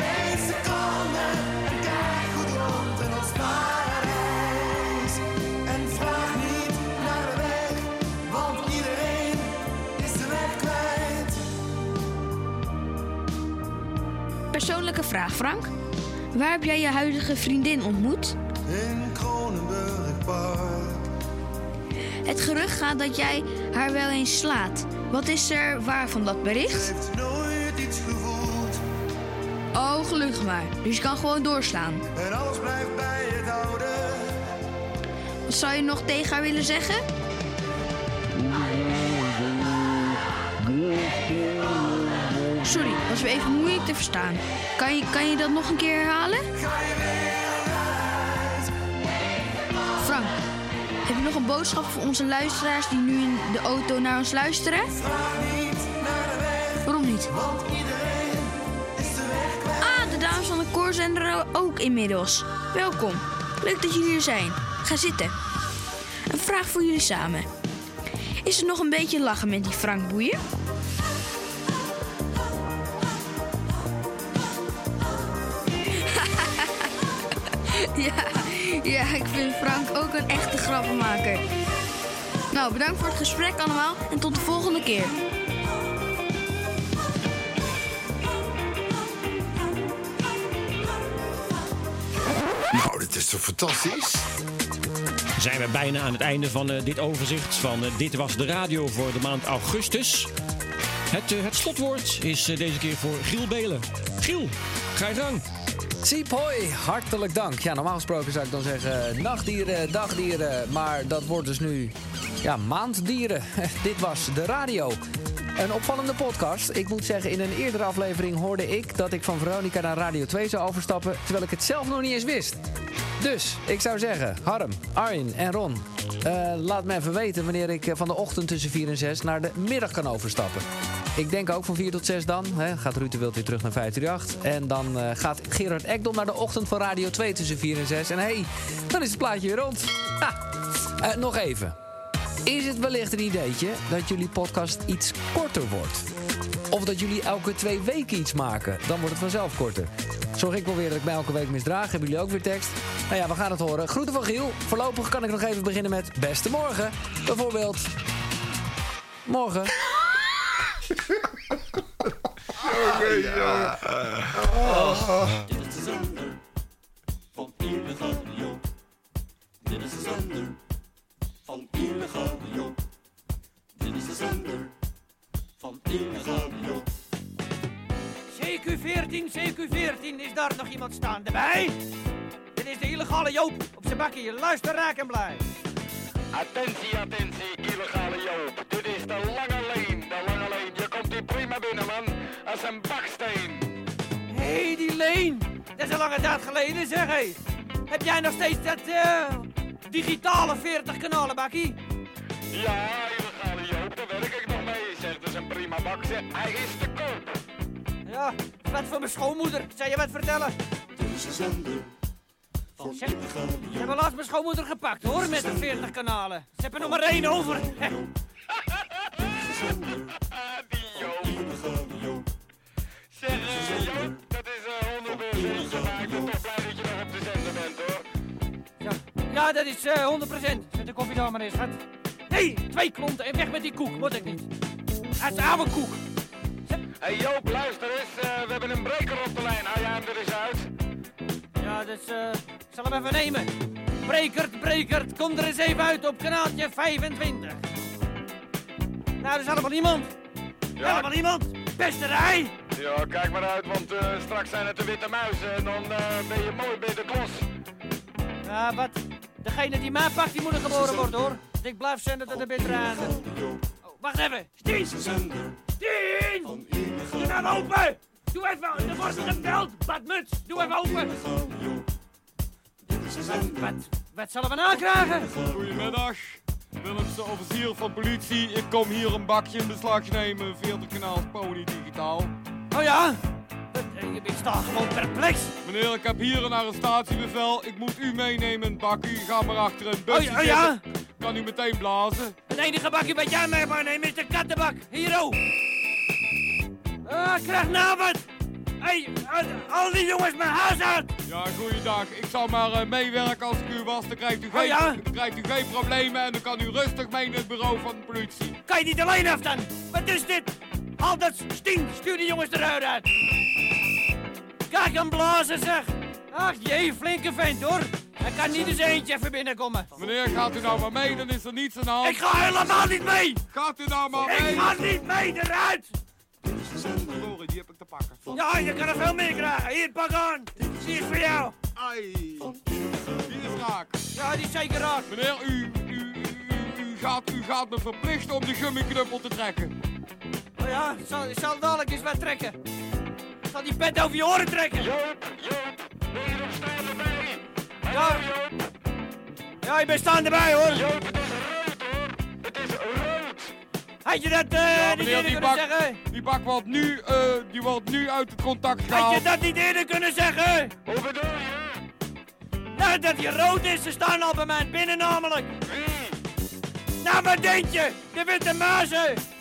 [SPEAKER 8] En vraag niet naar de weg, want iedereen is de weg kwijt.
[SPEAKER 34] Persoonlijke vraag, Frank. Waar heb jij je huidige vriendin ontmoet?
[SPEAKER 19] In Kronenburg Park.
[SPEAKER 34] Het gerucht gaat dat jij haar wel eens slaat. Wat is er waar van dat bericht?
[SPEAKER 19] Nooit iets gevoeld.
[SPEAKER 34] Oh, gelukkig maar. Dus je kan gewoon doorslaan.
[SPEAKER 19] En alles blijft bij het oude.
[SPEAKER 34] Wat zou je nog tegen haar willen zeggen? Sorry, dat was weer even moeilijk te verstaan. Kan je, kan je dat nog een keer herhalen? Frank, heb je nog een boodschap voor onze luisteraars die nu in de auto naar ons luisteren? Waarom niet? Ah, de dames van de koor zijn er ook inmiddels. Welkom. Leuk dat jullie er zijn. Ga zitten. Een vraag voor jullie samen. Is er nog een beetje lachen met die Frank Boeien? ja, ja, ik vind Frank ook een echte grappenmaker. Nou, bedankt voor het gesprek allemaal en tot de volgende keer.
[SPEAKER 35] Nou, dit is toch fantastisch?
[SPEAKER 6] Zijn we bijna aan het einde van eh, dit overzicht van eh, Dit Was De Radio voor de maand augustus. Het, eh, het slotwoord is eh, deze keer voor Giel Belen. Giel, ga je gang.
[SPEAKER 4] Siep, hoi, hartelijk dank. Ja, normaal gesproken zou ik dan zeggen eh, nachtdieren, dagdieren. Maar dat wordt dus nu ja, maanddieren. Dit was de radio. Een opvallende podcast. Ik moet zeggen, in een eerdere aflevering hoorde ik dat ik van Veronica naar Radio 2 zou overstappen. Terwijl ik het zelf nog niet eens wist. Dus, ik zou zeggen, Harm, Arjen en Ron. eh, laat me even weten wanneer ik eh, van de ochtend tussen 4 en 6 naar de middag kan overstappen. Ik denk ook van 4 tot 6 dan. Hè, gaat Ruud de Wild weer terug naar 538. En dan eh, gaat Gerard Ekdom naar de ochtend van Radio 2 tussen 4 en 6. En hé, hey, dan is het plaatje weer rond. Ha. Eh, nog even. Is het wellicht een ideetje dat jullie podcast iets korter wordt? Of dat jullie elke twee weken iets maken? Dan wordt het vanzelf korter. Zorg ik wel weer dat ik mij elke week misdraag. Hebben jullie ook weer tekst? Nou ja, we gaan het horen. Groeten van Giel. Voorlopig kan ik nog even beginnen met beste morgen. Bijvoorbeeld... Morgen.
[SPEAKER 8] ja.
[SPEAKER 35] Oh.
[SPEAKER 8] Dit is de zender van Eeuwig Radio. Dit is de zender van Eeuwig Radio. Dit is de zender van Eeuwig Radio.
[SPEAKER 10] CQ14, CQ14, is daar nog iemand staande bij? Dit is de illegale Joop op zijn bakkie. Luister, raak en blij.
[SPEAKER 11] Attentie, attentie, illegale Joop. Dit is de lange leen, de lange leen. Je komt hier prima binnen, man. Als een baksteen.
[SPEAKER 10] Hé, hey, die Leen. Dat is een lange tijd geleden, zeg hé. Heb jij nog steeds dat eh, digitale 40 kanalen bakkie?
[SPEAKER 11] Ja, illegale Joop, daar werk ik nog mee. Zeg, dat is een prima bak, zeg. Hij is te koop.
[SPEAKER 10] Ja, wat voor mijn schoonmoeder. Zou je wat vertellen? Oh,
[SPEAKER 11] Deze zender van illegale
[SPEAKER 10] Ze hebben laatst mijn schoonmoeder gepakt, hoor, met de 40 kanalen. Ze hebben er nog maar één over.
[SPEAKER 11] Zeg, eh, Joop, dat is eh, 100 euro. Maar ik ben toch blij dat je nog op de zender bent, hoor.
[SPEAKER 10] Ja, dat is eh 100%. Zet de koffie daar maar eens, schat. Nee, twee klonten en weg met die koek. Moet ik niet. Dat is oude koek.
[SPEAKER 11] Hé hey Joop, luister eens. eh, we hebben een breker op de lijn. Hou jij hem er eens uit?
[SPEAKER 10] Ja, dus eh, ik zal hem even nemen. Brekert, Brekert, kom er eens even uit op kanaaltje 25. Nou, er is helemaal niemand. Helemaal niemand. Beste rij.
[SPEAKER 11] Ja, kijk maar uit, want eh, straks zijn het de witte muizen en dan eh, ben je mooi bij de klos.
[SPEAKER 10] Ja, Eh, wat? Degene die mij pakt, die moet er geboren worden, hoor. Dus ik blijf zenden tot de bittere einde. Oh, wacht even. Stien! Stien! Doe nou open! Doe even, er wordt gebeld, badmuts. Doe even open. Wat, wat zullen we nou krijgen?
[SPEAKER 5] Goedemiddag. Willems, de officier van politie. Ik kom hier een bakje in beslag nemen. 40 kanaal Pony Digitaal.
[SPEAKER 10] Oh ja? Je bent staat gewoon perplex.
[SPEAKER 5] Meneer, ik heb hier een arrestatiebevel. Ik moet u meenemen in het bakje. Ga maar achter een
[SPEAKER 10] Oh
[SPEAKER 5] busje
[SPEAKER 10] ja, oh ja?
[SPEAKER 5] zitten. Kan u meteen blazen?
[SPEAKER 10] Het enige bakje wat jij mee mag nemen is de kattenbak. Hier, oh. Ah, krijg nou wat. Hey, eh, al die jongens mijn huis uit.
[SPEAKER 5] Ja, goeiedag. Ik zal maar eh, meewerken als ik u was. Dan krijgt u,
[SPEAKER 10] Oh
[SPEAKER 5] geen,
[SPEAKER 10] ja?
[SPEAKER 5] dan krijgt u geen problemen en dan kan u rustig mee naar het bureau van de politie.
[SPEAKER 10] Kan je niet alleen af dan? Wat is dit? Al dat stink, stuur die jongens eruit uit. Kijk hem blazen zeg. Ach jee, flinke vent hoor. Hij kan niet eens eentje even binnenkomen.
[SPEAKER 5] Meneer, gaat u nou maar mee, dan is er niets aan de hand.
[SPEAKER 10] Ik ga helemaal niet mee.
[SPEAKER 5] Gaat u nou maar mee.
[SPEAKER 10] Ik ga niet mee, eruit.
[SPEAKER 5] Verdorie, die heb ik te pakken.
[SPEAKER 10] Ja, je kan er veel meer krijgen. Hier, pak aan. Die is voor jou.
[SPEAKER 5] Ai. Die is raak.
[SPEAKER 10] Ja, die is zeker raak.
[SPEAKER 5] Meneer, u, u, u, u, gaat, u gaat me verplichten om de gummiknuppel te trekken.
[SPEAKER 10] Oh ja, ik zal, ik zal dadelijk eens wat trekken. Ik zal die pet over je oren trekken. Joop, Joop, ben je nog staan erbij? Ja. Ja, ik ben staan erbij hoor. Joop, het is rood hoor. Het is rood. Had je dat, eh, niet
[SPEAKER 5] meneer,
[SPEAKER 10] eerder
[SPEAKER 5] die
[SPEAKER 10] kunnen
[SPEAKER 5] bak,
[SPEAKER 10] zeggen?
[SPEAKER 5] die bak wordt nu, eh, die wordt nu uit het contact gehaald.
[SPEAKER 10] Had je dat niet eerder kunnen zeggen? Hoe bedoel je? Nou, dat die rood is, ze staan al bij mij binnen namelijk. Wie? Nou, wat denk je? De witte muizen.